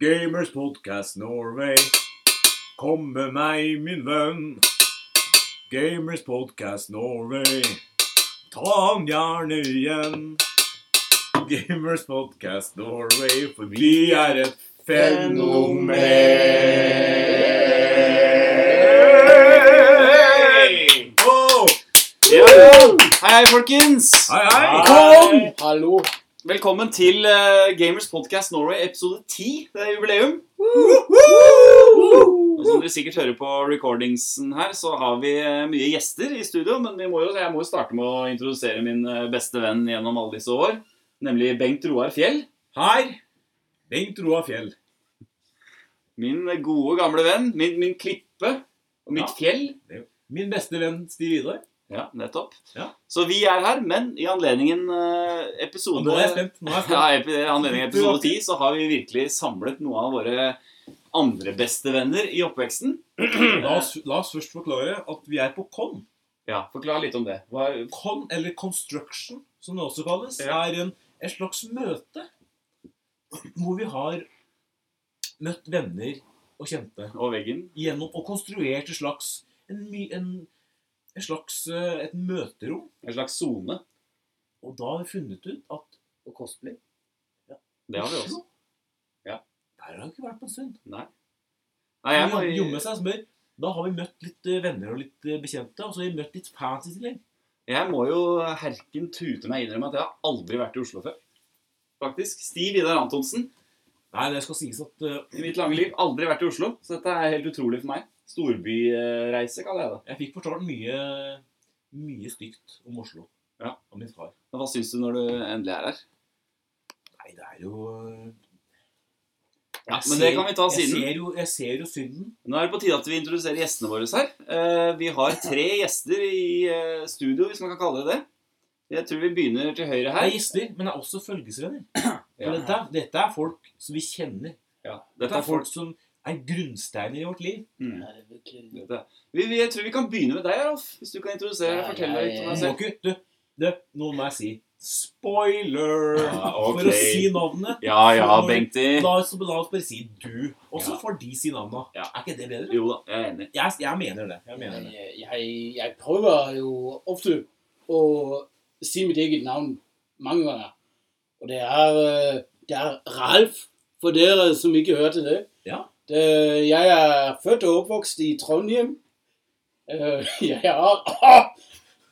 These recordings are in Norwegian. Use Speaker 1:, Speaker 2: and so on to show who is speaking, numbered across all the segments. Speaker 1: Gamers Podcast Norway. Kom med meg, min venn. Gamers Podcast Norway. Ta han gjerne igjen. Gamers Podcast Norway, for vi er et fenomen. Wow!
Speaker 2: Hei, folkens!
Speaker 1: Oh, Hei, hei!
Speaker 2: Kom!
Speaker 3: Hallo.
Speaker 2: Velkommen til eh, Gamers Podcast Norway episode 10. Det er jubileum. Og som dere sikkert hører på recordingsen her, så har vi eh, mye gjester i studio. Men vi må jo, jeg må jo starte med å introdusere min eh, beste venn gjennom alle disse år. Nemlig Bengt Roar Fjell.
Speaker 1: Her, Bengt Roar Fjell.
Speaker 2: Min gode, gamle venn. Min, min klippe. Og mitt
Speaker 1: Ja.
Speaker 2: fjell.
Speaker 1: Min beste venn Stig Vidar.
Speaker 2: Ja, nettopp.
Speaker 1: Ja.
Speaker 2: Så vi er her, men i anledningen eh,
Speaker 1: Og
Speaker 2: episode
Speaker 1: Nå er jeg spent. Nå er jeg
Speaker 2: Ja,
Speaker 1: spent.
Speaker 2: epi- i anledning episode 10 så har vi virkelig samlet noen av våre andre bestevenner i oppveksten.
Speaker 1: La, oss, la oss først forklare at vi er på Con.
Speaker 2: Ja, Forklar litt om det. Hva-
Speaker 1: Con, eller Construction, som det også kalles,
Speaker 2: Ja.
Speaker 1: er en, et slags møte hvor vi har møtt venner og kjente
Speaker 2: og veggen.
Speaker 1: gjennom og konstruert et slags, en, my- en, et, slags eh, et møterom.
Speaker 2: En slags sone.
Speaker 1: Og da har vi funnet ut at
Speaker 3: Og cosplay.
Speaker 2: Det har vi også.
Speaker 1: Oslo,
Speaker 2: Ja.
Speaker 1: Der har vi ikke vært på en stund.
Speaker 2: Nei, jeg må-
Speaker 1: Vi jommer seg smør. Da har vi møtt litt eh, venner og litt eh, bekjente, og så har vi møtt litt fans i tillegg.
Speaker 2: Jeg må jo herken tute meg innrømme at jeg har aldri vært i Oslo før. Faktisk. Stiv Vidar Antonsen
Speaker 1: Nei, det skal sies at eh,
Speaker 2: i mitt lange liv aldri vært i Oslo. Så dette er helt utrolig for meg. Storbyreise, kaller jeg det.
Speaker 1: jeg fikk fortalt mye, mye stygt om Oslo
Speaker 2: Ja.
Speaker 1: av min far.
Speaker 2: Men Hva syns du når du endelig er her?
Speaker 1: Nei, det er jo eh,
Speaker 2: øh, Ja,
Speaker 1: jeg
Speaker 2: men det
Speaker 1: ser-
Speaker 2: kan vi ta
Speaker 1: Jeg
Speaker 2: siden.
Speaker 1: ser jo, jeg ser jo synden.
Speaker 2: Nå er det på tide at vi introduserer gjestene våre her. Eh, Vi har tre gjester i eh, studio, hvis man kan kalle det det. Jeg tror vi begynner til høyre
Speaker 1: Det
Speaker 2: her.
Speaker 1: er gjester, men det er også følgesvenner.
Speaker 2: Ja.
Speaker 1: For Dette, er- dette er folk som vi kjenner.
Speaker 2: Ja,
Speaker 1: Dette er folk som er grunnsteiner i vårt liv.
Speaker 2: Mm.
Speaker 3: Herregud.
Speaker 2: Dette. Vi, vi, jeg tror vi kan begynne med deg, Ralf. Hvis du kan introdusere deg og fortelle deg litt om
Speaker 1: Nå må
Speaker 2: deg selv.
Speaker 1: ikke du, du, nå må jeg si spoiler!
Speaker 2: Ja, ok.
Speaker 1: For å si navnet.
Speaker 2: Ja ja, Bengti.
Speaker 1: La oss, la oss bare si du, og så
Speaker 2: Ja.
Speaker 1: får de si navnet.
Speaker 2: Ja.
Speaker 1: Er ikke det bedre?
Speaker 2: Jo da, jeg er enig.
Speaker 1: Jeg, jeg mener det. Jeg mener det.
Speaker 3: Jeg, jeg, jeg prøver jo ofte å si mitt eget navn mange ganger. Og det er, eh, det er Ralf, for dere som ikke hørte det.
Speaker 1: Ja.
Speaker 3: det jeg er født og oppvokst i Trondheim. Eh, Jeg har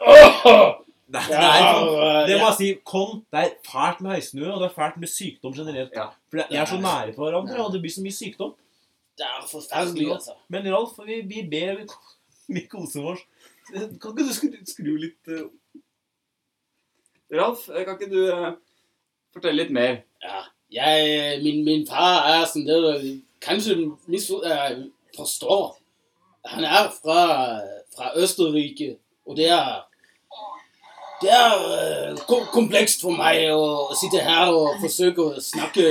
Speaker 3: Ah!
Speaker 1: Det,
Speaker 3: Jeg
Speaker 1: det, er,
Speaker 3: har, eh,
Speaker 1: det må jeg si. Kom, det er fælt med høysnø, og det er fælt med sykdom generelt.
Speaker 2: Ja.
Speaker 1: For det- de er så nære på hverandre,
Speaker 3: Ja.
Speaker 1: og det blir så mye sykdom.
Speaker 3: Det er forferdelig, altså.
Speaker 1: Men Ralf, vi, vi ber vi, vi koser oss. Kan ikke du skru, skru litt eh,
Speaker 2: Ralf, eh, kan ikke du eh, fortelle litt mer?
Speaker 3: Ja, jeg, min, min far er sånn der Kanskje misfor, eh, forstår. Han er fra, fra Østerrike, og det er Det er eh, ko- komplekst for meg å sitte her og forsøke å snakke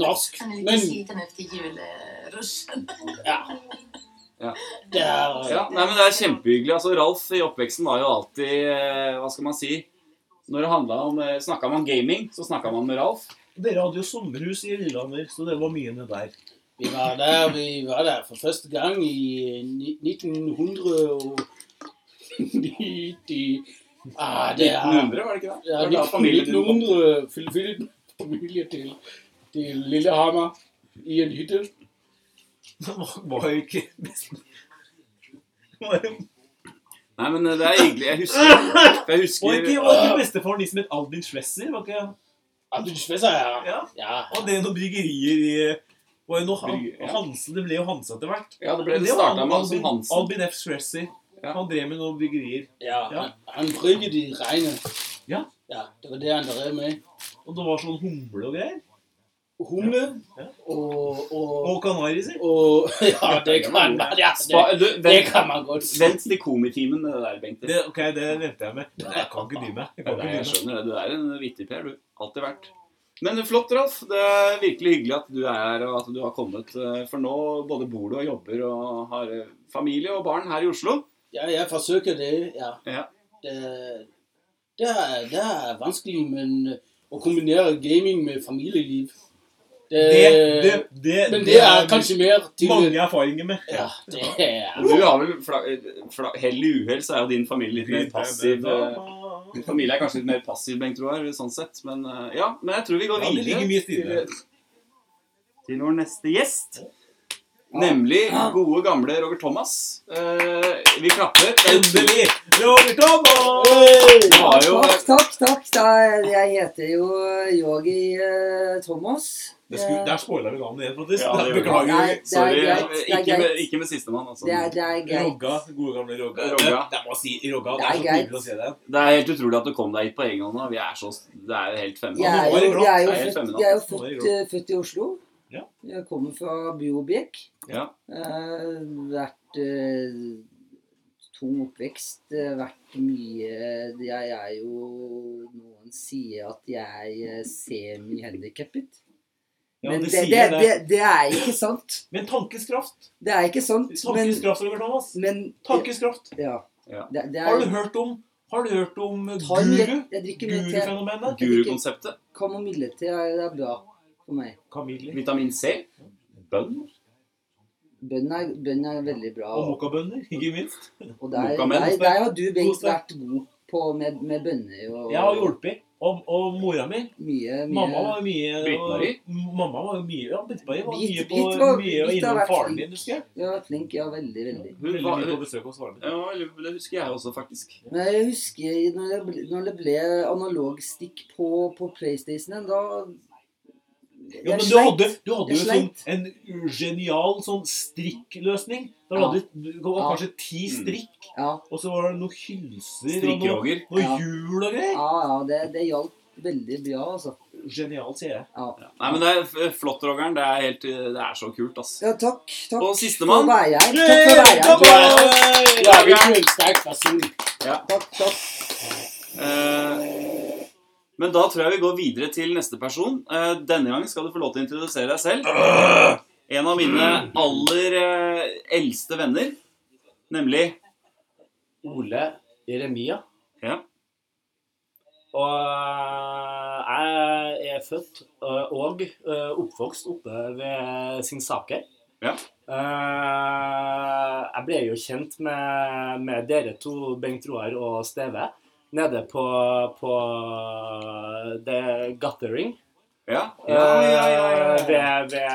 Speaker 3: norsk.
Speaker 4: Kan du ikke
Speaker 3: Men
Speaker 4: si dem efter julrushen?
Speaker 3: ja.
Speaker 2: Ja.
Speaker 3: Det er
Speaker 2: Ja, nei, men Det er kjempehyggelig. altså Ralf i oppveksten var jo alltid eh, Hva skal man si? Når det handla om eh, Snakka man gaming, så snakka man med Ralf.
Speaker 1: Dere hadde jo sommerhus i Lillehammer, så det var mye ned der.
Speaker 3: Vi var der, vi var der for første gang i ni- 1900 og de, de, ah, det er
Speaker 2: 1900, var det ikke det?
Speaker 3: Ja,
Speaker 2: Det var da familien din kom.
Speaker 3: 1900 fyll- fyll- øh, familie til, til Lillehammer i en hytte.
Speaker 1: Det var, var jo ikke Det var jo-
Speaker 2: Nei, men det er hyggelig. Jeg husker, jeg
Speaker 1: Var ikke,
Speaker 2: husker
Speaker 1: var ikke bestefaren de som het Albin Schwesser? Var ikke,
Speaker 3: Abdul Spesser, ja.
Speaker 1: ja.
Speaker 3: ja.
Speaker 1: Og det er noen bryggerier i var jo noe han,
Speaker 2: Brygge- ja.
Speaker 1: Hansen, Det ble jo Hanse etter hvert.
Speaker 2: Ja, det ble det
Speaker 1: var
Speaker 2: starta med
Speaker 1: Albin-
Speaker 2: som Hansen.
Speaker 1: Albin F. Schwesser.
Speaker 2: Ja.
Speaker 1: Han drev med noen bryggerier.
Speaker 3: ja. Han, han brygget i regnet.
Speaker 1: Ja.
Speaker 3: ja. Det var det han drev med.
Speaker 1: Og det var sånn humle og greier.
Speaker 3: Humle
Speaker 1: Ja.
Speaker 3: og, og,
Speaker 1: Og kanariser.
Speaker 3: og Ja, det kan man ja, det,
Speaker 2: Spa- Du,
Speaker 3: det
Speaker 2: vent,
Speaker 3: kan man godt.
Speaker 2: vent til komitimen med det der, Bengt.
Speaker 1: Det, ok, det venter jeg med. Nei, jeg kan ikke dy meg. Jeg kan
Speaker 2: Nei,
Speaker 1: ikke
Speaker 2: jeg
Speaker 1: dy meg.
Speaker 2: skjønner det. Du er en vittig per, du. Alltid vært. Men flott, Ralf. Det er virkelig hyggelig at du er her, og at du har kommet. eh, For nå både bor du og jobber og har eh, familie og barn her i Oslo.
Speaker 3: Ja, jeg forsøker det, ja.
Speaker 2: Ja.
Speaker 3: Det, øh, det, er, det er vanskelig, men å kombinere gaming med familieliv, det,
Speaker 1: Det,
Speaker 3: Eh,
Speaker 1: det, det,
Speaker 3: men det
Speaker 1: har
Speaker 3: er
Speaker 1: vi
Speaker 3: kanskje mer til
Speaker 1: mange erfaringer med.
Speaker 3: Ja, det er
Speaker 2: Du har vel fla, eh, fla, Hell i uhell så er jo din familie litt mer passiv. eh, Din familie er kanskje litt mer passiv, Bengt Roar, sånn sett. Men eh, ja, men jeg tror vi går
Speaker 1: Ja, det ligger
Speaker 2: videre
Speaker 1: mye stille.
Speaker 2: til, eh, til vår neste gjest. Nemlig gode, gamle Roger Thomas. Eh, vi klapper.
Speaker 1: Endelig! Roger Thomas!
Speaker 3: Hey!
Speaker 2: Vi har jo
Speaker 5: Takk, takk, takk. Da, jeg heter jo Yogi eh, Thomas. Eh,
Speaker 1: Det skulle, der spoila vi navnet igjen, faktisk.
Speaker 2: Ja, det gjorde vi.
Speaker 1: Beklager.
Speaker 5: Nei, det
Speaker 2: Sorry. eh,
Speaker 5: er greit. Det er
Speaker 2: Ikke med,
Speaker 5: greit.
Speaker 2: ikke med sistemann, altså.
Speaker 5: Det er, det er greit.
Speaker 1: Rogga. Gode, gamle Rogga.
Speaker 2: Rogga.
Speaker 1: Det, det må jeg si. Rogga. Det
Speaker 5: Det
Speaker 1: er
Speaker 5: er
Speaker 1: så
Speaker 5: greit.
Speaker 1: hyggelig å se deg.
Speaker 2: Det er helt utrolig at du kom deg hit på egen hånd. da. Vi er så Det er helt
Speaker 5: Jeg
Speaker 2: femmende.
Speaker 1: Ja.
Speaker 5: er jo, jeg er jo, født, jeg er jo
Speaker 1: Nå er det
Speaker 5: født,
Speaker 1: rått.
Speaker 5: eh, født i Oslo.
Speaker 1: Ja.
Speaker 5: Jeg kommer fra Bjobik.
Speaker 2: Ja.
Speaker 5: Eh, vært eh, tung oppvekst. eh, vært mye Jeg er jo Noen sier at jeg eh, er semi-handikappet.
Speaker 1: Ja,
Speaker 5: Men
Speaker 1: det,
Speaker 5: det, det,
Speaker 1: sier det.
Speaker 5: det, det er ikke sant.
Speaker 1: Men tankens kraft.
Speaker 5: Det er ikke sant. Men,
Speaker 1: Tankens kraft, Roger Thomas.
Speaker 5: men
Speaker 1: Tankens kraft.
Speaker 5: Ja.
Speaker 2: Ja.
Speaker 5: Det, det
Speaker 1: Har du
Speaker 5: er
Speaker 1: hørt om Har du hørt om
Speaker 5: Ta en
Speaker 1: guru?
Speaker 5: rett- Jeg drikker mye te.
Speaker 1: Gurufenomenet?
Speaker 2: Gurukonseptet.
Speaker 5: Kamomillete er, er bra for meg.
Speaker 1: Kamille.
Speaker 2: Vitamin C. Bønn.
Speaker 5: Bønn er, bønn er veldig bra.
Speaker 1: Og mokabønner, ikke minst.
Speaker 5: Og der,
Speaker 2: Moka med
Speaker 5: der,
Speaker 2: ost,
Speaker 5: der har du
Speaker 1: God
Speaker 5: Bengt
Speaker 1: sted.
Speaker 5: vært god på med, med bønner og
Speaker 1: Jeg har hjulpet. Og, og mora mi.
Speaker 5: mye, mye
Speaker 1: Mamma var jo mye
Speaker 2: Britt-Marie?
Speaker 1: Mamma var jo mye Ja, Britt-Marie var
Speaker 5: Britt-
Speaker 1: mye på
Speaker 5: Britt var-
Speaker 1: mye
Speaker 5: Britt har
Speaker 1: innom
Speaker 5: vært
Speaker 1: faren
Speaker 5: flink.
Speaker 1: din, husker jeg.
Speaker 5: Ja, flink. Ja, veldig, veldig.
Speaker 1: Veldig
Speaker 2: var-
Speaker 1: mye på besøk hos faren min.
Speaker 2: Ja, det husker jeg også, faktisk.
Speaker 5: Men jeg husker når det ble, når det ble analogstikk på, på PlayStationen, da
Speaker 1: Jo,
Speaker 5: Jeg
Speaker 1: men du
Speaker 5: sleit.
Speaker 1: hadde, du hadde
Speaker 5: Jeg
Speaker 1: jo sånn,
Speaker 5: sleit.
Speaker 1: en genial sånn strikkløsning. Da
Speaker 5: Ja.
Speaker 1: hadde du det var
Speaker 5: Ja.
Speaker 1: kanskje ti
Speaker 2: Mm.
Speaker 1: strikk,
Speaker 5: Ja,
Speaker 1: og så var det noen hylser og noe,
Speaker 2: Strikkeroger.
Speaker 1: noe
Speaker 5: Ja.
Speaker 1: hjul og greier.
Speaker 5: ja, ja det, det hjalp veldig bra, altså.
Speaker 1: Genialt, sier jeg.
Speaker 5: Ja,
Speaker 2: Ja. Nei, men det er f- flott, Rogeren. Det er, helt, eh, det er så kult, ass.
Speaker 5: ja takk. Takk
Speaker 2: Og
Speaker 5: for å
Speaker 2: sistemann.
Speaker 5: være her. Takk for å være her.
Speaker 3: Du er jo en sterk person.
Speaker 5: Takk, takk.
Speaker 2: Eh, men da tror jeg vi går videre til neste person. Eh, denne gangen skal du få lov til å introdusere deg selv. En av mine aller eh, eldste venner, nemlig
Speaker 3: Ole Jeremia.
Speaker 2: Ja.
Speaker 6: Og eh, jeg er født eh, og eh, oppvokst oppe ved Singsaker.
Speaker 2: Ja.
Speaker 6: Eh, Jeg ble jo kjent med, med dere to, Bengt Roar og Steve, nede på, på The Guttering.
Speaker 2: Ja, ja, ja, ja, ja.
Speaker 6: eh, Ved, ved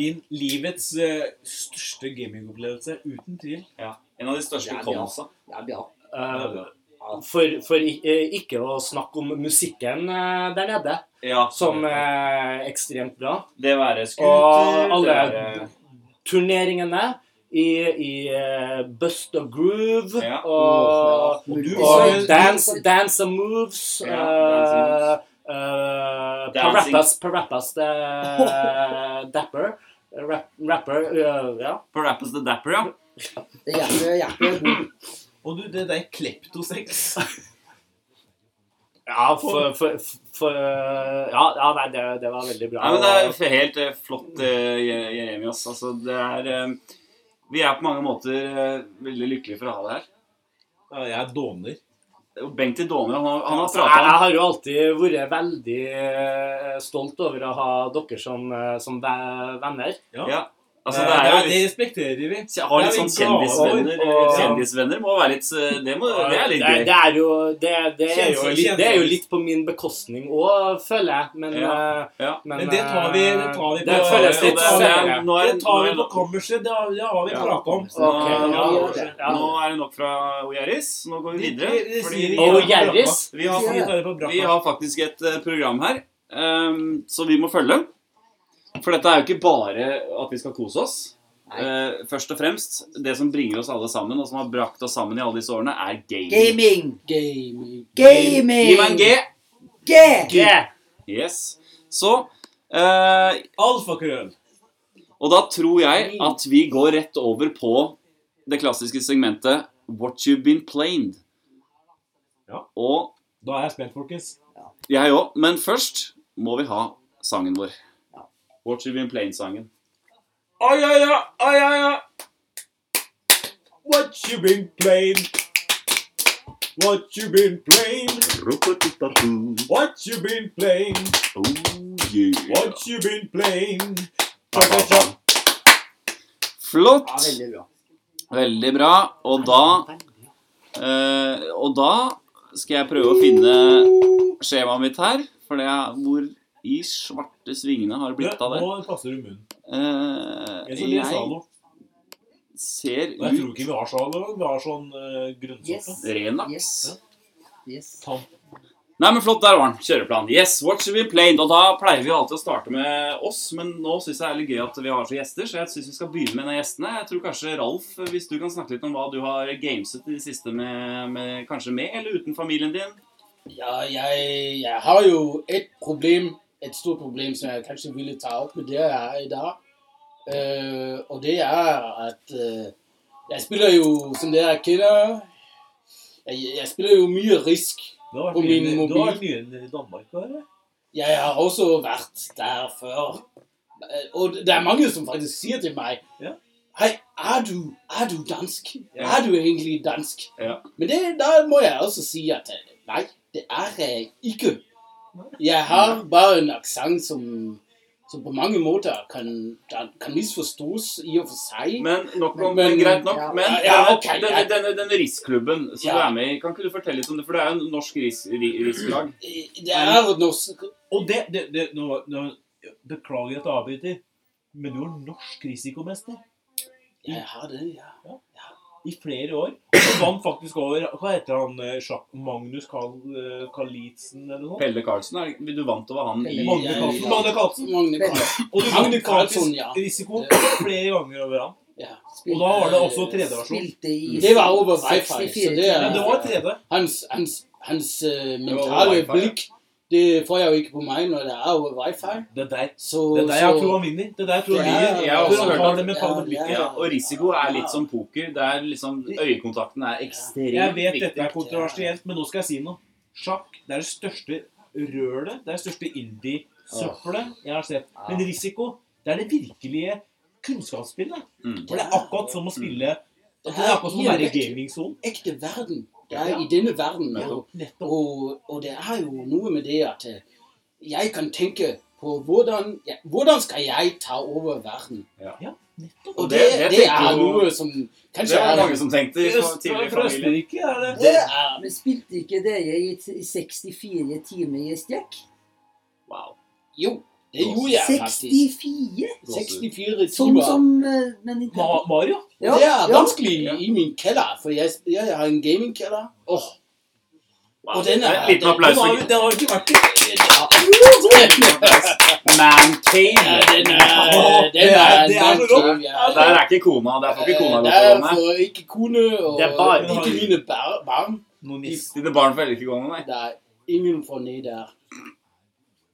Speaker 1: Min livets eh, største gamingopplevelse, uten tvil.
Speaker 2: En av de største
Speaker 5: Ja, ja.
Speaker 2: komsa.
Speaker 5: Det er bra.
Speaker 6: eh, For, for i- eh, ikke å snakke om musikken eh, der nede,
Speaker 2: Ja,
Speaker 6: som er ekstremt bra.
Speaker 2: det være
Speaker 6: Og
Speaker 2: det
Speaker 6: alle-
Speaker 2: være-
Speaker 6: turneringene i, i eh, Bust og Groove
Speaker 2: Ja.
Speaker 1: Og
Speaker 6: og,
Speaker 1: du var
Speaker 6: og
Speaker 1: jo
Speaker 6: dance, dance and Moves.
Speaker 2: Ja, Dance and
Speaker 6: eh,
Speaker 2: Moves.
Speaker 6: eh,
Speaker 2: Dancing.
Speaker 6: Parappas, Parappas the Dapper. Rap, rapper eh, Ja.
Speaker 2: Parappus the Dapper, ja.
Speaker 5: Det hjelper, hjelper god.
Speaker 1: Og du, det der kleptosex
Speaker 6: Ja, for, for, for eh, Ja, ja nei, det, det var veldig bra.
Speaker 2: Nei, men det er helt eh, flott, eh, Je- Jeremias. Altså, det er eh, Vi er på mange måter eh, veldig lykkelige for å ha deg her.
Speaker 1: Ja, jeg dåner.
Speaker 2: Og Bengt i Dåne, han, har- han har
Speaker 6: Altså, jeg,
Speaker 2: prata
Speaker 6: jeg har jo alltid vært veldig eh, stolt over å ha dere som, eh, som ve- venner.
Speaker 1: Ja.
Speaker 2: Ja. Altså,
Speaker 1: Eh,
Speaker 2: det er
Speaker 1: ja,
Speaker 2: jo
Speaker 1: det respekterer vi.
Speaker 2: litt- Har
Speaker 1: det
Speaker 2: litt
Speaker 1: er
Speaker 2: sånn
Speaker 1: vi glad
Speaker 2: kjendisvenner.
Speaker 6: over, og-
Speaker 2: Kjendisvenner må være litt eh, Det, må, det er litt
Speaker 6: det,
Speaker 2: gøy.
Speaker 6: det er jo, det, det, er jo
Speaker 1: Kjensel-
Speaker 6: litt, det er jo
Speaker 1: kjensel.
Speaker 6: litt på min bekostning òg, føler jeg. Men,
Speaker 2: Ja,
Speaker 6: eh,
Speaker 2: ja.
Speaker 6: men, eh,
Speaker 1: Men det tar vi, det tar vi på,
Speaker 6: det føles
Speaker 1: det,
Speaker 6: litt sånn,
Speaker 1: det,
Speaker 6: ja.
Speaker 2: Nå er-
Speaker 1: det tar vi
Speaker 2: nå
Speaker 1: på
Speaker 2: er-
Speaker 1: kammerset. Det har, det har vi
Speaker 2: Ja.
Speaker 1: pratet om.
Speaker 2: Så,
Speaker 6: Ok,
Speaker 5: ja,
Speaker 2: ja,
Speaker 5: det-
Speaker 6: ja.
Speaker 2: Nå er det nok fra Ojaris. Nå går vi
Speaker 1: Det- det-
Speaker 2: videre.
Speaker 1: det sier
Speaker 2: Fordi
Speaker 1: vi.
Speaker 6: Og Gjerris
Speaker 2: vi har
Speaker 1: Vi tar det på
Speaker 2: Vi
Speaker 1: brakka.
Speaker 2: har faktisk et eh, program her um, som vi må følge. For dette er jo ikke bare at vi skal kose oss.
Speaker 5: Nei.
Speaker 2: Eh, først og fremst, det som bringer oss alle sammen, og som har brakt oss sammen i alle disse årene, er gaming.
Speaker 5: Gaming!
Speaker 3: Gaming.
Speaker 5: Gaming!
Speaker 2: Gi meg en G.
Speaker 5: G!
Speaker 6: Yeah.
Speaker 2: Yes. Så eh,
Speaker 1: Alfakrøll.
Speaker 2: Og da tror jeg at vi går rett over på det klassiske segmentet What you've been playing.
Speaker 1: Ja.
Speaker 2: Og
Speaker 1: Da er jeg spent, folkens.
Speaker 2: jeg òg. Men først må vi ha sangen vår.
Speaker 5: Ja.
Speaker 2: What you've been playing-sangen.
Speaker 1: Ai, ai, ai, ai, ai, ai. What you been playing? What you been playing? What you been playing?
Speaker 2: Oh Yeah.
Speaker 1: What you been playing?
Speaker 2: Flott.
Speaker 5: Ja, veldig bra.
Speaker 2: Veldig bra. Og da eh, Og da skal jeg prøve å finne skjemaet mitt her. For det er hvor i svarte svingene har det blitt av det.
Speaker 1: Nå passer du munnen.
Speaker 2: Eh,
Speaker 1: Jeg, så det sa
Speaker 2: jeg
Speaker 1: noe.
Speaker 2: ser
Speaker 1: Og jeg tror
Speaker 2: ut
Speaker 1: ikke vi har salo. Vi har sånn uh, grønnsaker.
Speaker 5: Yes.
Speaker 2: Renaks.
Speaker 5: Yes. yes.
Speaker 1: Tam-
Speaker 2: Nei, men flott, der var den. Kjøreplan. Yes, what should we play? Og da pleier vi alltid å starte med oss, men nå syns jeg det er litt gøy at vi har så gjester, så jeg syns vi skal begynne med en av gjestene. Jeg tror kanskje Ralf, hvis du kan snakke litt om hva du har gameset i det siste med, med kanskje med eller uten familien din.
Speaker 3: Ja, jeg, jeg har jo et problem, et stort problem som jeg kanskje ville ta opp med dere her i dag. Eh, og det er at eh, jeg spiller jo, som dere kjenner, jeg, jeg spiller jo mye risk.
Speaker 1: Du har
Speaker 3: På
Speaker 1: vært mye-
Speaker 3: min
Speaker 1: du har
Speaker 3: mobil.
Speaker 1: vært mye i Danmark, eller?
Speaker 3: Jeg har også vært der før. Eh, Og det er mange som faktisk sier til meg
Speaker 1: Ja.
Speaker 3: Hei, er du, er du dansk?
Speaker 2: Ja.
Speaker 3: Er du egentlig dansk?
Speaker 2: Ja.
Speaker 3: Men det, da må jeg også si at eh, nei, det er jeg ikke. Jeg har bare en aksent som, som på mange måter kan, kan misforstås i og for seg.
Speaker 2: Men nok om
Speaker 3: Men-
Speaker 2: men, Greit nok.
Speaker 5: ja.
Speaker 2: Men
Speaker 3: Ja, ja, ok,
Speaker 2: denne,
Speaker 3: greit.
Speaker 2: denne, denne RIS-klubben som du
Speaker 3: Ja.
Speaker 2: er med i, kan ikke du fortelle litt om det? For det er jo en norsk ris- ri- RIS-lag.
Speaker 3: Eh, Det er norsk
Speaker 1: Og det, det, det nå, nå, Beklager at jeg avbryter, men du var norsk risikomester
Speaker 3: Jeg har det, ja.
Speaker 1: i flere år. Og vant faktisk over Hva heter han? eh, Sjakk, Magnus Carl, eh, Carlitzen eller noe?
Speaker 2: Pelle Karlsen, er, vil du vant over han i
Speaker 1: Magne
Speaker 3: Jeg-
Speaker 1: Carlsen. Magne Carlsen.
Speaker 3: Magne
Speaker 5: Veldig.
Speaker 3: Carlsen.
Speaker 1: Og du
Speaker 3: Magne
Speaker 1: vant
Speaker 3: Carlsen,
Speaker 1: faktisk
Speaker 3: ja.
Speaker 1: risiko flere ganger over han.
Speaker 3: Ja.
Speaker 1: Og da var det også tredje versjon.
Speaker 5: Spilte i
Speaker 3: Det var over wifi, så
Speaker 5: 64
Speaker 3: det er
Speaker 1: Men det var tredje.
Speaker 3: hans, hans, hans eh,
Speaker 2: over
Speaker 3: mentale
Speaker 2: wifi, ja.
Speaker 3: blikk det får jeg jo ikke på meg når det er over wifi.
Speaker 1: Det der,
Speaker 3: Så,
Speaker 1: det der jeg
Speaker 3: så-
Speaker 1: tror han vinner. Det der tror jeg
Speaker 3: Ja,
Speaker 1: vinner.
Speaker 2: jeg har også
Speaker 1: For han
Speaker 2: hørt
Speaker 1: har
Speaker 2: om-
Speaker 1: det mentale
Speaker 3: ja,
Speaker 1: blikket.
Speaker 2: ja, Og risiko er litt som poker. Det er liksom, øyekontakten er
Speaker 1: Jeg
Speaker 2: ekstremt
Speaker 1: vet dette
Speaker 2: viktig.
Speaker 1: er kontroversielt, men nå skal jeg si noe. Sjakk det er det største rølet, det er det største indie-søppelet jeg har sett. Men risiko, det er det virkelige kunnskapsspillet.
Speaker 2: Mm.
Speaker 1: For det er akkurat som å spille Det er akkurat som å være i gamingsonen.
Speaker 3: Ekte verden. Det er i denne verden.
Speaker 1: Ja,
Speaker 3: Og,
Speaker 1: nettopp.
Speaker 3: og, og det er jo noe med det at eh, jeg kan tenke på hvordan, ja, hvordan skal jeg ta over verden?
Speaker 1: Ja, nettopp.
Speaker 3: Og
Speaker 2: Og
Speaker 3: det,
Speaker 2: det-
Speaker 3: det,
Speaker 2: det tenker
Speaker 3: er
Speaker 2: jo-
Speaker 3: noe som
Speaker 2: Det
Speaker 3: kanskje
Speaker 2: var
Speaker 3: er
Speaker 2: mange som tenkte i
Speaker 6: sånn
Speaker 2: fa- tidligere i
Speaker 1: Fra
Speaker 2: familien.
Speaker 1: Østerrike er det
Speaker 3: Det er
Speaker 5: Men spilte ikke dere i t- i 64 timer i strekk?
Speaker 2: Wow.
Speaker 3: Jo, det gjorde jeg faktisk.
Speaker 5: 64?
Speaker 3: 64
Speaker 5: Sånn
Speaker 3: timer.
Speaker 5: som eh, men
Speaker 1: Ma
Speaker 5: Nintendo-
Speaker 1: Mario.
Speaker 5: Ja,
Speaker 3: det er
Speaker 5: ja.
Speaker 3: vanskelig i min kjeller, for jeg, jeg har en gamingkjeller. Åh,
Speaker 2: wow.
Speaker 3: Og den er-
Speaker 2: En liten
Speaker 1: Det
Speaker 2: applaus.
Speaker 1: har,
Speaker 2: for-
Speaker 1: det har ikke vært det.
Speaker 2: Man
Speaker 3: Ja,
Speaker 2: cave.
Speaker 3: den er,
Speaker 1: Åh,
Speaker 3: den
Speaker 1: det er-
Speaker 3: er,
Speaker 1: det er så
Speaker 3: den
Speaker 2: Der er ikke kona. Der får ikke kona lov til
Speaker 3: Det
Speaker 2: å gå
Speaker 3: er
Speaker 2: med.
Speaker 3: for ikke kone, og
Speaker 6: Det er bare-
Speaker 3: ikke mine bar- barn.
Speaker 1: Noen gjester.
Speaker 2: Dine barn får heller ikke gå med, nei.
Speaker 3: Det er ingen for ned der.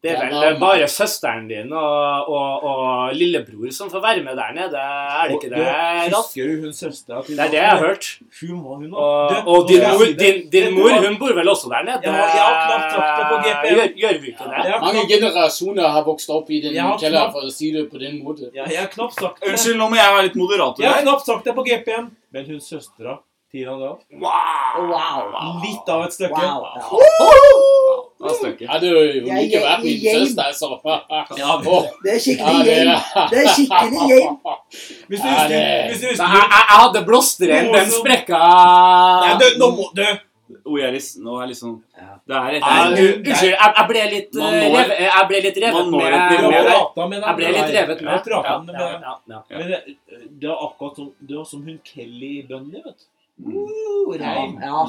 Speaker 6: Det er vel bare søsteren din og, og, og lillebror som får være med der nede, er det ikke det,
Speaker 1: Du,
Speaker 6: Ralf?
Speaker 1: Husker du hun søstera til
Speaker 6: Det er det jeg har hørt.
Speaker 1: Hun var hun, da.
Speaker 6: Og,
Speaker 1: Du, nå skal
Speaker 6: og din,
Speaker 1: jeg
Speaker 6: mor,
Speaker 1: si det.
Speaker 6: din, din
Speaker 1: Dette
Speaker 6: mor
Speaker 1: var-
Speaker 6: hun bor vel også der nede?
Speaker 1: Jeg har- jeg har knapt lagt det på GPM.
Speaker 6: Gjør, gjør vi ikke det?
Speaker 1: Jeg har
Speaker 3: Mange
Speaker 1: knapt-
Speaker 3: generasjoner har vokst opp i den
Speaker 1: Jeg har
Speaker 3: kjelleren,
Speaker 1: knapt-
Speaker 3: for å si det på den måten.
Speaker 1: Ja, jeg har knapt sagt det.
Speaker 2: Unnskyld, nå må jeg være litt moderator
Speaker 1: Jeg har
Speaker 2: her.
Speaker 1: knapt sagt det på GPM. Men hun søstera til han da
Speaker 2: Wow!
Speaker 1: Litt av et stykke.
Speaker 5: Wow. Ja.
Speaker 2: Det var stykket.
Speaker 3: Hadde hun
Speaker 5: Jeg-
Speaker 3: ikke
Speaker 5: jeg-
Speaker 3: vært min
Speaker 5: jeg-
Speaker 3: søster, så
Speaker 1: Ja, men-
Speaker 3: altså. Åh,
Speaker 5: Det er
Speaker 3: ja,
Speaker 5: skikkelig
Speaker 3: det
Speaker 5: game. Det er skikkelig game.
Speaker 1: Hvis du husker,
Speaker 3: Ja, det-
Speaker 1: hvis du
Speaker 6: Nei,
Speaker 1: husker
Speaker 6: jeg, jeg, jeg hadde blåsterein, den sprekka
Speaker 1: Nei, du, nå må du
Speaker 2: Oh, jeg er litt- nå er jeg litt sånn Det er
Speaker 6: Ja,
Speaker 2: et
Speaker 6: u- Unnskyld, jeg, jeg ble litt
Speaker 2: Man
Speaker 6: eh,
Speaker 2: når-
Speaker 6: rev- eh, Jeg ble litt revet
Speaker 2: man når et
Speaker 6: med.
Speaker 1: Jeg
Speaker 2: nivå
Speaker 6: med der.
Speaker 1: pratet med deg.
Speaker 6: Jeg ble litt revet
Speaker 1: Jeg
Speaker 6: med.
Speaker 1: pratet med
Speaker 6: Ja,
Speaker 1: deg.
Speaker 6: ja, ja.
Speaker 1: Men det, det er akkurat som, det var som hun Kelly i Bunny, vet du.
Speaker 2: Mm.
Speaker 5: Uh,
Speaker 1: Reim.
Speaker 5: Ja.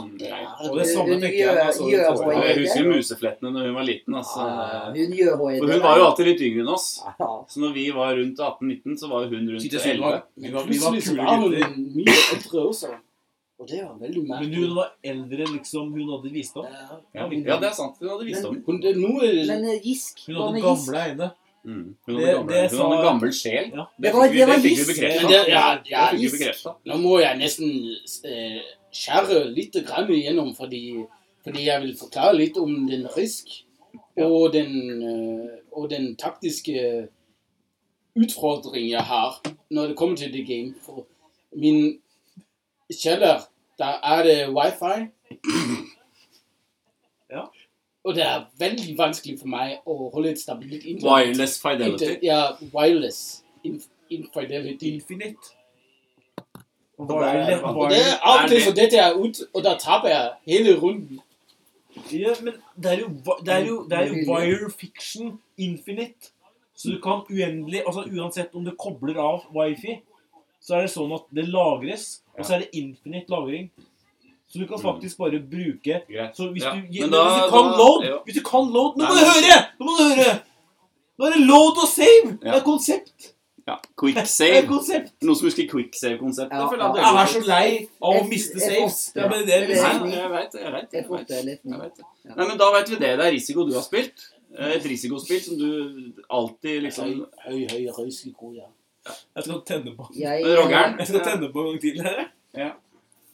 Speaker 1: Og det samme
Speaker 5: Hun
Speaker 1: tenker jeg. da, så hun
Speaker 5: gjør-
Speaker 1: søstera.
Speaker 5: gjør-
Speaker 2: Jeg husker museflettene når hun var liten. Altså.
Speaker 5: eh, Hun gjør hva jeg
Speaker 2: For hun var jo alltid litt yngre enn oss.
Speaker 5: Ja.
Speaker 2: Så når vi var rundt 18-19, så var jo hun rundt
Speaker 1: Sitte selv,
Speaker 2: 11.
Speaker 1: da. Vi
Speaker 3: Men
Speaker 1: var, vi var
Speaker 3: plutselig så
Speaker 1: kule
Speaker 3: var hun
Speaker 1: gutter.
Speaker 3: mye eldre også. Og det var veldig
Speaker 1: Men
Speaker 3: merkelig.
Speaker 1: hun var eldre liksom hun hadde visdom.
Speaker 3: Ja.
Speaker 2: Ja, ja, det er sant. Hun hadde visdom.
Speaker 3: Hun, det, nå er det-
Speaker 5: Men eh, Gisk
Speaker 1: Hun
Speaker 5: Hva
Speaker 1: hadde
Speaker 5: med Gisk?
Speaker 1: gamle øyne.
Speaker 2: Mm. Hun
Speaker 1: Det-
Speaker 2: hadde gammel,
Speaker 1: det
Speaker 2: hun hadde
Speaker 1: sa-
Speaker 2: gammel sjel.
Speaker 1: Ja.
Speaker 5: Det var-
Speaker 2: fikk vi-
Speaker 5: det var
Speaker 2: det fikk vi
Speaker 5: giss.
Speaker 2: bekreftet.
Speaker 3: Men det- ja, ja,
Speaker 2: Det fikk vi
Speaker 3: giss.
Speaker 2: bekreftet.
Speaker 3: Nå må jeg nesten eh, skjære litt grann igjennom, fordi, fordi jeg vil forklare litt om den risk og den, eh, og den taktiske utfordring jeg har når det kommer til det game. For min kjeller, der er det wifi.
Speaker 1: Ja.
Speaker 3: Og det er veldig vanskelig for meg å holde et stabilt internett.
Speaker 2: Wireless fidelity.
Speaker 3: Inter- Ja, wireless. Inf infidelity.
Speaker 1: Infinite. Og
Speaker 2: Og der er det
Speaker 1: Violet,
Speaker 2: vann.
Speaker 3: Og det er av og til så dette er ut, og da taper jeg hele runden.
Speaker 1: Ja, men det er jo, vi- det er jo, det er jo wire fiction infinite. Så du kan uendelig Altså uansett om du kobler av wifi, så er det sånn at det lagres, og så er det infinite lagring. Så du kan faktisk bare bruke
Speaker 2: Greit.
Speaker 1: Så hvis,
Speaker 2: Ja,
Speaker 1: du,
Speaker 2: men
Speaker 1: men
Speaker 2: da-
Speaker 1: hvis du kan
Speaker 2: da-
Speaker 1: load
Speaker 2: ja.
Speaker 1: Hvis du kan load Nå må
Speaker 2: Nei,
Speaker 1: du
Speaker 2: men-
Speaker 1: høre! Nå må du høre! Nå er det load og save! Det
Speaker 2: Ja.
Speaker 1: er et konsept.
Speaker 2: Ja. Quick
Speaker 1: Det er
Speaker 2: save.
Speaker 1: et konsept.
Speaker 2: Noen som husker quick save-konseptet?
Speaker 5: Ja,
Speaker 2: Jeg føler at det
Speaker 1: Jeg er
Speaker 2: går-
Speaker 1: så lei av å
Speaker 5: F-
Speaker 1: miste
Speaker 5: F8,
Speaker 1: saves.
Speaker 5: ja.
Speaker 1: Ja, men det er
Speaker 5: Eller-
Speaker 2: Nei,
Speaker 1: liksom-
Speaker 2: nei, jeg vet det, jeg vet det, jeg
Speaker 5: F8
Speaker 2: vet det.
Speaker 5: er litt
Speaker 2: Jeg
Speaker 5: ny.
Speaker 2: vet det.
Speaker 5: Ja.
Speaker 2: Nei, men da vet vi det. Det er risiko du har spilt. Eh, Et risikospill som du alltid
Speaker 3: Høy,
Speaker 2: liksom
Speaker 3: høy, høy risiko, ja.
Speaker 1: Jeg skal tenne på
Speaker 5: Jeg,
Speaker 2: Men Roggeren
Speaker 1: Jeg skal tenne på en gang til. her.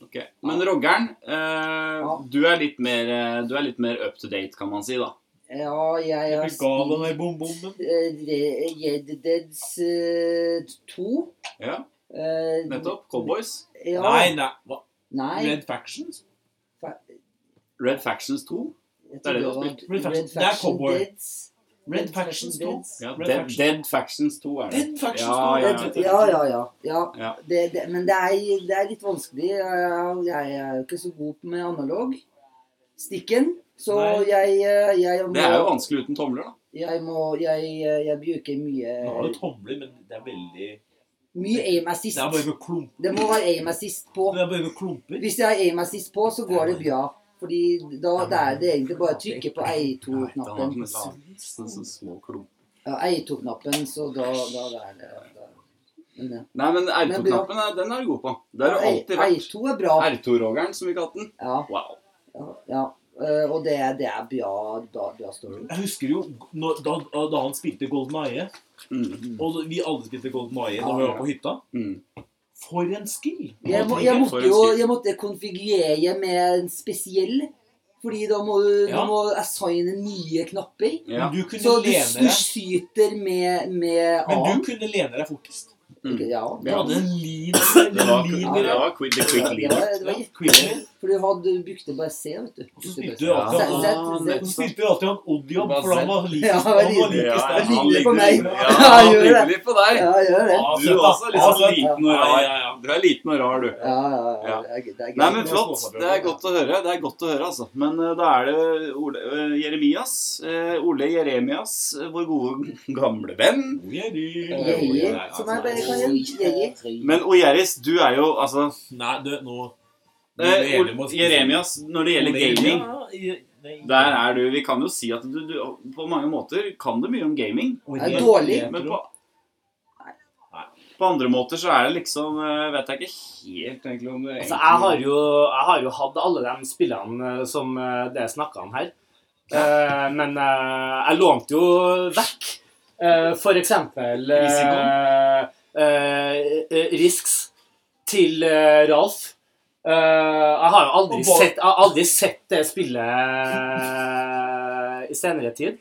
Speaker 2: Ok. Men Roggern, eh, du er litt mer eh, Du er litt mer up to date, kan man si, da.
Speaker 5: Ja, jeg eh, har
Speaker 1: Jeg ga deg bonbonene.
Speaker 5: spilt Red Deads 2.
Speaker 2: Ja,
Speaker 5: eh,
Speaker 2: nettopp. Cowboys.
Speaker 5: Ja.
Speaker 1: Nei, nei. Hva?
Speaker 5: Nei.
Speaker 1: Red Factions?
Speaker 2: Red Factions 2.
Speaker 5: jeg
Speaker 2: det er det du har
Speaker 5: tror
Speaker 2: spilt.
Speaker 5: var
Speaker 1: Red Faction- det er
Speaker 5: Faction
Speaker 1: cowboy.
Speaker 5: Deads.
Speaker 1: Red Factions 2?
Speaker 2: Ja,
Speaker 1: Red
Speaker 2: Dead,
Speaker 1: Factions.
Speaker 2: Dead Factions 2 er det.
Speaker 1: Red Factions
Speaker 2: Ja,
Speaker 1: 2?
Speaker 2: ja,
Speaker 1: Red
Speaker 2: ja.
Speaker 1: Factions.
Speaker 5: Ja, ja, ja. ja.
Speaker 2: Ja.
Speaker 5: Det, det, men det er, det er litt vanskelig. Jeg, jeg er jo ikke så god med analog. Stikken. Så
Speaker 1: Nei.
Speaker 5: jeg, eh, jeg må,
Speaker 2: Det er jo vanskelig uten tomler, da.
Speaker 5: jeg, må jeg, jeg, jeg bruker mye
Speaker 1: Nå har du tomler, men det er veldig
Speaker 5: Mye aim
Speaker 1: Det er bare
Speaker 5: assist.
Speaker 1: med klump.
Speaker 5: Det må være aim assist på.
Speaker 1: Det er bare med klumper.
Speaker 5: Hvis jeg har aim assist på, så går det bra. Fordi da det er det egentlig bare å trykke på
Speaker 2: Jeg vet, han har
Speaker 5: E2-knappen.
Speaker 2: sånne la- sånne- sånne små klumper.
Speaker 5: Ja, E2-knappen, så da, da er det da. Men, ja.
Speaker 2: Nei, men
Speaker 5: Men bra.
Speaker 2: R2-knappen er- den er du god på. Det har du alltid vært.
Speaker 5: E2 er bra.
Speaker 2: R2-rogeren, som vi kalte den.
Speaker 5: Ja,
Speaker 2: Wow.
Speaker 5: ja, ja. Eh, Og det, det er bra, bra, bra story.
Speaker 1: Jeg husker jo når, da, da han spilte Golden Eye,
Speaker 2: Mm,
Speaker 1: og vi alle spilte Golden Eye da vi var på hytta.
Speaker 2: mm.
Speaker 1: For en skill!
Speaker 5: Jeg, må, jeg måtte jo jeg måtte konfigurere med en spesiell. Fordi da må du, du
Speaker 1: Ja.
Speaker 5: må assigne nye knapper.
Speaker 2: Ja.
Speaker 1: Du kunne
Speaker 5: Så du,
Speaker 1: lene
Speaker 5: du
Speaker 1: deg
Speaker 5: skyter med, med
Speaker 1: Men
Speaker 5: annen.
Speaker 1: du kunne lene deg fortest.
Speaker 2: Mm.
Speaker 5: Ja.
Speaker 1: Du
Speaker 2: Ja.
Speaker 1: hadde en lead.
Speaker 2: Det var,
Speaker 1: lead
Speaker 5: ja,
Speaker 2: det
Speaker 1: der.
Speaker 2: var quick, the quick
Speaker 5: Det
Speaker 2: leader.
Speaker 5: var, det var,
Speaker 1: Ja, quicker.
Speaker 5: for du hadde, brukte bare C, vet du.
Speaker 1: Og så
Speaker 5: Brukte bare
Speaker 1: spilte
Speaker 5: C.
Speaker 1: du alltid
Speaker 5: Zed,
Speaker 1: han-
Speaker 5: Zed,
Speaker 1: Så spilte vi alltid han Oddjob,
Speaker 2: Bare
Speaker 1: for han var
Speaker 5: Ja,
Speaker 1: likest
Speaker 5: han
Speaker 1: han
Speaker 5: var
Speaker 1: var
Speaker 5: liten.
Speaker 1: like
Speaker 2: Ja,
Speaker 1: sterk.
Speaker 5: ligner
Speaker 2: ligner-
Speaker 5: på meg.
Speaker 2: Ja,
Speaker 5: Ja,
Speaker 2: han
Speaker 5: gjør
Speaker 2: ligner litt på deg.
Speaker 5: Ja, gjør det.
Speaker 1: Ja,
Speaker 2: Du
Speaker 1: søtt,
Speaker 2: er
Speaker 1: da.
Speaker 2: også litt sånn
Speaker 1: Ja, søtt.
Speaker 2: liten og
Speaker 1: Ja,
Speaker 2: rar.
Speaker 1: ja, ja.
Speaker 2: Du er liten og rar, du.
Speaker 5: Ja, ja, ja.
Speaker 2: Ja.
Speaker 5: Det er, det er
Speaker 2: Nei,
Speaker 5: greit.
Speaker 2: men flott. Det er godt å høre. Det er godt å høre, altså. Men eh, da er det Ole eh, Jeremias. eh, Ole Jeremias, eh, vår gode gamle venn.
Speaker 1: Hvor er de?
Speaker 5: Jeger,
Speaker 1: Hvor er de?
Speaker 5: som Sånn er bare-
Speaker 1: Altså,
Speaker 2: Men Ojeris, du er jo altså
Speaker 1: Nei, du, nå
Speaker 2: eh, Ole- Jeremias, når det gjelder gaming Der er du. Vi kan jo si at du, du på mange måter kan du mye om gaming.
Speaker 5: Det er dårlig.
Speaker 2: Men på, på andre måter så er det liksom eh, Vet jeg ikke helt egentlig om det
Speaker 6: Altså, jeg har jo, jeg har jo hatt alle de spillene eh, som eh, det er snakka om her. Eh, men eh, jeg lånte jo vekk eh, for eksempel eh, eh, eh, Risks til eh, Ralf. Eh, jeg har jo aldri
Speaker 1: Og Bård.
Speaker 6: sett, jeg har aldri sett det spillet i senere tid.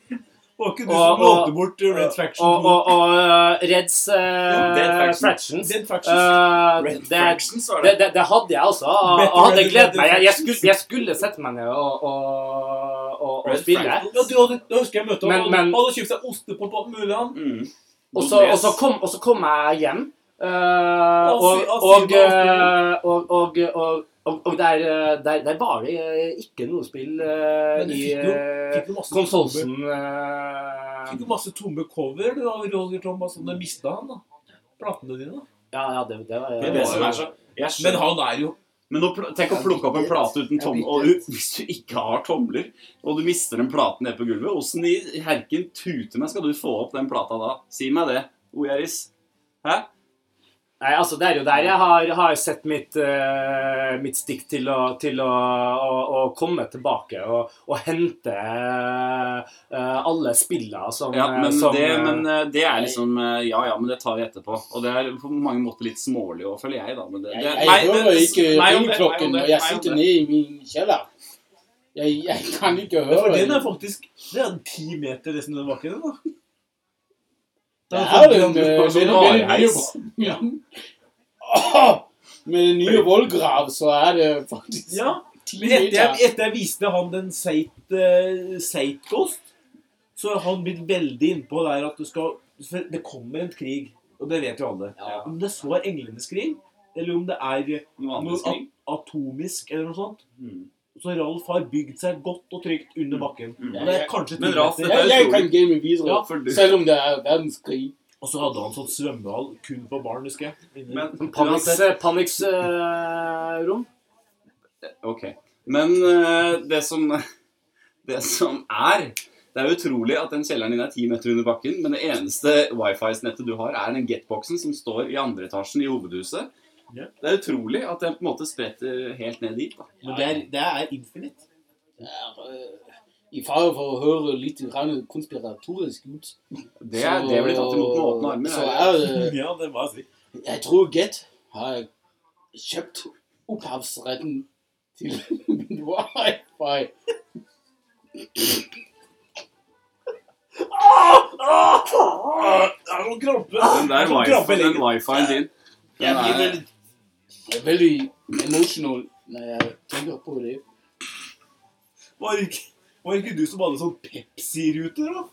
Speaker 1: Var ikke du
Speaker 6: Og-
Speaker 1: som lånte bort eh, Red Faction
Speaker 6: Og,
Speaker 1: 2?
Speaker 6: og, og eh, Reds eh,
Speaker 2: Dead Faction.
Speaker 6: Fractions.
Speaker 1: Dead Factions.
Speaker 6: Eh,
Speaker 2: Red
Speaker 6: det er
Speaker 2: Fractions, var
Speaker 6: det,
Speaker 2: det.
Speaker 6: det, det hadde jeg altså. Og
Speaker 1: Better
Speaker 6: og hadde
Speaker 1: Red
Speaker 6: gledet meg. Jeg, jeg,
Speaker 1: Dead
Speaker 6: skulle, jeg skulle sette meg ned og, og, og, og
Speaker 2: Red
Speaker 6: spille.
Speaker 2: Fractals.
Speaker 1: Ja, du hadde, da husker jeg møtet
Speaker 6: Men-
Speaker 1: han. Han
Speaker 6: men-
Speaker 1: hadde kjøpt seg ostepop av Mulan.
Speaker 2: Mm.
Speaker 6: Og så, og så
Speaker 2: Godnes.
Speaker 6: kom, og så kom jeg hjem. eh, og,
Speaker 1: sy- og
Speaker 6: og,
Speaker 1: syvende
Speaker 6: eh, og, og, og, og, og der, eh, der, der var det eh, ikke noe spill eh,
Speaker 1: Men du
Speaker 6: i
Speaker 1: fikk jo-
Speaker 6: eh,
Speaker 1: Fikk du masse
Speaker 6: konsolsen.
Speaker 1: tomme-
Speaker 6: eh,
Speaker 1: Fikk du masse tomme cover du av Roger Thomas, og da mista han da. Platene dine.
Speaker 6: ja, ja, det, det var
Speaker 2: Det er det som er så jeg
Speaker 1: Men
Speaker 2: skjønner.
Speaker 1: han er jo
Speaker 2: Men nå, pl- tenk å plukke opp en plate uten tomler. Og du- hvis du ikke har tomler, og du mister en plate ned på gulvet, åssen i herken tute meg skal du få opp den plata da? Si meg det, E Ojeris. Hæ?
Speaker 6: Nei, altså Det er jo der jeg har, har sett mitt, eh, mitt stikk til å, til å, å, å komme tilbake og, og hente eh, alle spillene som,
Speaker 2: Ja, men,
Speaker 6: som
Speaker 2: det,
Speaker 6: eh,
Speaker 2: men eh, det er liksom eh, Ja ja, men det tar vi etterpå. Og det er på mange måter litt smålig òg, føler jeg, da. Men det, det,
Speaker 3: Jeg, jeg
Speaker 2: nei, men-
Speaker 3: hører ikke øh,
Speaker 2: nei, om det- nei, om
Speaker 3: ringeklokken
Speaker 2: det-
Speaker 3: når
Speaker 2: nei,
Speaker 3: jeg
Speaker 2: om
Speaker 3: sitter
Speaker 2: det.
Speaker 3: nede i min kjeller. Jeg, jeg kan ikke
Speaker 1: Men for den
Speaker 3: høre.
Speaker 1: er faktisk Det er ti meter resten av bakken, da.
Speaker 3: Det er sånn jo eh, øh, med,
Speaker 2: Det er
Speaker 3: med,
Speaker 2: sånn
Speaker 3: med,
Speaker 2: vareheis.
Speaker 3: med, med, med den nye vollgrav, så er det faktisk
Speaker 1: Ja,
Speaker 3: ti
Speaker 1: Men etter jeg,
Speaker 3: liter.
Speaker 1: etter jeg viste han den seit eh, seitkost, så har han blitt veldig innpå der at du skal for Det kommer en krig, og det vet jo alle.
Speaker 2: Ja.
Speaker 1: Om det så er englenes krig, eller om det er
Speaker 2: Noe
Speaker 1: noe
Speaker 2: annet skrik.
Speaker 1: at- atomisk eller noe sånt,
Speaker 2: Mm.
Speaker 1: så Ralf har bygd seg godt og trygt under bakken.
Speaker 2: Mm.
Speaker 1: Og det er kanskje
Speaker 2: Men
Speaker 1: ti
Speaker 2: Ralf,
Speaker 1: meter.
Speaker 2: dette er
Speaker 3: Jeg, jeg
Speaker 2: utrolig.
Speaker 3: kan game videre,
Speaker 2: Ja, for du-
Speaker 3: selv om det er verdenskrig.
Speaker 1: Og så hadde han sånn svømmehall kun for barn, husker jeg. Inne.
Speaker 2: Men
Speaker 6: Panics,
Speaker 2: uansett
Speaker 6: panics eh, rom.
Speaker 2: Ok. Men eh, det som Det som er Det er utrolig at den kjelleren din er ti meter under bakken, men det eneste wifi-nettet du har, er den getboxen som står i andre etasjen i hovedhuset.
Speaker 1: Ja.
Speaker 2: Det er utrolig at den på en måte spretter helt ned dit. da.
Speaker 1: Men det er, det er infinite.
Speaker 3: Det er, eh, I fare for å høre litt grann konspiratorisk ut.
Speaker 2: Det, er, det blir tatt imot med åpne armer.
Speaker 3: Så
Speaker 2: er det.
Speaker 3: er det
Speaker 1: Ja, det må jeg si.
Speaker 3: Jeg tror Get har kjøpt opphavsretten til min wifi.
Speaker 1: Ah, Det er noen krampe.
Speaker 2: Den der
Speaker 1: Sånn krampe i
Speaker 2: wifi,
Speaker 1: leggen.
Speaker 2: den wifi-en din
Speaker 3: Jeg
Speaker 2: den er,
Speaker 3: blir veldig, jeg er veldig emotional når jeg tenker på det.
Speaker 1: Var ikke, var ikke du som hadde sånn Pepsi-ruter, da?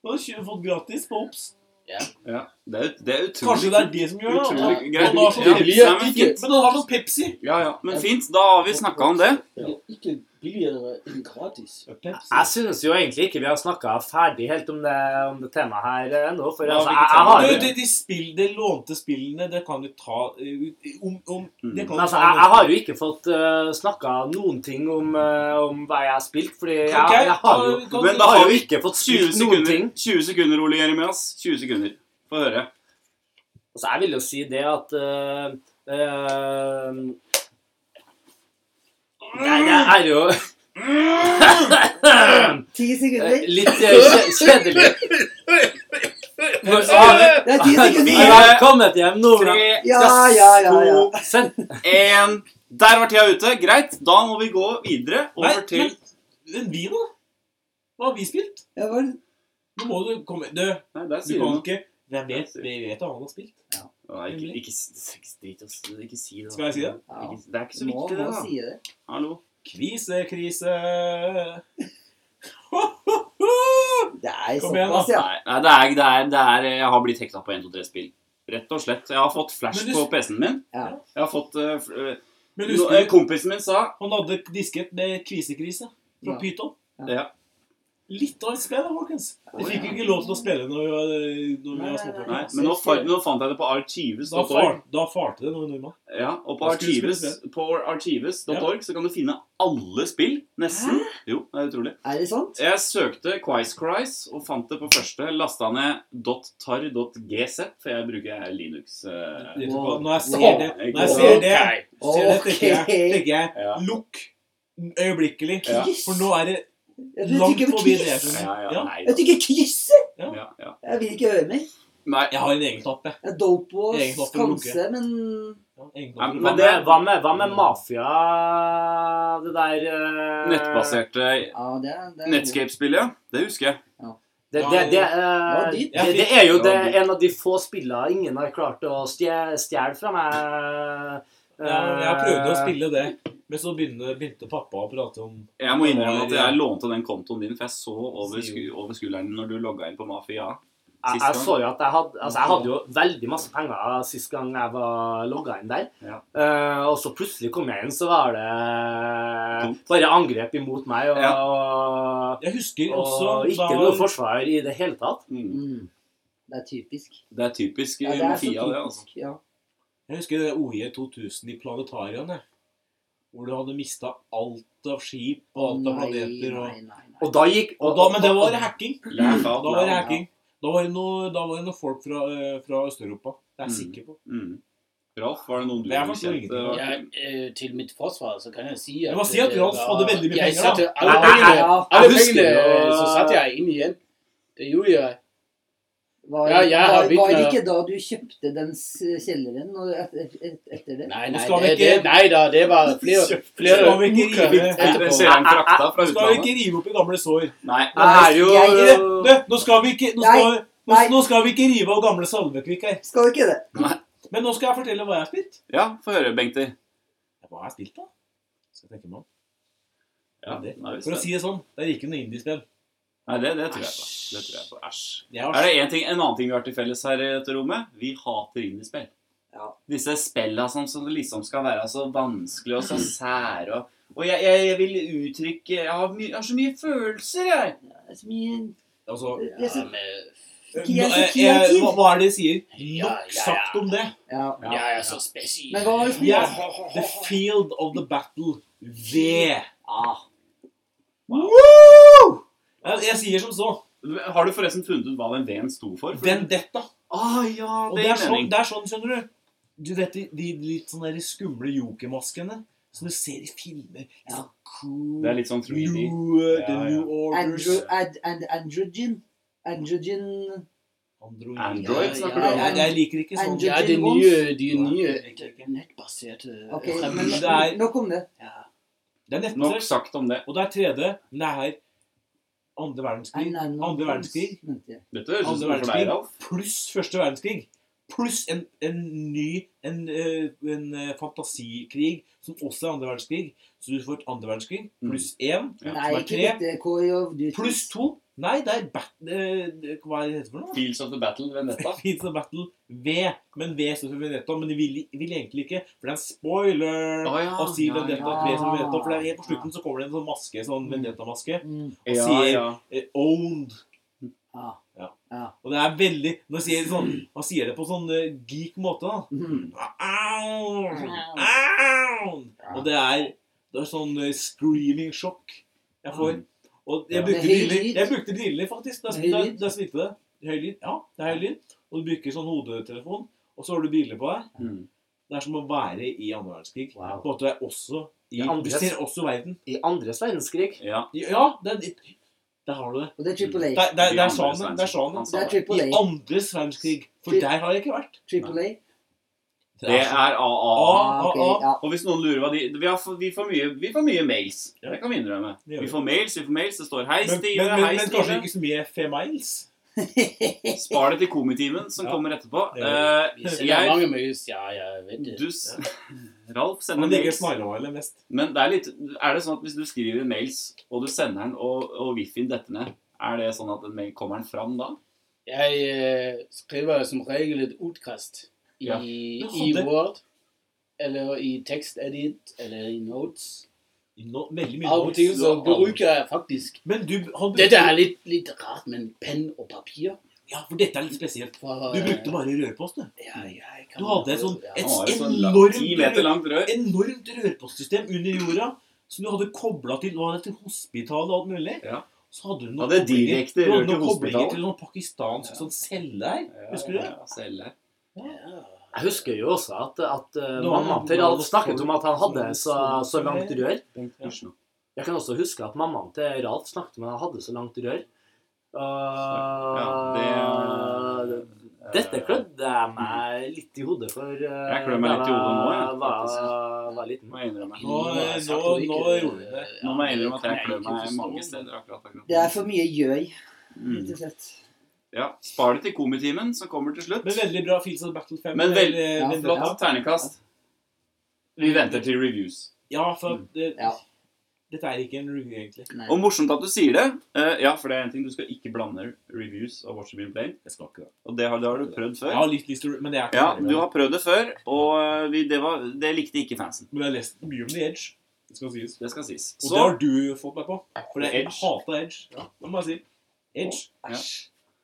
Speaker 1: Du hadde kjø- fått gratis på Ops.
Speaker 2: ja, det, er, det er utrolig
Speaker 1: Kanskje det er det som gjør det? da?
Speaker 2: Utrolig greit.
Speaker 1: Han har sånn
Speaker 2: Ja,
Speaker 1: Pepsi,
Speaker 3: billigere,
Speaker 1: men
Speaker 3: ikke-
Speaker 1: fint, men han har sånn Pepsi.
Speaker 2: Ja, ja. Men fint, da har vi snakka om det.
Speaker 3: Det er ikke billigere enn gratis.
Speaker 6: Jeg synes jo egentlig ikke vi har snakka ferdig helt om det, om det temaet her eh, ennå. For
Speaker 2: Ja,
Speaker 6: altså,
Speaker 2: hvilket
Speaker 6: jeg, jeg
Speaker 2: tema?
Speaker 6: har
Speaker 1: Du,
Speaker 6: jo
Speaker 1: de, de, spill, de lånte spillene, det kan du ta eh, om, om,
Speaker 2: Mm.
Speaker 1: det kan du
Speaker 6: Men altså,
Speaker 1: ta
Speaker 6: jeg,
Speaker 1: noe.
Speaker 6: jeg har jo ikke fått uh, snakka noen ting om, eh, om hva jeg har spilt, fordi jeg,
Speaker 1: Ok,
Speaker 6: jeg har jo
Speaker 1: da- da-
Speaker 2: men
Speaker 6: Jeg
Speaker 2: da
Speaker 6: har jo ikke
Speaker 2: 20
Speaker 6: fått spilt noen
Speaker 2: sekunder,
Speaker 6: ting.
Speaker 2: 20 sekunder Ole Jeremias. 20 sekunder. Få høre.
Speaker 6: Altså, jeg vil jo si det at eh, eh, Nei, jeg er jo
Speaker 5: Ti sekunder.
Speaker 6: litt eh, kje- kjedelig. Når, ah,
Speaker 5: Det er ti
Speaker 6: jeg
Speaker 5: sekunder.
Speaker 6: har kommet hjem nå. da.
Speaker 2: Tre,
Speaker 5: Ja, ja, ja. ja.
Speaker 2: to,
Speaker 6: Send
Speaker 2: En Der var tida ute. Greit, da må vi gå videre
Speaker 1: Nei,
Speaker 2: over til
Speaker 1: men, men vi, da? Hva har vi spilt?
Speaker 5: Jeg var
Speaker 1: Nå må du komme Du,
Speaker 2: Nei, der
Speaker 1: du
Speaker 2: sier du
Speaker 1: kan
Speaker 2: noe.
Speaker 1: ikke Hvem vet? Vi vet hva han har spilt.
Speaker 2: Nei, ikke, ikke, s- s- drit oss. Ikke si det. da.
Speaker 1: Skal jeg si det?
Speaker 5: ja.
Speaker 2: Ikke, det er ikke så
Speaker 5: Nå,
Speaker 2: viktig, det.
Speaker 5: nå
Speaker 2: da.
Speaker 5: sier jeg det.
Speaker 2: Hallo.
Speaker 1: Kvise, krise
Speaker 5: Det er
Speaker 1: Kom igjen, da.
Speaker 5: såpass, ja.
Speaker 2: Nei, nei, det er, det er, det er Jeg har blitt hekta på 1, 2, 3-spill. Rett og slett. Jeg har fått flash
Speaker 1: Men du-
Speaker 2: på PC-en min.
Speaker 5: Ja.
Speaker 2: Jeg har fått eh, f- eh,
Speaker 1: Men
Speaker 2: no,
Speaker 1: husker
Speaker 2: eh,
Speaker 1: du,
Speaker 2: Kompisen min sa
Speaker 1: han hadde disket med kvisekrise fra
Speaker 5: Ja.
Speaker 1: Pyton.
Speaker 2: Ja.
Speaker 1: Litt av et spill, da, folkens. Vi
Speaker 2: Å,
Speaker 1: fikk
Speaker 2: ja.
Speaker 1: ikke lov til å spille når vi var, når vi var små. på
Speaker 2: Nei,
Speaker 1: Pyton.
Speaker 2: men nå, fa- nå fant jeg det på
Speaker 1: Da,
Speaker 2: archives.org.
Speaker 1: far, da farte det noen nordmenn.
Speaker 2: Ja, og på
Speaker 1: Da skulle du
Speaker 2: archives-
Speaker 1: spille
Speaker 2: på archives.org så kan du finne alle spill. Nesten. Jo, det er utrolig.
Speaker 5: Er det sant?
Speaker 2: Jeg søkte Quiz Cries og fant det på første. Lasta ned .tar.gz, for jeg bruker Linux. eh,
Speaker 1: Vet du hva?
Speaker 5: Wow.
Speaker 1: Når jeg ser det,
Speaker 2: Wow.
Speaker 1: når jeg ser det, ser det
Speaker 5: Ok.
Speaker 1: tenker jeg, tenker
Speaker 2: Ja.
Speaker 1: jeg lukk øyeblikkelig.
Speaker 2: Ja.
Speaker 5: Kryss.
Speaker 1: For nå er det
Speaker 5: Jeg vet
Speaker 1: langt
Speaker 5: ikke
Speaker 1: forbi det.
Speaker 5: kryss.
Speaker 2: Ja, ja,
Speaker 1: Ja.
Speaker 2: nei,
Speaker 5: Jeg
Speaker 2: da.
Speaker 5: vet ikke krysse!
Speaker 2: ja, ja.
Speaker 5: Jeg vil ikke høre mer.
Speaker 2: Nei,
Speaker 1: Jeg har en egen knapp, jeg.
Speaker 5: Jeg er dope og
Speaker 1: Jeg er egentlig oppe i
Speaker 5: skanse, men
Speaker 1: Ja, egen
Speaker 2: Nei,
Speaker 1: knapp.
Speaker 6: Hva
Speaker 2: Men det-
Speaker 6: med, hva med, hva med mafia Det der eh,
Speaker 2: nettbaserte
Speaker 5: ja, det er, det er
Speaker 2: Netscape-spillet, det husker jeg.
Speaker 6: Det, det, det, eh,
Speaker 5: var dyrt.
Speaker 6: det, det er jo
Speaker 2: Det
Speaker 6: det,
Speaker 2: var dyrt.
Speaker 6: en av de få spillene ingen har klart å stje- stjele fra meg. eh,
Speaker 1: Ja, jeg prøvde å spille det, men så begynte, begynte pappa å prate om
Speaker 2: Jeg må innrømme at jeg lånte den kontoen din, for jeg så over, sku, over skulderen når du logga inn på Mafia.
Speaker 6: Jeg,
Speaker 2: Sist
Speaker 6: eh, jeg
Speaker 2: gang.
Speaker 6: så jo at jeg hadde, altså jeg hadde jo veldig masse penger sist gang jeg var logga inn der.
Speaker 2: Ja.
Speaker 6: Eh, og så plutselig kom jeg inn, så var det
Speaker 2: Tomt.
Speaker 6: bare angrep imot meg. Og,
Speaker 2: Ja.
Speaker 6: og,
Speaker 1: Jeg husker også
Speaker 6: og
Speaker 1: da
Speaker 6: ikke noe forsvar i det hele tatt.
Speaker 2: Mm.
Speaker 5: Mm. Det er typisk.
Speaker 2: Det er typisk
Speaker 5: Ja, det er så
Speaker 2: Mafia, det. altså.
Speaker 5: typisk. Ja.
Speaker 1: Jeg husker det OE 2000 i Planetarian, jeg. Hvor du hadde mista alt av skip og alt av planeter. Og,
Speaker 5: Nei, nei, nei.
Speaker 6: Og da gikk
Speaker 1: og da, men det var hacking.
Speaker 2: Laugh
Speaker 1: Da
Speaker 2: out
Speaker 1: var det
Speaker 2: loud.
Speaker 1: hacking. Da var det noe- da var det noen folk fra, eh, fra Øst-Europa. Det er jeg
Speaker 2: Mm.
Speaker 1: sikker på.
Speaker 2: Mm. Ralf, var det noen du
Speaker 1: Jeg
Speaker 2: kjente?
Speaker 1: forstår ingenting.
Speaker 2: Det var-
Speaker 3: Jeg, eh, til mitt forsvar så kan jeg si at eh,
Speaker 1: Du må si at Ralf hadde veldig mye
Speaker 3: jeg
Speaker 1: penger, da.
Speaker 3: satte Alle
Speaker 6: Nei, nei,
Speaker 3: pengene,
Speaker 5: Ja,
Speaker 3: alle
Speaker 6: Jeg husker
Speaker 3: pengene eh,
Speaker 6: jo-
Speaker 3: så satte jeg inn igjen. Det gjorde jeg.
Speaker 5: Var,
Speaker 3: Ja, jeg har
Speaker 5: var,
Speaker 3: begynt
Speaker 5: var det
Speaker 3: med-
Speaker 5: ikke da du kjøpte den s- kjelleren og et, et, et, etter det?
Speaker 3: Nei,
Speaker 1: Nå
Speaker 3: nei,
Speaker 1: skal vi
Speaker 3: det, det,
Speaker 1: ikke-
Speaker 3: nei da, det var flere, flere
Speaker 1: Skal vi ikke
Speaker 3: uker
Speaker 1: rive-
Speaker 2: Jeg
Speaker 3: etterpå.
Speaker 2: ser en frakta
Speaker 1: Skal
Speaker 2: fra
Speaker 1: vi
Speaker 2: utlandet.
Speaker 1: ikke rive opp i gamle sår?
Speaker 2: Nei,
Speaker 6: Jeg
Speaker 5: Jeg-
Speaker 6: er
Speaker 1: Ikke det.
Speaker 6: jo
Speaker 1: Du, nå skal vi ikke, nå
Speaker 5: Nei.
Speaker 1: skal, nå,
Speaker 5: Nei.
Speaker 1: nå skal vi ikke rive av gamle Salvekvik her.
Speaker 5: Skal vi ikke det?
Speaker 1: Men nå skal jeg fortelle hva jeg har spilt.
Speaker 2: Ja, få høre, Bengter.
Speaker 1: Hva har jeg spilt, da? Skal jeg tenke meg om.
Speaker 2: Ja, det er visst
Speaker 1: For å
Speaker 2: det.
Speaker 1: si det sånn, der gikk jo noe indiespel.
Speaker 2: Nei, det, det tror jeg på. Det tror jeg på. Æsj.
Speaker 1: Det er
Speaker 2: Er det en, ting, en annen ting vi har til felles her i dette rommet? Vi hater indiespill.
Speaker 5: Ja.
Speaker 2: Disse spella som, som liksom skal være så vanskelig og så sære og Og jeg, jeg, jeg vil uttrykke jeg har, my, jeg har så mye følelser, jeg.
Speaker 5: Det er så mye
Speaker 1: altså,
Speaker 5: det er så,
Speaker 3: men-
Speaker 5: Ikke jeg er så
Speaker 1: Eh, eh,
Speaker 5: kreativ.
Speaker 1: Hva, hva er det de sier?
Speaker 3: Ja, ja,
Speaker 1: Nok
Speaker 3: ja.
Speaker 1: sagt om det.
Speaker 5: ja.
Speaker 3: Jeg er så spesiell.
Speaker 5: Men hva var det som
Speaker 1: Ja. The field of the battle. V.
Speaker 2: Ah.
Speaker 1: Woo! Jeg, jeg sier som så.
Speaker 2: Har du forresten funnet ut hva den V-en sto for?
Speaker 1: Vendetta.
Speaker 2: ah, ja,
Speaker 1: Og
Speaker 2: det
Speaker 1: det er,
Speaker 2: gir
Speaker 1: sånn,
Speaker 2: mening.
Speaker 1: det er sånn, skjønner du. Du vet de, de litt sånne der skumle jokermaskene som du ser i filmer. Ja.
Speaker 5: Ja.
Speaker 1: Cool.
Speaker 2: Det er litt sånn 3D.
Speaker 1: New, uh, The
Speaker 2: Ja, ja.
Speaker 1: New Orders.
Speaker 5: Andro, ad, ad, androgen Androgen
Speaker 1: Android.
Speaker 2: Android snakker
Speaker 5: du om?
Speaker 1: Nei, nei, Jeg liker ikke sånn.
Speaker 5: Android.
Speaker 3: Ja, de nye, de nye nettbaserte
Speaker 5: Ok, men
Speaker 1: det
Speaker 3: fremmed-
Speaker 1: er-
Speaker 5: nok om det.
Speaker 3: Ja.
Speaker 1: Det er
Speaker 2: Nok
Speaker 1: nettbasert.
Speaker 2: sagt om det.
Speaker 1: Og det er 3D. Men det er her andre
Speaker 5: Nei,
Speaker 1: verdenskrig
Speaker 5: nei, nå-
Speaker 1: Andre verdenskrig.
Speaker 5: Vent, ja.
Speaker 2: Dette høres ut
Speaker 1: Andre
Speaker 2: som noe for deg,
Speaker 1: verdenskrig.
Speaker 2: Ralf.
Speaker 1: pluss første verdenskrig. Pluss en, en ny en, eh, en eh, fantasikrig som også er andre verdenskrig. Så du får et andre verdenskrig pluss én,
Speaker 2: Ja,
Speaker 5: Nei,
Speaker 1: som er
Speaker 5: ikke
Speaker 1: tre,
Speaker 5: dette. Call of Duty.
Speaker 1: pluss to. Nei, det er bat... eh, Hva er det heter for noe?
Speaker 2: Fields of the Battle, Vendetta.
Speaker 1: Fields of Battle V. Men V står for Vendetta, men de vil, vil egentlig ikke, for det er en spoiler.
Speaker 2: Å ja,
Speaker 1: Og si
Speaker 2: ja,
Speaker 1: Vendetta,
Speaker 5: ja.
Speaker 1: V som Vendetta, for det er helt på slutten så kommer det en sånn maske, sånn Vendetta-maske.
Speaker 5: Mm.
Speaker 2: Ja, ja.
Speaker 1: sier- Eh, owned.
Speaker 5: Ah.
Speaker 1: Ja.
Speaker 5: Ah.
Speaker 1: Og det er veldig Nå sier de sånn, han sier det på sånn eh, geek måte, da.
Speaker 5: Mm.
Speaker 1: Au! Au! Og det er, det er sånn eh, screaming sjokk jeg får. Og jeg
Speaker 5: Ja.
Speaker 1: brukte
Speaker 5: Det er høy
Speaker 1: briller,
Speaker 5: lyd.
Speaker 1: jeg brukte briller faktisk. Da
Speaker 5: Det er høy lyd.
Speaker 1: jeg smitte det. Høy lyd. Ja, det er høy lyd. Og du bruker sånn hodetelefon, og så har du briller på deg.
Speaker 2: Mm.
Speaker 1: Det er som å være i andre verdenskrig. På
Speaker 6: Wow.
Speaker 1: en måte er også i,
Speaker 6: I andre-
Speaker 1: Du ser også verden.
Speaker 6: I andres verdenskrig.
Speaker 2: ja.
Speaker 1: Ja, det er, der har du det.
Speaker 5: Og det er Triple
Speaker 1: Der,
Speaker 5: A.
Speaker 1: der,
Speaker 2: I
Speaker 1: der
Speaker 2: andre
Speaker 1: sa han det. Der sa han
Speaker 2: Han
Speaker 1: det.
Speaker 2: sa
Speaker 5: Det er
Speaker 2: det.
Speaker 5: Triple
Speaker 1: I
Speaker 5: A.
Speaker 1: andres verdenskrig. For
Speaker 5: Fy-
Speaker 1: der har jeg ikke vært.
Speaker 5: Triple A.
Speaker 2: Det er
Speaker 1: A,
Speaker 2: AAA.
Speaker 5: Ah, ok,
Speaker 1: ah, ah.
Speaker 5: ja.
Speaker 2: Og hvis noen lurer hva de Vi, har, for- vi, får, mye, vi får mye mails.
Speaker 1: Ja.
Speaker 2: Det kan vi innrømme.
Speaker 1: Det gjør vi.
Speaker 2: Vi får mails, vi får mails. Det står 'Hei,
Speaker 1: Men,
Speaker 2: Stive',
Speaker 1: men, men,
Speaker 2: 'Hei,
Speaker 1: men kanskje
Speaker 2: Stive'.
Speaker 1: ikke så mye femiles.
Speaker 2: Spar det til komitimen som
Speaker 1: Ja.
Speaker 2: kommer etterpå.
Speaker 1: Det gjør
Speaker 2: Eh,
Speaker 3: Hvis det er
Speaker 2: jeg
Speaker 3: mange mus, ja, jeg vet det.
Speaker 2: du, s- Ralf sender
Speaker 1: Men det ligger
Speaker 2: mails.
Speaker 1: snarveilet mest.
Speaker 2: Men det er, litt, er det sånn at hvis du skriver en mails, og du sender den, og, og wifi-en detter ned, er det sånn at den mail kommer den fram da?
Speaker 3: Jeg eh, skriver som regel et utkast i,
Speaker 2: Ja.
Speaker 3: i
Speaker 1: det-
Speaker 3: Word, eller i tekstedit, eller i notes.
Speaker 1: No, veldig mye
Speaker 3: Av og til
Speaker 1: notes,
Speaker 3: så
Speaker 1: og alt.
Speaker 3: bruker jeg faktisk
Speaker 1: Men du, han brukte,
Speaker 3: Dette er litt, litt rart, men penn og papir
Speaker 1: Ja, for dette er litt spesielt.
Speaker 3: for,
Speaker 1: Du brukte bare rørpost, du.
Speaker 3: ja, ja, jeg kan
Speaker 1: Du hadde et sånn
Speaker 3: Ja.
Speaker 1: et
Speaker 2: Han har jo sånn la-
Speaker 1: enormt
Speaker 2: ti meter langt rør.
Speaker 1: enormt rørpostsystem under jorda som du hadde kobla til hva heter det, til hospitalet og alt mulig.
Speaker 2: Ja.
Speaker 1: Så hadde du
Speaker 2: Ja,
Speaker 1: noen
Speaker 2: det er
Speaker 1: koblinger,
Speaker 2: direkte
Speaker 1: du
Speaker 2: rør
Speaker 1: hadde
Speaker 2: til
Speaker 1: noen koblinger
Speaker 2: hospitalet.
Speaker 1: til noen pakistansk sånn celle her. Husker du det?
Speaker 2: Ja, altså, Selge.
Speaker 3: Ja.
Speaker 6: Jeg husker jo også at, at eh,
Speaker 1: Nå-
Speaker 6: mammaen til Ralf snakket om at han hadde så, så langt rør.
Speaker 2: Bengt Bursno.
Speaker 6: Jeg kan også huske at mammaen til Ralf snakket med han hadde så langt rør.
Speaker 2: Ja, det-
Speaker 6: Ah,
Speaker 2: eh, mm.
Speaker 6: Dette klødde jeg meg litt i hodet for eh,
Speaker 2: Jeg klør meg litt i hodet nå, jeg,
Speaker 6: var,
Speaker 2: faktisk.
Speaker 6: var liten.
Speaker 2: Må jeg innrømme.
Speaker 1: Nå-
Speaker 3: jeg
Speaker 1: nå-
Speaker 3: satt og ikke-
Speaker 1: nå gjorde du det.
Speaker 3: Ja,
Speaker 2: Nå må jeg innrømme at
Speaker 3: kan
Speaker 2: jeg klør
Speaker 3: ikke
Speaker 2: meg
Speaker 3: forstå.
Speaker 2: mange steder akkurat akkurat.
Speaker 5: Det er for mye gjøy, rett
Speaker 2: Mm.
Speaker 5: og slett.
Speaker 2: Ja, Spar det til komitimen, som kommer til slutt.
Speaker 1: Men veldig bra Fields of Battle eh, 5.
Speaker 2: Men vel-
Speaker 1: eller-
Speaker 5: Ja,
Speaker 1: men-
Speaker 5: flott.
Speaker 2: Flott ternekast. Vi venter til reviews.
Speaker 1: ja, for at, det,
Speaker 5: Ja.
Speaker 1: dette er ikke en review, egentlig.
Speaker 5: Nei.
Speaker 2: Og morsomt at du sier det. Eh, ja, for det er en ting du skal ikke blande reviews og Watch Beam Plane.
Speaker 1: Jeg skal ikke det.
Speaker 2: Og det har, det har du prøvd
Speaker 1: Jeg
Speaker 2: før.
Speaker 1: har litt lyst til å Men det er ikke
Speaker 2: Ja,
Speaker 1: noe med
Speaker 2: du har prøvd det før, og eh, vi, det, var, det likte ikke fansen.
Speaker 1: Men jeg har lest mye om The Edge. Det skal sies.
Speaker 2: Det skal sies.
Speaker 1: Og det
Speaker 2: Så
Speaker 1: har du fått meg på. For jeg
Speaker 2: Edge.
Speaker 1: hater Edge. Det må jeg si. Edge.
Speaker 2: Ja.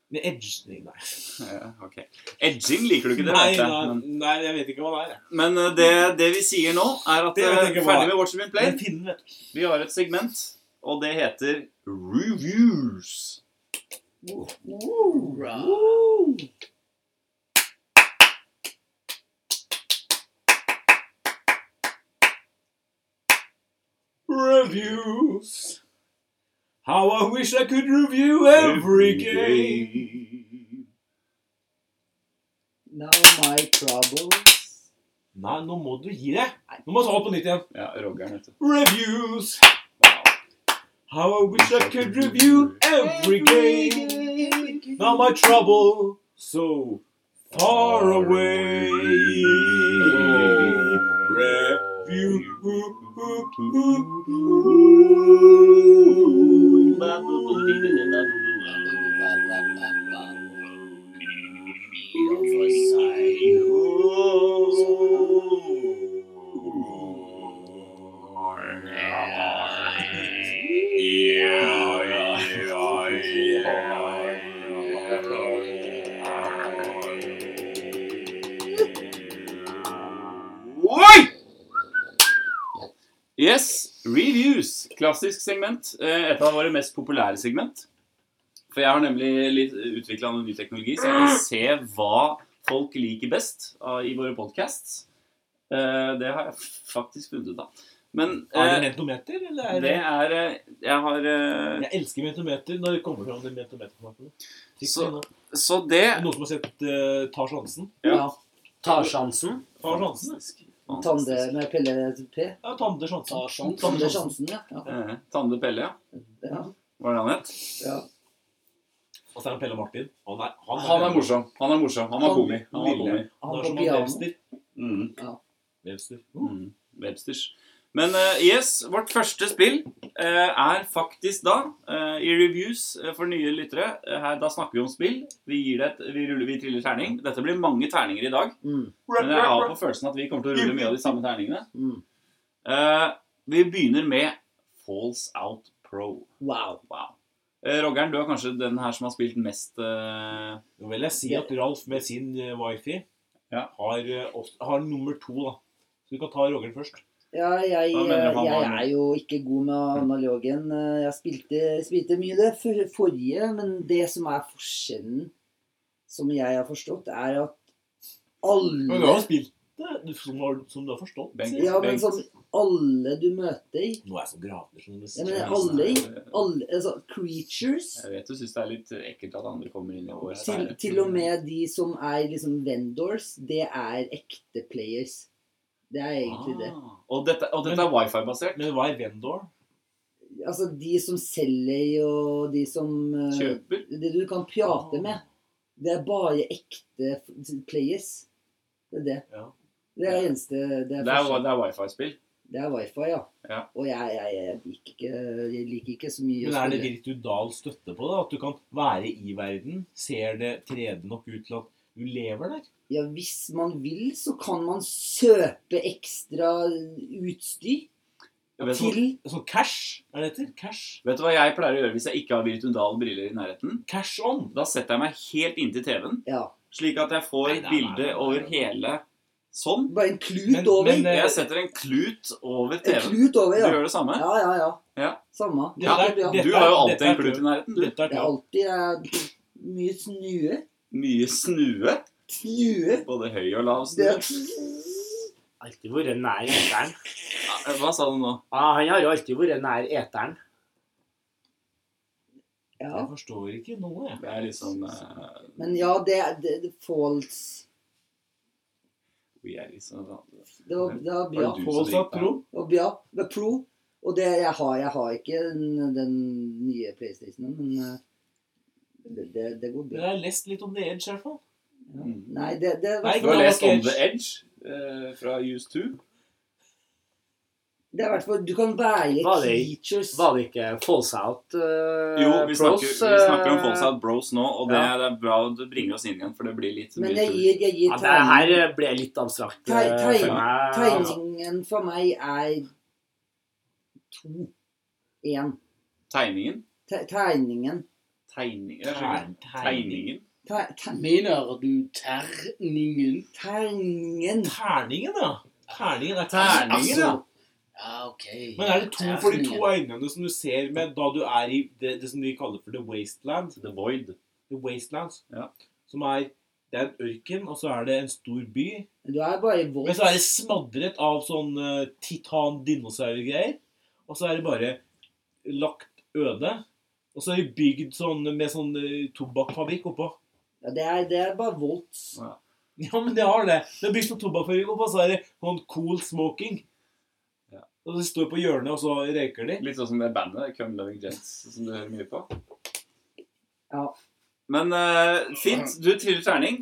Speaker 1: Nei, Edge Nei, nei.
Speaker 2: eh, ok. Edging liker du ikke, det
Speaker 1: Nei,
Speaker 2: vet jeg.
Speaker 1: nei,
Speaker 2: Men,
Speaker 1: nei, jeg vet ikke hva det er. jeg.
Speaker 2: men eh, det, det vi sier nå, er at
Speaker 1: Det vet jeg
Speaker 2: eh,
Speaker 1: ikke hva
Speaker 2: ferdig
Speaker 1: er.
Speaker 2: med Watch Beam
Speaker 1: Men
Speaker 2: Plane.
Speaker 1: finnen, vet du.
Speaker 2: Vi har et segment, og det heter Reviews.
Speaker 3: Bra.
Speaker 1: Reviews. How I wish I could review every game.
Speaker 5: Now my troubles.
Speaker 1: Nei, nå må du gi deg. Nå må du ta det på nytt igjen.
Speaker 2: Ja, Roger'n, vet du.
Speaker 1: Reviews.
Speaker 2: Wow.
Speaker 1: How I wish I could review every game. Now my trouble so far away.
Speaker 2: Reviews. Yes, reviews. Klassisk segment. Eh, Et av våre mest populære segment. For jeg har nemlig litt utvikla noen ny teknologi, så jeg kan se hva folk liker best av- i våre podcasts. Eh, Det har jeg faktisk funnet ut av. Men
Speaker 1: Er det
Speaker 2: eh,
Speaker 1: mentometer, eller er det
Speaker 2: det er eh, Jeg har eh,
Speaker 1: Jeg elsker mentometer når det kommer fram til mentometerformatet. Fikk
Speaker 2: Så-
Speaker 1: det nå.
Speaker 2: Så det
Speaker 1: Er det Noen som har sett eh, Tar sjansen?
Speaker 2: Ja.
Speaker 6: Tar sjansen.
Speaker 1: Tar sjansen?
Speaker 5: Tande med Pelle P.
Speaker 1: Ja, Tande Sjansen.
Speaker 3: Tar sånn.
Speaker 5: Tande Sjansen, ja. ja.
Speaker 2: Eh, Tande Pelle, ja.
Speaker 5: ja.
Speaker 2: Var det han het?
Speaker 5: ja.
Speaker 1: Og så er det Pelle Martin. Han er, han
Speaker 2: Han er morsom. Han er morsom. Han er
Speaker 5: Han-
Speaker 2: komi. Han er
Speaker 1: lille.
Speaker 2: komi.
Speaker 5: Han
Speaker 1: Han er
Speaker 5: på
Speaker 1: som han
Speaker 5: piano.
Speaker 1: Webster.
Speaker 2: Mm.
Speaker 1: Webster.
Speaker 2: Mm, Websters. Men eh, yes, vårt første spill eh, er faktisk da, eh, i reviews eh, for nye lyttere eh, her, Da snakker vi om spill. Vi, gir det et, vi, ruller, vi triller terning. Dette blir mange terninger i dag.
Speaker 5: Mm.
Speaker 2: Men jeg har på følelsen at vi kommer til å rulle mye av de samme terningene.
Speaker 5: Mm.
Speaker 2: Eh, vi begynner med Falls Out Pro.
Speaker 5: Wow.
Speaker 2: Wow. Eh, Roggern, du er kanskje den her som har spilt mest eh,
Speaker 1: Nå vil jeg si at Ralf med sin eh, wifi
Speaker 2: Ja.
Speaker 1: har, eh, oft- har nummer to, da. Så du kan ta Roger først.
Speaker 5: Ja, jeg,
Speaker 2: Hva mener du han
Speaker 5: jeg
Speaker 2: var nå?
Speaker 5: er jo ikke god med analogen. Jeg spilte, spilte mye det for- forrige, men det som er forskjellen, som jeg har forstått, er at
Speaker 1: Men du har
Speaker 5: alle
Speaker 1: jo spilt det, du, som, har, som du har forstått.
Speaker 2: Bengt.
Speaker 1: sier jeg.
Speaker 5: Ja, men sånn alle du møter
Speaker 1: Nå er jeg så graver som du
Speaker 5: Ja,
Speaker 1: sier.
Speaker 5: men alle, alle altså, Creatures
Speaker 2: Jeg vet du syns det er litt ekkelt at andre kommer inn i vår
Speaker 5: Til,
Speaker 2: sfære.
Speaker 5: til og med de som er liksom vendors, det er ekte players. Det er egentlig det.
Speaker 2: Ah, Og dette, og dette er wifi-basert?
Speaker 1: Men hva er vendor?
Speaker 5: Altså de som selger og de som eh,
Speaker 2: Kjøper?
Speaker 5: Det du kan
Speaker 1: Ah.
Speaker 5: prate med. Det er bare ekte f- players. Det er det.
Speaker 1: Ja.
Speaker 5: Det er eneste Det er,
Speaker 2: Det er,
Speaker 5: forskjell.
Speaker 2: det er wifi-spill.
Speaker 5: det er wifi, ja.
Speaker 2: Ja.
Speaker 5: Og jeg, jeg, jeg, liker ikke, jeg liker ikke så mye
Speaker 1: Men er det
Speaker 5: spille.
Speaker 1: virtual støtte på det? At du kan være i verden? Ser det 3D nok ut til at du lever der?
Speaker 5: Ja, hvis man vil, så kan man kjøpe ekstra utstyr
Speaker 2: Vet du,
Speaker 5: til
Speaker 1: Sånn cash? Er det heter? Cash?
Speaker 2: vet du hva jeg pleier å gjøre hvis jeg ikke har virtuelle briller i nærheten?
Speaker 1: Cash on?
Speaker 2: Da setter jeg meg helt inntil TV-en,
Speaker 5: Ja.
Speaker 2: slik at jeg får
Speaker 1: Nei,
Speaker 2: et
Speaker 1: nei, nei,
Speaker 2: bilde
Speaker 1: nei, nei.
Speaker 2: over hele sånn.
Speaker 5: Bare en klut
Speaker 1: Men-
Speaker 5: over.
Speaker 1: men, eh,
Speaker 2: Jeg setter en klut over
Speaker 5: en
Speaker 2: TV-en.
Speaker 5: klut over,
Speaker 2: Du
Speaker 5: ja.
Speaker 2: gjør det samme?
Speaker 5: Ja, ja, ja.
Speaker 2: Ja.
Speaker 5: Samme.
Speaker 1: Ja,
Speaker 5: Det er
Speaker 1: det er-
Speaker 5: bra.
Speaker 2: Du har jo
Speaker 1: Dette
Speaker 2: alltid
Speaker 1: er
Speaker 2: en klut i nærheten, du.
Speaker 1: Dette er
Speaker 5: Det er
Speaker 1: tøft.
Speaker 5: alltid eh, mye snue.
Speaker 2: Mye snue.
Speaker 5: Snue.
Speaker 2: Både høy og lav
Speaker 5: Det
Speaker 2: snue.
Speaker 5: er
Speaker 6: Alltid vært nær eteren.
Speaker 2: Hva sa du nå?
Speaker 6: Ah, han har jo alltid vært nær eteren.
Speaker 5: Ja.
Speaker 1: Jeg forstår ikke noe, jeg.
Speaker 2: Det er litt sånn eh,
Speaker 5: Men ja, det er det, det Falls
Speaker 2: Vi er litt sånn
Speaker 5: Det var, det var
Speaker 2: Var
Speaker 5: bra.
Speaker 2: det du som
Speaker 1: Falls Out
Speaker 2: ringte?
Speaker 1: Pro?
Speaker 5: Det var bra. Det er pro. Og det jeg har, jeg har ikke den, den nye PlayStationen, men eh, det, det, det går
Speaker 1: Men
Speaker 5: bra.
Speaker 1: jeg har lest litt om The Edge, i hvert fall.
Speaker 2: Mm.
Speaker 5: Nei, det, det er i
Speaker 1: Nei,
Speaker 2: Du
Speaker 5: hvert
Speaker 1: ikke
Speaker 5: fall-
Speaker 2: har
Speaker 1: noe
Speaker 2: lest On
Speaker 1: sketsj.
Speaker 2: The Edge eh, fra Use 2?
Speaker 5: det er i hvert fall Du kan velge
Speaker 6: Var det-
Speaker 5: creatures.
Speaker 6: Var det ikke Falls Out eh,
Speaker 2: Jo, vi snakker,
Speaker 6: Bros,
Speaker 2: vi snakker om
Speaker 6: eh,
Speaker 2: Falls Out Bros nå, og det,
Speaker 6: Ja.
Speaker 2: det er bra du bringer oss inn igjen, for det blir litt
Speaker 5: Men
Speaker 2: mye
Speaker 5: jeg
Speaker 2: tull.
Speaker 5: gir, jeg
Speaker 6: Ja,
Speaker 5: gir
Speaker 6: det her eh,
Speaker 5: tegning,
Speaker 6: ble litt abstrakt.
Speaker 5: Teg-
Speaker 6: eh,
Speaker 5: teg-
Speaker 6: for meg. altså.
Speaker 5: tegningen for meg er to. Én.
Speaker 2: Tegningen?
Speaker 5: Te- Tegningen
Speaker 2: Tegningen? Tegningen?
Speaker 5: Te- te-
Speaker 3: Mener du terningen?
Speaker 5: Tegningen
Speaker 1: Terningen, ja. Terningen er
Speaker 2: Terningen, ja.
Speaker 3: Ja, ok.
Speaker 1: Men er det to for de to øynene som du ser med da du er i det, det som vi kaller for the wasteland?
Speaker 2: The Void.
Speaker 1: The wastelands.
Speaker 2: Ja.
Speaker 1: Som er Det er en ørken, og så er det en stor by.
Speaker 5: Du er bare i vold.
Speaker 1: Men så er det smadret av sånn eh, titan-dinosaur-greier. Og så er det bare lagt øde. Og så er det bygd sånn med sånn eh, tobakksfabrikk oppå.
Speaker 5: Ja, det, er, det er bare volds.
Speaker 1: Ja, men det har det. Det er bygd på tobakksfabrikk oppå, og så er det sånn cool smoking.
Speaker 2: Ja.
Speaker 1: Og de står på hjørnet, og så røyker de.
Speaker 2: Litt sånn som det bandet, Come Loving Gents, som du hører mye på.
Speaker 5: Ja.
Speaker 2: Men eh, fint, du triller terning.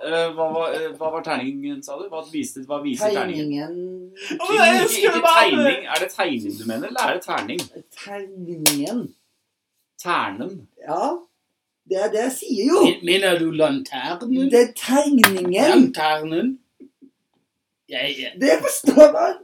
Speaker 2: eh, hva, var, eh, hva var terningen, sa du? Hva, viste, hva viser terningen?
Speaker 5: Tegningen
Speaker 2: Ikke,
Speaker 1: men jeg
Speaker 2: ikke,
Speaker 1: husker det
Speaker 2: ikke
Speaker 1: bare-
Speaker 2: tegning. Er det tegning du mener, eller er det terning?
Speaker 5: Terningen
Speaker 2: Ternen.
Speaker 5: Ja, det er det jeg sier jo.
Speaker 3: Men- Mener du lanternen?
Speaker 5: Det er tegningen.
Speaker 3: Lanternen? Ja, ja.
Speaker 5: Det forstår man.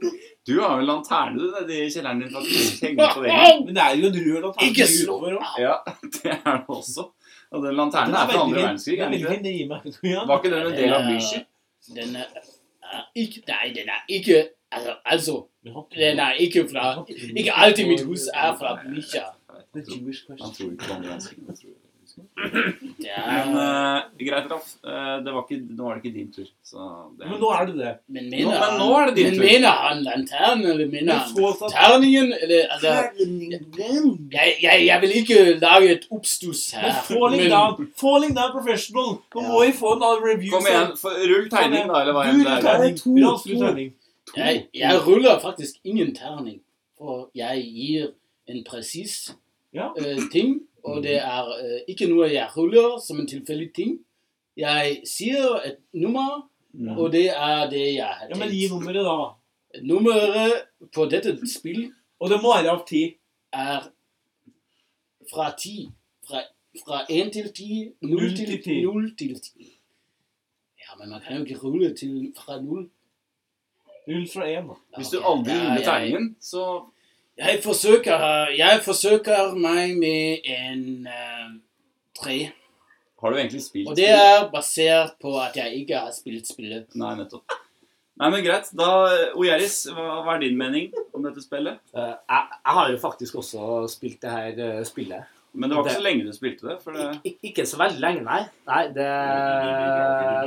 Speaker 2: Du har jo en lanterne du, nede i kjelleren din. faktisk. Henger på veggen.
Speaker 1: Men det er jo en rød lanterne
Speaker 3: Ikke slå
Speaker 1: utover også.
Speaker 2: Ja, det er det også. Og den lanternen
Speaker 1: Den
Speaker 2: er
Speaker 1: er veldig
Speaker 2: fra andre
Speaker 1: fin.
Speaker 2: verdenskrig.
Speaker 1: Den
Speaker 2: er
Speaker 1: er
Speaker 2: den
Speaker 1: veldig
Speaker 2: ikke det?
Speaker 1: fin. Det gir meg ikke noe igjen.
Speaker 2: Var ikke den en del av Blücher?
Speaker 3: Den äh, er, er ikke Nei, den er ikke Altså, altså
Speaker 1: Men han-
Speaker 3: also, den er ikke fra Ikke alt i mitt hus er fra Blücher.
Speaker 1: The Jewish
Speaker 2: Han
Speaker 1: question.
Speaker 2: tror ikke på andre verdenskrig. han tror-
Speaker 3: Det
Speaker 2: Men
Speaker 3: er
Speaker 2: eh, greit, Ralf. Eh, det var ikke, nå var det ikke din tur. Så det
Speaker 1: Men nå er det det.
Speaker 3: Men
Speaker 2: Nå-
Speaker 3: mener
Speaker 2: men nå er det
Speaker 3: han
Speaker 2: din
Speaker 3: Men
Speaker 2: tur.
Speaker 3: mener han lanternen, eller mener
Speaker 1: Men
Speaker 3: han
Speaker 1: få oss at-
Speaker 3: terningen? äh, also, Eller altså
Speaker 5: Terningen.
Speaker 3: jeg, jeg, jeg vil ikke lage et oppstuss her.
Speaker 1: Men falling
Speaker 3: men-
Speaker 1: down, falling down professional. Nå må vi få en annen review.
Speaker 2: Kom igjen, for, rull tegning, da, eller hva enn
Speaker 1: Du,
Speaker 2: det
Speaker 1: rull
Speaker 2: er.
Speaker 1: terning.
Speaker 5: To,
Speaker 1: Ralf,
Speaker 5: to.
Speaker 1: rull terning.
Speaker 3: Jeg, jeg ruller faktisk ingen terning. For jeg gir en presis
Speaker 1: Ja.
Speaker 3: eh, ting, og det er eh, ikke noe jeg ruller som en tilfeldig ting. Jeg sier et nummer,
Speaker 2: Mm.
Speaker 3: og det er det jeg har
Speaker 1: Ja, men gi nummeret, da.
Speaker 3: Nummeret på dette spill
Speaker 1: Og det må være av ti.
Speaker 3: er fra 10. Fra, fra 1 til 10, 0 til 10, 0 til 10. Ja, men man kan jo ikke rulle til fra 0.
Speaker 1: Rull fra én. da.
Speaker 2: Hvis du aldri ruller
Speaker 3: terningen
Speaker 2: terningen, så
Speaker 3: Jeg forsøker, jeg forsøker meg med en eh, tre.
Speaker 2: har du egentlig spilt
Speaker 3: Og det er basert på at jeg ikke har spilt spillet.
Speaker 2: Nei, nettopp. Nei, men greit. Da, Ojeris, hva, hva er din mening om dette spillet?
Speaker 6: Eh, jeg, jeg har jo faktisk også spilt det her eh, spillet.
Speaker 2: Men det var ikke
Speaker 6: Det-
Speaker 2: så lenge du spilte det. for det...
Speaker 6: Ik ik- ikke så veldig lenge, nei. Nei, det,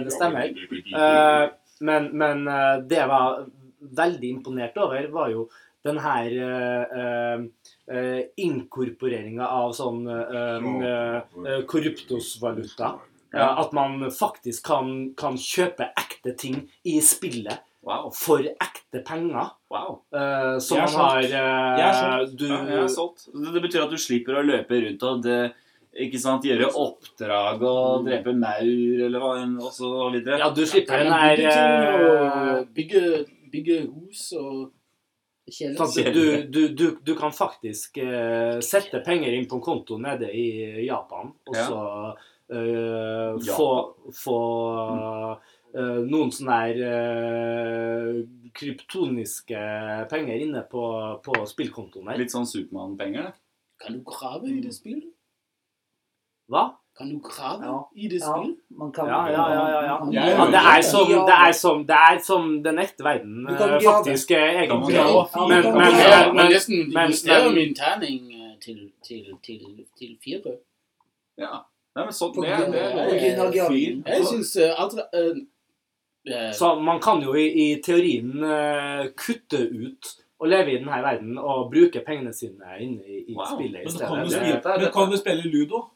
Speaker 6: det stemmer. Eh, men men eh, det jeg var veldig imponert over, var jo den her uh, inkorporeringa av sånn eh, eh, korruptosvaluta. Ja, at man faktisk kan, kan kjøpe ekte ting i spillet
Speaker 2: Wow.
Speaker 6: for ekte penger.
Speaker 2: wow.
Speaker 6: eh, som
Speaker 1: Jeg er
Speaker 6: man har
Speaker 1: Jeg er
Speaker 6: eh,
Speaker 1: solgt.
Speaker 6: du,
Speaker 2: Ja, jeg har solgt. Det det betyr at du slipper å løpe rundt og det, ikke sant, gjøre oppdrag og drepe maur eller hva enn, og så videre.
Speaker 6: ja, du slipper
Speaker 3: Kan
Speaker 6: den
Speaker 3: man
Speaker 6: her
Speaker 3: bygge ting
Speaker 6: eh,
Speaker 3: og bygge, bygge hus og
Speaker 5: Kjedelig.
Speaker 6: Sånn at du, du, du, du kan faktisk eh, sette penger inn på en konto nede i Japan, og
Speaker 2: Ja.
Speaker 6: så eh,
Speaker 2: Japan.
Speaker 6: få, få eh, noen sånne her eh, kryptoniske penger inne på, på spillkontoen her.
Speaker 2: Litt sånn Supermann-penger, det.
Speaker 3: Kan du grave i det spillet?
Speaker 6: Hva?
Speaker 3: Kan du grave
Speaker 5: Ja.
Speaker 3: i det
Speaker 5: Ja,
Speaker 3: spillet?
Speaker 5: man kan
Speaker 6: Ja, ja, ja, ja, ja.
Speaker 5: man kan-
Speaker 1: Ja,
Speaker 6: Ja, det, er som, det, er som, det er som den ekte verden
Speaker 5: Du kan
Speaker 6: eh,
Speaker 5: grave.
Speaker 6: faktisk eh,
Speaker 2: Kan man
Speaker 6: egentlig.
Speaker 2: grave?
Speaker 5: Ja, man
Speaker 6: Men-
Speaker 5: kan
Speaker 6: men-
Speaker 5: gjøre
Speaker 3: jeg
Speaker 5: det.
Speaker 3: må nesten
Speaker 6: men-
Speaker 3: justere
Speaker 6: men-
Speaker 3: min terning eh, til, til, til, til fire.
Speaker 2: Ja. Nei, men sånn,
Speaker 5: På
Speaker 2: det, det,
Speaker 5: grunn
Speaker 2: det,
Speaker 5: av- på grunn av graven.
Speaker 3: Jeg syns aldri eh,
Speaker 6: Så man kan jo i, i teorien eh, kutte ut å leve i denne verden og bruke pengene sine inne i, i
Speaker 2: Wow,
Speaker 6: spillet i
Speaker 1: Men
Speaker 6: stedet.
Speaker 1: kan du
Speaker 6: Det-
Speaker 1: spille, men kan du spille ludo?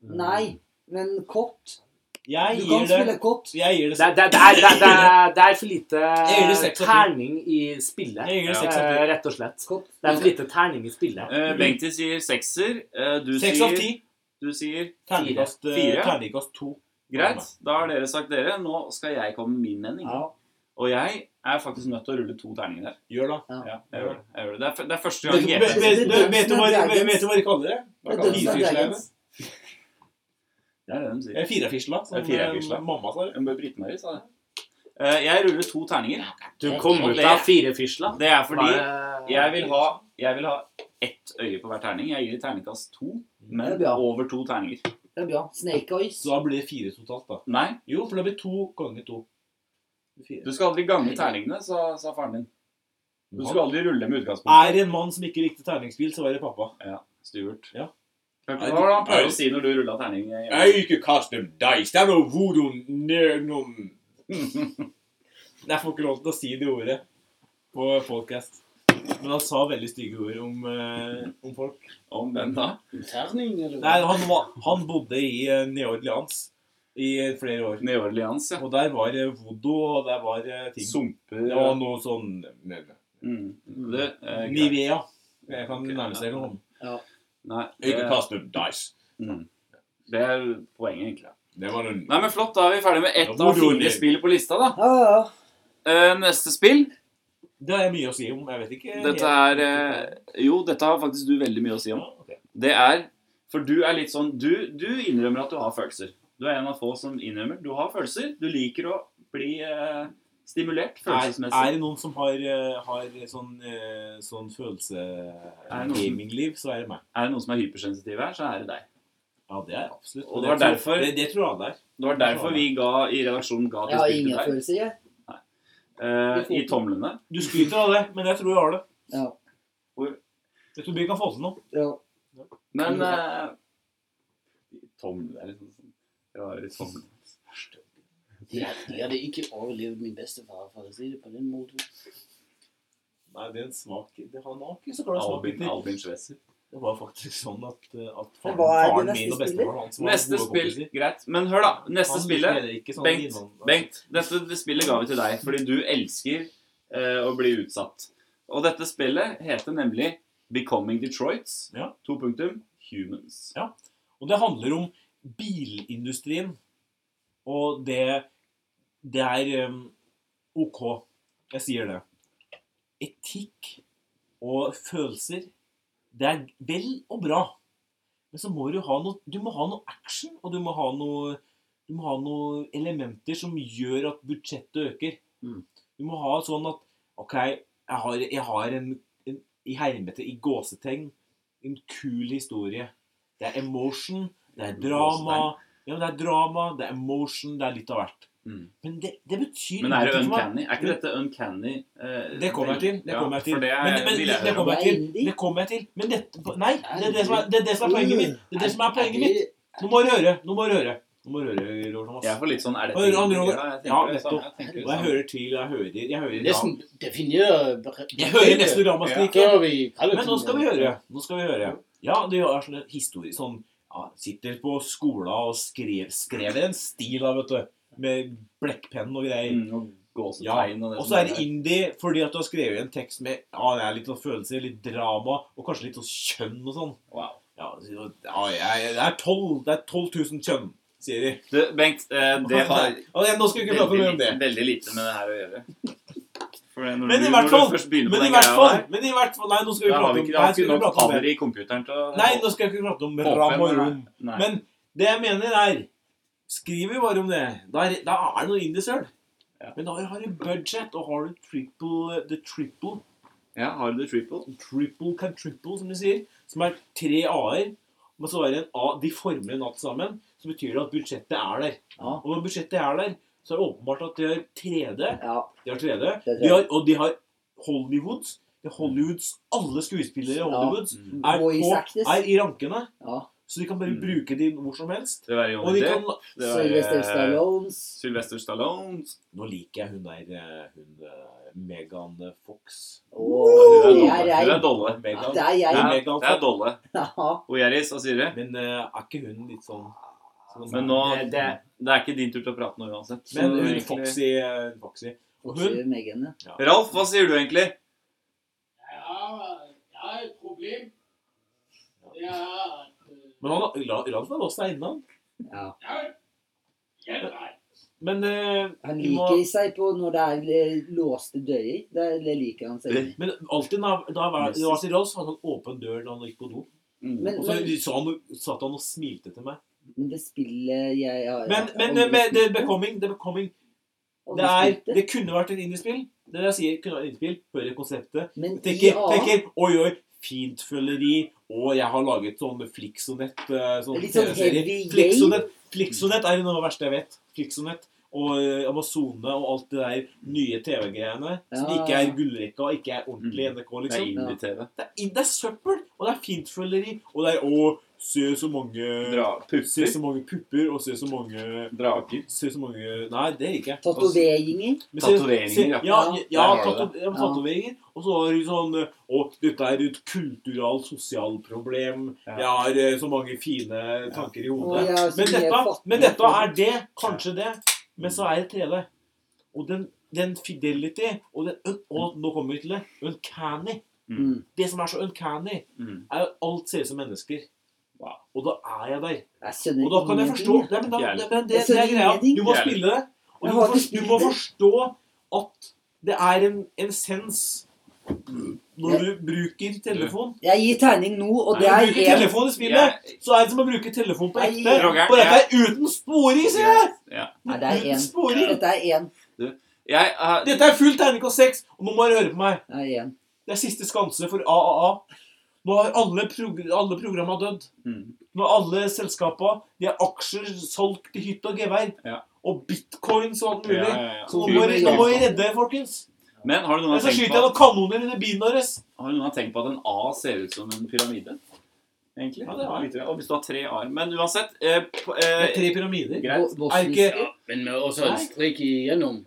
Speaker 6: Mm.
Speaker 5: Nei, men kort.
Speaker 1: Jeg
Speaker 5: Du
Speaker 1: gir
Speaker 5: kan
Speaker 1: det
Speaker 5: spille kort.
Speaker 1: Jeg gir det
Speaker 6: Det, det, det, er, det, er- det, er, det er for
Speaker 1: Jeg gir det
Speaker 6: lite
Speaker 1: seks av ti.
Speaker 6: terning i spillet,
Speaker 1: Jeg gir det
Speaker 2: Ja.
Speaker 1: seks av
Speaker 6: eh,
Speaker 1: ti.
Speaker 6: rett og slett.
Speaker 5: Kort.
Speaker 6: Det er for lite terning i spillet.
Speaker 2: Eh, Bengtis sier sekser. eh, du,
Speaker 1: Seks av ti.
Speaker 2: sier, du sier
Speaker 1: Terningkast eh,
Speaker 2: Fire.
Speaker 1: terningkast to.
Speaker 2: Greit, da har dere sagt dere. Nå skal jeg komme med min mening.
Speaker 5: Ja.
Speaker 2: Og jeg er faktisk nødt til å rulle to terninger her.
Speaker 1: Gjør det.
Speaker 2: Ja, jeg gjør det. Jeg gjør det. Det, er, f- det er første
Speaker 1: Vet
Speaker 2: gang
Speaker 1: du
Speaker 2: jeg
Speaker 1: vet-
Speaker 2: GP
Speaker 1: vet- vet- vet du hva vet- vet du hva de kaller det?
Speaker 5: Det er Dungeons and
Speaker 2: Det
Speaker 5: Dragons.
Speaker 2: er det de sier.
Speaker 1: Jeg er firefisla, som
Speaker 2: Jeg er firefisla.
Speaker 1: eh, mamma sa.
Speaker 2: Jeg bør bryte meg ut, sa jeg. Eh, Jeg ruller to terninger.
Speaker 6: Du kom ut av fire fisler.
Speaker 2: Det er fordi
Speaker 6: Hva er-
Speaker 2: jeg vil ha, jeg vil ha ett øye på hver terning. Jeg gir terningkast to,
Speaker 5: Det er
Speaker 2: men
Speaker 5: bra.
Speaker 2: over to terninger.
Speaker 5: Det er bra. Snake Eyes.
Speaker 1: Så da blir det fire totalt, da.
Speaker 2: Nei,
Speaker 1: Jo, for det blir to ganger to. Fire.
Speaker 2: du skal aldri gange terningene, sa, sa faren min. Du skal aldri rulle med utgangspunkt.
Speaker 1: Er det en mann som ikke likte terningsspill, så var det pappa.
Speaker 2: Stuart.
Speaker 1: Ja.
Speaker 2: Hørte du hva han pleier å si når du rulla terning? eh, Jørgen?
Speaker 1: ikke kast dem dice. Det er noe voodoo nøgnum. Jeg får ikke lov til å si det ordet på podcast. Men han sa veldig stygge ord om, eh, om folk.
Speaker 2: Om hvem da?
Speaker 3: terning, eller
Speaker 1: Nei, han, var, han bodde i eh, Neo-Orleans i flere år.
Speaker 2: New Orleans, ja.
Speaker 1: Og der var det voodoo, og der var det ting.
Speaker 2: Sumper
Speaker 1: Det var noe sånn
Speaker 2: mm. det, eh, greit.
Speaker 1: Nivea. Jeg kan nærme seg noe om.
Speaker 2: Nei, eh,
Speaker 1: kast dem dice.
Speaker 2: mm. Det er poenget, egentlig.
Speaker 7: Det var den
Speaker 2: Nei, men Flott, da er vi ferdig med
Speaker 7: Ja,
Speaker 2: ett
Speaker 7: hvor
Speaker 2: av fire
Speaker 7: rolig.
Speaker 2: spill på lista. da.
Speaker 5: Ja, ja.
Speaker 2: Eh, neste spill
Speaker 1: Det har jeg mye å si om. Jeg vet ikke
Speaker 2: Dette er eh, Jo, dette har faktisk du veldig mye å si om. Det er For du er litt sånn Du, du innrømmer at du har følelser. Du er en av få som innrømmer du har følelser. Du liker å bli eh, stimulert
Speaker 1: Er, er
Speaker 2: følelsesmessig.
Speaker 1: det noen som har, eh, har sånn, eh, sånn følelse...
Speaker 2: noen som-
Speaker 1: Gamingliv, så er det meg.
Speaker 2: Er, det noen som er hypersensitive her, så er det deg.
Speaker 1: Ja, det er jeg absolutt.
Speaker 2: Og det var
Speaker 1: tror-
Speaker 2: derfor-
Speaker 1: Det, det tror jeg det er.
Speaker 2: Det var derfor vi ga, i redaksjonen ga
Speaker 5: Jeg har
Speaker 2: til
Speaker 5: ingen
Speaker 2: deg
Speaker 5: følelser, jeg.
Speaker 2: eh, i tomlene.
Speaker 1: Du skryter av det, men jeg tror jeg har det.
Speaker 5: Ja.
Speaker 1: Jeg tror vi kan få til noe.
Speaker 5: ja.
Speaker 2: Men eh, Tomlene er litt sånn sånn- Det var litt sånn
Speaker 3: Jeg, jeg hadde ikke overlevd min bestefar, for å si det på den måten.
Speaker 1: Nei, det er en smak Det har nok ikke så klart
Speaker 2: Albin,
Speaker 1: smakbiter.
Speaker 2: Albin Schwesser.
Speaker 1: Det var faktisk sånn at, at faren,
Speaker 5: Hva er det
Speaker 1: faren
Speaker 5: neste
Speaker 1: min og
Speaker 5: spillet?
Speaker 1: bestefaren hans var
Speaker 2: Neste
Speaker 1: gode
Speaker 2: spill.
Speaker 1: kompiser.
Speaker 2: Greit. Men hør, da. Neste
Speaker 1: Han
Speaker 2: spillet
Speaker 1: spiller ikke sånn
Speaker 2: Bengt,
Speaker 1: innom-
Speaker 2: Bengt, dette spillet ga vi til deg fordi du elsker eh, å bli utsatt. Og dette spillet heter nemlig Becoming Detroits.
Speaker 1: Ja.
Speaker 2: To punktum Humans.
Speaker 1: Og det handler om bilindustrien. Og det Det er um, OK. Jeg sier det. Etikk og følelser, det er vel og bra. Men så må du ha noe Du må ha noe action, og du må ha noe du må ha noen elementer som gjør at budsjettet øker.
Speaker 2: Mm.
Speaker 1: Du må ha sånn at OK, jeg har, jeg har en, en i hermete, i gåsetegn, en kul historie. Det er emotion, det er drama. Ja, men det er drama, det er emotion, det er litt av hvert.
Speaker 2: Mm.
Speaker 1: Men det, det betyr
Speaker 2: Men er det
Speaker 1: ingenting for meg.
Speaker 2: uncanny? Er ikke dette uncanny eh,
Speaker 1: Det kommer jeg til. Det
Speaker 2: ja,
Speaker 1: kommer jeg til.
Speaker 2: For det er,
Speaker 1: men, men,
Speaker 2: vil jeg
Speaker 1: det
Speaker 2: høre om.
Speaker 1: kommer jeg til.
Speaker 5: Indie?
Speaker 1: Det kommer jeg til. Men dette Nei, det er det som er, det er, det som er poenget mitt. Det er det som er poenget mitt.
Speaker 3: det-
Speaker 1: Nå må røre. Nå må røre. Nå må røre, Roger Thomas.
Speaker 2: Jeg får litt sånn Er dette
Speaker 1: Hør, han
Speaker 2: indie?
Speaker 1: Roger.
Speaker 2: Ja, jeg
Speaker 1: Ja,
Speaker 2: tenker det samme, jeg tenker det
Speaker 1: Og jeg
Speaker 2: samme.
Speaker 1: hører tvil, jeg hører Jeg hører,
Speaker 3: Nesten definerer
Speaker 1: jeg hører nesten ramaskrik.
Speaker 3: Før vi kaller
Speaker 1: Men nå skal vi høre. Nå skal vi høre. Ja, det er sånn en historie sånn ja, Sitter på skolen og skrev, skrev en stil, da, vet du. Med blekkpenn og greier.
Speaker 2: Mm, og gåsetegn og det
Speaker 1: Og
Speaker 2: som
Speaker 1: så er det indie fordi at du har skrevet en tekst med ja, det er litt sånn følelser, litt drama, og kanskje litt sånn kjønn og sånn.
Speaker 2: Wow.
Speaker 1: Ja, så- ja jeg, det er 12 Det er 12 000 kjønn, sier de.
Speaker 2: Du, Bengt, eh, det har
Speaker 1: Og det- nå skal vi ikke prate mer om det.
Speaker 2: veldig lite med det her å gjøre. For det- når
Speaker 1: Men i
Speaker 2: du-
Speaker 1: hvert
Speaker 2: når du
Speaker 1: fall-
Speaker 2: først begynner på
Speaker 1: Men i
Speaker 2: den
Speaker 1: hvert
Speaker 2: greia
Speaker 1: fall
Speaker 2: der,
Speaker 1: Men i hvert fall Nei, nå skal vi
Speaker 2: Da har
Speaker 1: prate
Speaker 2: vi
Speaker 1: om
Speaker 2: ikke,
Speaker 1: Nei,
Speaker 2: da har
Speaker 1: skal
Speaker 2: ikke
Speaker 1: vi
Speaker 2: nok
Speaker 1: prate om
Speaker 2: padder
Speaker 1: det.
Speaker 2: i computeren til å
Speaker 1: Nei, nå skal vi ikke prate om
Speaker 2: Håper jeg,
Speaker 1: ram og
Speaker 2: men-
Speaker 1: rom.
Speaker 2: Nei.
Speaker 1: Men det jeg mener er Skriv jo bare om det. Da er, da er det noe indiesøl.
Speaker 2: Ja.
Speaker 1: Men da har du budget, og har du triple the triple
Speaker 2: Ja, har du triple?
Speaker 1: Triple can triple, som de sier. Som er tre a-er. Men så er det en a De former en a til sammen. Så betyr det at budsjettet er der.
Speaker 2: Ja.
Speaker 1: Og når budsjettet er der, så er det åpenbart at de har 3D.
Speaker 5: ja.
Speaker 1: De har 3D.
Speaker 5: Det er
Speaker 1: De har, og de har Hollywoods. Det er Hollywoods Alle skuespillere i Hollywoods
Speaker 2: Mm.
Speaker 1: er,
Speaker 5: Voice
Speaker 1: på,
Speaker 5: actors.
Speaker 1: er i rankene.
Speaker 5: ja.
Speaker 1: Så de kan bare
Speaker 2: Mm.
Speaker 1: bruke de hvor som helst.
Speaker 2: Det var Johnny
Speaker 1: Og de
Speaker 2: Depp,
Speaker 1: kan
Speaker 2: det var,
Speaker 5: Sylvester
Speaker 2: eh,
Speaker 5: Stallones.
Speaker 2: Sylvester Stallone.
Speaker 1: Nå liker jeg hun der eh, hun, eh, Megan Fox.
Speaker 5: Åh,
Speaker 2: Hun er
Speaker 5: det
Speaker 2: dolle.
Speaker 5: er
Speaker 2: Hun
Speaker 5: jeg.
Speaker 2: Oh, er dolle.
Speaker 5: Ja,
Speaker 1: Megan.
Speaker 5: Det er
Speaker 2: Ja,
Speaker 5: jeg.
Speaker 1: Nei.
Speaker 2: det er dolle.
Speaker 5: Ja.
Speaker 2: Ojeris, hva sier du?
Speaker 1: Men eh, er ikke hun litt sånn, sånn
Speaker 2: Men nå
Speaker 6: Det-
Speaker 2: det,
Speaker 6: det-
Speaker 2: er ikke din tur til å prate nå uansett. Så
Speaker 1: Men hun
Speaker 2: egentlig-
Speaker 1: Foxy, eh, Foxy. Og hun
Speaker 5: Også Megan, ja.
Speaker 2: Ralf, hva sier du egentlig?
Speaker 3: Ja, jeg har et problem. Det er at
Speaker 1: Men han, la, Ralf har låst seg inne, han.
Speaker 5: ja.
Speaker 3: Hjelp meg!
Speaker 1: Men eh,
Speaker 5: Han
Speaker 1: vi må-
Speaker 5: liker seg på når det er eh, låste dører. Det er- det liker han seg.
Speaker 1: Men alltid da, da var, det var til Ralf, så hadde han åpen dør da han gikk på do.
Speaker 2: Mm.
Speaker 5: Men,
Speaker 1: Og så
Speaker 5: men,
Speaker 1: så han, satt han og smilte til meg.
Speaker 5: men det spillet jeg har
Speaker 1: Men, men
Speaker 5: aldri
Speaker 1: eh, med, det
Speaker 5: spilt på,
Speaker 1: becoming, det becoming
Speaker 5: aldri
Speaker 1: det, er,
Speaker 5: spilt det.
Speaker 1: det kunne vært et indiespill. Det jeg sier, kunne vært et indiespill. Hører konseptet.
Speaker 5: Men
Speaker 1: Tenker,
Speaker 5: ja,
Speaker 1: tenker oi, oi, fint føleri. Og jeg har laget sånn Flixonet. eh, Sånn
Speaker 5: Litt sånn
Speaker 1: TV-serie.
Speaker 5: heavy game.
Speaker 1: Flixonet, Flixonet er noe av det verste jeg vet. Flixonet og eh, Amazone og alt det der nye TV-greiene som
Speaker 5: Ja. Mm.
Speaker 1: ikke er gullrekka og ikke er ordentlig NRK,
Speaker 2: Det er
Speaker 1: liksom.
Speaker 2: indie-TV.
Speaker 1: Det er, det er søppel, og det er fint føleri, og det er å se så mange
Speaker 2: Dra-
Speaker 1: Se
Speaker 2: Pupper.
Speaker 1: så mange pupper, og se så mange
Speaker 2: Drager.
Speaker 1: Se så mange Nei, det liker jeg.
Speaker 5: Tatoveringer.
Speaker 1: Men se-
Speaker 2: Tatoveringer,
Speaker 1: se-
Speaker 2: ja.
Speaker 1: ja. Ja, ja,
Speaker 2: Der har du
Speaker 1: tato- ja, tatoveringer. Og så har du sånn eh, Å, dette er et kulturalt, sosialt problem.
Speaker 2: Ja.
Speaker 1: Jeg har eh, så mange fine tanker i
Speaker 5: Å, jeg
Speaker 1: hodet.
Speaker 5: er så
Speaker 1: Men
Speaker 5: mye
Speaker 1: dette,
Speaker 5: fattig.
Speaker 1: men dette er det. Kanskje det. Men så er det 3D. Og den, den fidelity og, den, og nå kommer vi til det. Uncanny.
Speaker 5: Mm.
Speaker 1: Det som er så uncanny,
Speaker 2: Mm.
Speaker 1: er at alt ser ut som mennesker. Og da er jeg der.
Speaker 5: Jeg skjønner
Speaker 1: Og da kan jeg
Speaker 5: ingenting,
Speaker 1: forstå Nei, men, da,
Speaker 2: Jævlig.
Speaker 1: men det,
Speaker 5: Jeg
Speaker 1: det er
Speaker 5: skjønner
Speaker 1: greia.
Speaker 5: ingenting.
Speaker 1: Du må
Speaker 2: Jævlig.
Speaker 1: spille det. Og
Speaker 5: Jeg
Speaker 1: du
Speaker 5: har
Speaker 1: må,
Speaker 5: ikke
Speaker 1: du må forstå at det er en, en sens når du bruker telefon.
Speaker 5: Jeg gir tegning nå, og det
Speaker 1: Når du
Speaker 5: er
Speaker 1: bruker
Speaker 5: én
Speaker 1: telefon i spillet, så er det som å bruke telefon på
Speaker 5: Nei,
Speaker 1: ekte.
Speaker 2: Roger,
Speaker 1: Og dette er uten sporing, sier jeg!
Speaker 2: Ja.
Speaker 5: Nei, det er
Speaker 1: Uten
Speaker 5: én.
Speaker 1: sporing.
Speaker 5: Dette er én.
Speaker 2: Jeg har
Speaker 1: Dette er full terningkast seks, og nå må dere høre på meg.
Speaker 5: Det er én.
Speaker 1: Det er siste skanse for AAA. Nå har alle, prog alle programma dødd.
Speaker 2: Mm.
Speaker 1: Nå har alle selskapa De har aksjer solgt til hytte og gevær.
Speaker 2: Ja.
Speaker 1: Og bitcoins og alt
Speaker 2: ja,
Speaker 1: mulig.
Speaker 2: ja, ja.
Speaker 1: Så nå må, dere- nå må vi redde, folkens.
Speaker 2: Men har du noen gang
Speaker 1: Ellers så
Speaker 2: tenkt
Speaker 1: skyter jeg
Speaker 2: på,
Speaker 1: noen kanoner under bilen deres.
Speaker 2: har du noen gang tenkt på at en A ser ut som en pyramide? Egentlig?
Speaker 1: Ja, det har jeg.
Speaker 2: Litt, Og hvis du har tre A-er. Men uansett eh, på- eh,
Speaker 1: Det er tre pyramider.
Speaker 2: Greit.
Speaker 5: Bo-
Speaker 1: Er ikke
Speaker 5: bosnisk.
Speaker 3: Men vi har også en
Speaker 1: Nei.
Speaker 3: strek igjennom.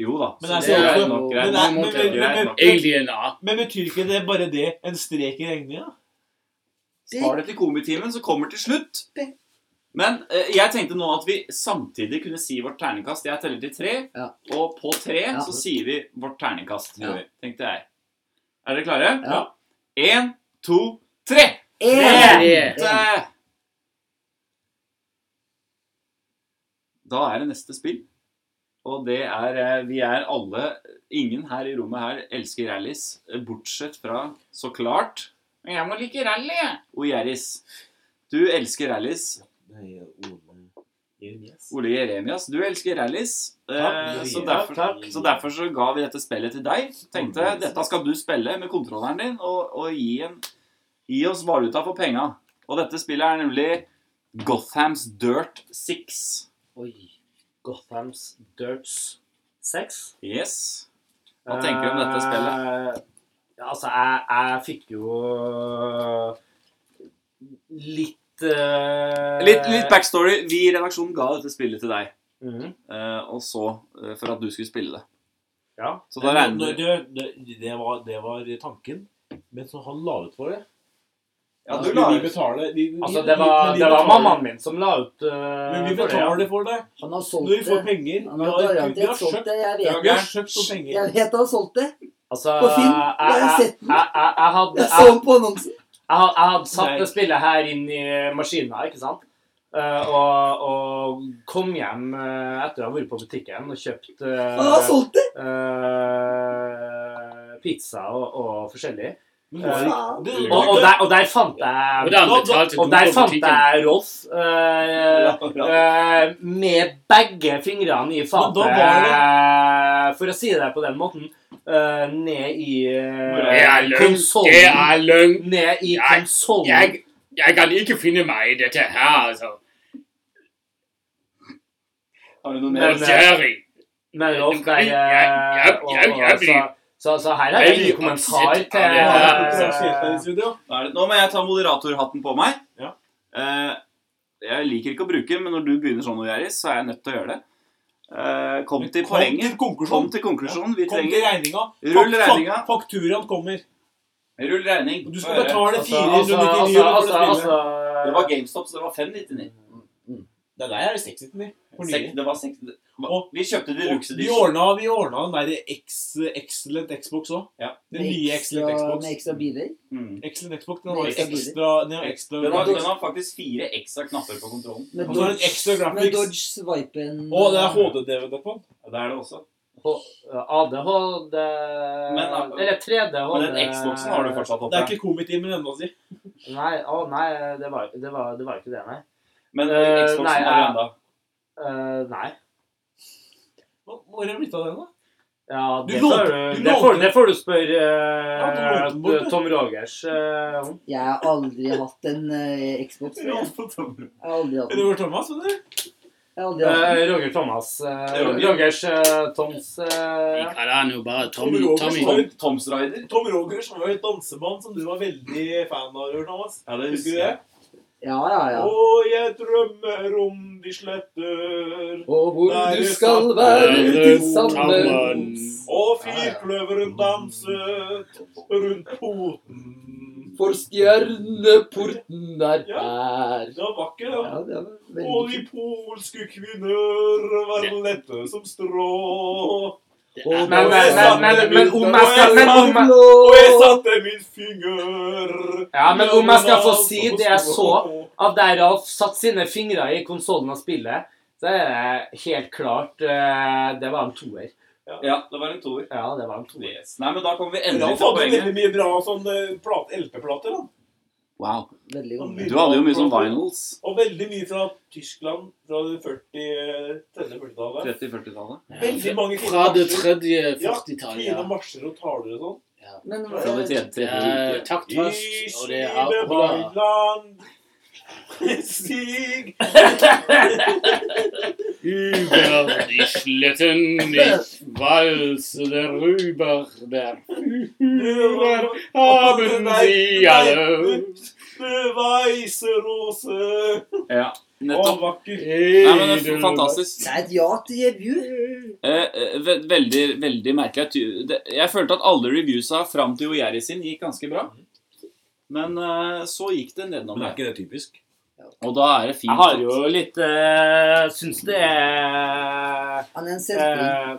Speaker 2: Jo da.
Speaker 1: Men det er
Speaker 2: så
Speaker 1: så-
Speaker 2: greit nok.
Speaker 1: men,
Speaker 2: Greit
Speaker 1: det
Speaker 2: nok.
Speaker 1: er, men, men,
Speaker 2: Greit
Speaker 1: men,
Speaker 2: nok.
Speaker 1: men,
Speaker 3: Egentlig en A.
Speaker 1: men betyr ikke det bare det en strek i regninga?
Speaker 2: Spar det til komitimen, som kommer til slutt. Men eh, jeg tenkte nå at vi samtidig kunne si vårt terningkast. Jeg teller til tre,
Speaker 5: Ja.
Speaker 2: og på tre
Speaker 5: Ja.
Speaker 2: så sier vi vårt terningkast.
Speaker 5: Ja.
Speaker 2: gjør vi, Tenkte jeg. Er dere klare?
Speaker 5: Ja.
Speaker 2: Én, to, tre!
Speaker 5: Én!
Speaker 3: Tre.
Speaker 2: Eh, Da er det neste spill. Og det er eh, Vi er alle Ingen her i rommet her elsker rallys, eh, bortsett fra så klart Men jeg må like rally, jeg. Ojeris. Du elsker rallys. Ole Jeremias, du elsker rallys. Eh,
Speaker 1: Takk.
Speaker 2: så, derfor,
Speaker 1: Takk.
Speaker 2: så derfor så ga vi dette spillet til deg. Tenkte dette skal du spille med kontrolleren din og, og gi, en, gi oss valuta for penga. Og dette spillet er nemlig Gothams Dirt 6.
Speaker 6: Oi. Gothams Dirts 6.
Speaker 2: Yes. Hva tenker du om dette
Speaker 6: spillet? Eh, altså, jeg, jeg fikk jo litt eh,
Speaker 2: Litt, litt backstory. Vi i redaksjonen ga dette spillet til deg.
Speaker 6: Mhm,
Speaker 2: eh, og så eh, for at du skulle spille det.
Speaker 6: ja.
Speaker 2: Så da regner du
Speaker 1: det, det, det, var, det var tanken. Men så han la ut for det.
Speaker 2: Ja,
Speaker 1: Da
Speaker 2: du
Speaker 1: skulle
Speaker 2: la
Speaker 1: vi betale vi, vi,
Speaker 6: Altså, det var,
Speaker 1: men vi
Speaker 6: det var
Speaker 1: betaler-
Speaker 6: mammaen min som la ut eh,
Speaker 1: Men vi
Speaker 6: for det, ja.
Speaker 1: betaler for det.
Speaker 5: Han har
Speaker 1: Når vi
Speaker 5: solgt
Speaker 1: får
Speaker 5: det.
Speaker 1: penger
Speaker 5: Han
Speaker 1: Vi
Speaker 5: har
Speaker 1: har, vi har
Speaker 5: garantert solgt
Speaker 1: kjøpt
Speaker 5: det. Jeg eh, vet
Speaker 1: vi har
Speaker 5: det.
Speaker 1: kjøpt for penger.
Speaker 5: Jeg vet han har solgt det.
Speaker 6: Altså,
Speaker 5: På Finn, jeg
Speaker 6: jeg-
Speaker 5: har
Speaker 6: jeg-
Speaker 5: sett den.
Speaker 6: jeg- jeg- jeg hadde-
Speaker 5: Jeg
Speaker 6: jeg-
Speaker 5: så den på annonsen.
Speaker 6: Jeg had- jeg hadde satt
Speaker 1: Nei.
Speaker 6: det spillet her inn i maskina, ikke sant? Eh, og, og kom hjem eh, etter å ha vært på butikken og kjøpt eh,
Speaker 5: Han har solgt det!
Speaker 6: eh, pizza og, og forskjellig.
Speaker 1: Men det var ikke- det-
Speaker 6: Og, og, der, og der fant
Speaker 3: Og
Speaker 6: jeg
Speaker 3: det andre
Speaker 1: Da- da-
Speaker 3: talte
Speaker 6: og
Speaker 3: to på
Speaker 6: der fant
Speaker 3: butikken.
Speaker 6: jeg Rolf eh, eh, med begge fingrene i fatet.
Speaker 1: Men da var
Speaker 6: eh, for å si det på den måten. eh, ned i
Speaker 3: Det er
Speaker 6: uh,
Speaker 3: løgn. Det er løgn.
Speaker 6: Ned i
Speaker 3: Jeg-
Speaker 6: konsollen.
Speaker 3: Jeg, jeg kan ikke finne meg i dette her, altså.
Speaker 2: Har du noe
Speaker 6: mer?
Speaker 2: mer?
Speaker 6: Men, eh,
Speaker 3: Jerry.
Speaker 6: Men Rolf, der, eh,
Speaker 3: Jeg- jeg-
Speaker 6: og-
Speaker 3: jeg- jeg
Speaker 6: og-
Speaker 3: blir-
Speaker 6: så, så, så her er det en
Speaker 3: veldig
Speaker 6: liten kommentar
Speaker 3: oppsett
Speaker 6: til
Speaker 3: av det
Speaker 1: Ja, det er
Speaker 3: Eh,
Speaker 1: kontroversielt i studio.
Speaker 2: Nå er det- Nå må jeg ta moderatorhatten på meg.
Speaker 1: Ja.
Speaker 2: Eh, jeg liker ikke å bruke den, men når du begynner sånn, Ojeris, så er jeg nødt til å gjøre det. Eh, kom til
Speaker 1: Kom
Speaker 2: poenget.
Speaker 1: til konklusjon.
Speaker 2: Kom til konklusjonen. Vi
Speaker 1: Kom til
Speaker 2: trenger
Speaker 1: regninga.
Speaker 2: Rull regninga.
Speaker 1: Fakturaen kommer.
Speaker 2: Rull regning.
Speaker 1: Du
Speaker 2: Få
Speaker 1: skal
Speaker 2: høre.
Speaker 1: betale
Speaker 6: Altså,
Speaker 1: 499
Speaker 6: altså, altså,
Speaker 1: euro for
Speaker 6: altså,
Speaker 1: å spille.
Speaker 6: altså,
Speaker 2: Det var GameStop, så det var 599.
Speaker 1: Det der er 699. For
Speaker 2: Sek-
Speaker 1: nylig.
Speaker 2: Det var seks... det-
Speaker 1: Og-
Speaker 2: Vi kjøpte de
Speaker 1: Og
Speaker 2: Rux
Speaker 1: Vi
Speaker 2: Edition.
Speaker 1: ordna, vi ordna den derre ex, Excellent Xbox òg.
Speaker 2: Ja.
Speaker 1: Den nye Excellent Xbox.
Speaker 5: Med ekstra biler.
Speaker 2: Mm.
Speaker 1: Excellent Xbox, den har
Speaker 5: Med
Speaker 1: ekstra,
Speaker 5: ekstra
Speaker 1: den har ekstra
Speaker 2: Den har, den har faktisk fire ekstra knapper på kontrollen.
Speaker 5: Med
Speaker 1: Og så er det ekstra
Speaker 5: Dodge, med
Speaker 1: graphics.
Speaker 5: Dodge Swipen.
Speaker 1: Å, det er HD-DVD på den.
Speaker 2: Ja, Det er det også.
Speaker 6: Eh, ADHD
Speaker 2: Men-
Speaker 6: Eller 3D
Speaker 2: Men den Xboxen har du fortsatt
Speaker 1: Det er
Speaker 2: oppe.
Speaker 1: ikke komitimen ennå, si.
Speaker 6: Nei, å, nei det, var, det, var, det var ikke det, nei.
Speaker 2: Men
Speaker 6: Eh,
Speaker 2: Xboxen
Speaker 6: nei,
Speaker 2: har du
Speaker 6: ja.
Speaker 2: enda.
Speaker 6: Eh, nei.
Speaker 1: Hvor hvor er det blitt av den, da?
Speaker 6: Ja,
Speaker 1: Du
Speaker 6: det,
Speaker 1: lånte-
Speaker 6: får,
Speaker 1: du
Speaker 6: du, det, får,
Speaker 1: lånte-
Speaker 6: det får du spørre
Speaker 1: Ja, du lånte den
Speaker 6: eh,
Speaker 1: bort, du.
Speaker 6: Tom Rogers eh, om.
Speaker 5: Jeg har aldri hatt en eh, Xbox. Jeg har aldri hatt
Speaker 1: Er
Speaker 5: den.
Speaker 1: det over Thomas, mener du?
Speaker 5: Jeg har aldri hatt den.
Speaker 6: Eh, Roger Thomas. eh,
Speaker 2: Roger.
Speaker 6: Rogers eh, Toms eh,
Speaker 3: Jeg kaller han jo bare Tommy.
Speaker 1: Tommy
Speaker 3: Tommy.
Speaker 1: Robinson.
Speaker 2: Toms Rider.
Speaker 1: Tom Rogers var jo et dansemann som du var veldig fan av, Jørn Thomas.
Speaker 2: Ja, det
Speaker 1: Husker du det?
Speaker 5: Ja, ja, ja.
Speaker 1: Og jeg drømmer om de sletter
Speaker 5: Og hvor
Speaker 1: Der
Speaker 5: du
Speaker 1: er
Speaker 5: skal
Speaker 1: sant.
Speaker 5: være
Speaker 3: Der er
Speaker 5: til sammen.
Speaker 1: og firkløveren danset rundt poten.
Speaker 5: For stjerneporten er
Speaker 1: Ja.
Speaker 5: her.
Speaker 1: Det var vakker,
Speaker 5: Ja,
Speaker 1: da.
Speaker 5: det var
Speaker 1: Og de
Speaker 5: veldig
Speaker 1: polske kvinner var lette som strå.
Speaker 5: Og
Speaker 6: Men, men, men, men, men om jeg skal, men, om jeg,
Speaker 1: Og jeg
Speaker 5: blå
Speaker 1: satte min finger
Speaker 6: ja, men om jeg skal få si det jeg så av der Ralf satt sine fingre i konsollen og spillet, så er det helt klart eh, Det var en toer.
Speaker 2: Ja, det var en toer.
Speaker 6: Ja, det var en toer.
Speaker 2: Yes. Nei, men da kommer vi endelig
Speaker 1: Ralf
Speaker 2: til
Speaker 1: hadde
Speaker 2: poenget.
Speaker 1: veldig mye bra sånn eh, plat- LP-plater. da.
Speaker 2: Wow.
Speaker 5: Veldig gammel.
Speaker 2: Du hadde jo mye sånn vinyls.
Speaker 1: Og veldig mye fra Tyskland fra det 40, 30-40-tallet.
Speaker 2: 30-40-tallet.
Speaker 1: Veldig mange fine
Speaker 3: Fra det
Speaker 1: marsjer.
Speaker 3: tredje
Speaker 1: Ja, Fine
Speaker 3: 40-tallet. Ja.
Speaker 1: marsjer og taler og sånn.
Speaker 5: Men hva-
Speaker 2: Fra det tredje-
Speaker 3: Det
Speaker 2: tredje
Speaker 3: er
Speaker 2: riket.
Speaker 3: taktrøst, og det er
Speaker 1: I
Speaker 3: bra.
Speaker 1: Brøyland. Stig
Speaker 3: Über die Sletten, ich walze der Rüber, der Mm. Rüber haben sie alle.
Speaker 1: Weiße rose.
Speaker 2: Ja,
Speaker 1: Å,
Speaker 2: nettopp.
Speaker 1: vakker.
Speaker 2: Nei, men det er fantastisk.
Speaker 5: Det er et ja til review.
Speaker 2: Eh, eh, ve- veldig, veldig merkelig. at du- det- Jeg følte at alle reviewsa fram til Ojeri sin gikk ganske bra. Men eh, så gikk det nedenom der.
Speaker 1: ikke det typisk?
Speaker 2: Og da er det fint.
Speaker 6: Jeg har
Speaker 2: at-
Speaker 6: jo litt uh, Syns det er
Speaker 5: Han er en selvtillit.
Speaker 6: eh,
Speaker 5: Han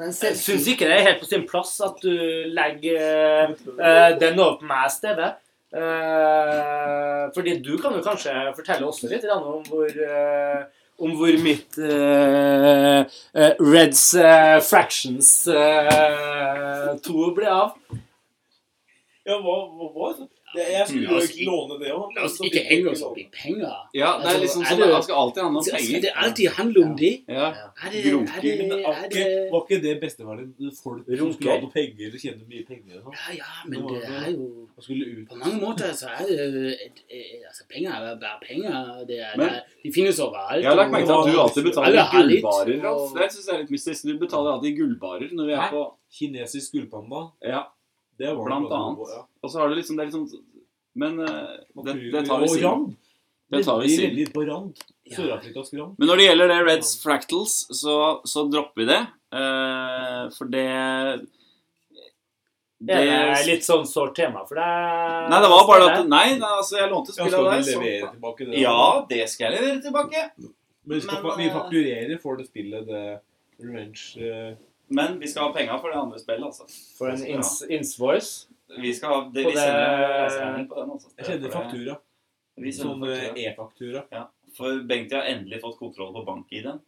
Speaker 5: er en
Speaker 6: Jeg syns
Speaker 5: selvtillit.
Speaker 6: ikke det er helt på sin plass at du legger eh, den over på meg, Steve. Eh, fordi du kan jo kanskje fortelle oss litt grann om hvor eh, om hvor mitt eh, eh, Reds eh, Fractions 2 ble av.
Speaker 1: Ja, hva, hva, hva? Det, jeg skulle
Speaker 3: La
Speaker 1: jo
Speaker 3: oss
Speaker 1: ikke
Speaker 3: ikke-
Speaker 1: låne det òg.
Speaker 3: Mm, altså, La oss Altså, ikke henge oss opp i penger.
Speaker 2: Ja, det er
Speaker 3: Altså,
Speaker 2: liksom
Speaker 3: er
Speaker 2: sånn
Speaker 3: det-
Speaker 2: at det altså, skal alltid handle om
Speaker 3: Det
Speaker 2: penger.
Speaker 3: er alltid handler om det.
Speaker 2: Ja.
Speaker 3: Er det, er det,
Speaker 1: Men
Speaker 3: er
Speaker 1: var
Speaker 3: det
Speaker 1: ikke- var ikke det bestefaren din? Folk som
Speaker 6: Runker.
Speaker 1: skulle ha noe penger eller tjene mye penger og sånn?
Speaker 3: Ja, ja, men det er jo
Speaker 1: Og skulle ut
Speaker 3: På mange måter så er det et, et, altså, penger er bare penger. Det er,
Speaker 2: Men-
Speaker 3: det er, de finnes overalt.
Speaker 2: Jeg har lagt merke til at du alltid
Speaker 3: Alle
Speaker 2: betaler
Speaker 3: har litt,
Speaker 2: gullbarer. Ralf.
Speaker 3: og-
Speaker 2: Det syns jeg er litt mystisk. Du betaler alltid gullbarer når vi er
Speaker 1: Hæ?
Speaker 2: på
Speaker 1: Kinesisk gullpanda.
Speaker 2: Ja,
Speaker 1: Det var
Speaker 2: Blant
Speaker 1: noe-
Speaker 2: annet.
Speaker 1: ja.
Speaker 2: og så har du liksom Det er litt sånn Men eh, det,
Speaker 1: Makrill
Speaker 2: det tar vi
Speaker 1: og
Speaker 2: siden.
Speaker 1: rand.
Speaker 2: Det tar vi
Speaker 1: Veldig,
Speaker 2: siden.
Speaker 1: Veldig på rand.
Speaker 3: Ja.
Speaker 1: Sør-Afrikas rand.
Speaker 2: Men når det gjelder det Reds Fractals, så, så dropper vi det. Eh, for det
Speaker 6: Det er litt eh, sånn sårt tema for deg.
Speaker 2: Nei, det var bare at Nei, nei, altså, jeg lånte spillet av
Speaker 1: skal
Speaker 2: deg.
Speaker 1: vi levere
Speaker 2: så-
Speaker 1: tilbake det?
Speaker 2: Ja, det skal jeg levere tilbake.
Speaker 1: Men vi, skal,
Speaker 2: Men,
Speaker 1: fa- vi
Speaker 2: eh,
Speaker 1: fakturerer for det spillet det Revenge eh,
Speaker 2: Men vi skal ha penga for det andre spillet, altså.
Speaker 6: For en ins invoice.
Speaker 2: Vi skal ha det,
Speaker 6: På
Speaker 2: vi
Speaker 6: det-
Speaker 2: sender regningen på den, altså.
Speaker 1: Jeg kjenner faktura.
Speaker 2: Vi
Speaker 1: Sånn
Speaker 2: sender
Speaker 1: eh,
Speaker 2: faktura.
Speaker 1: e-faktura.
Speaker 2: For Bengt har endelig fått kontroll på bank-ID-en.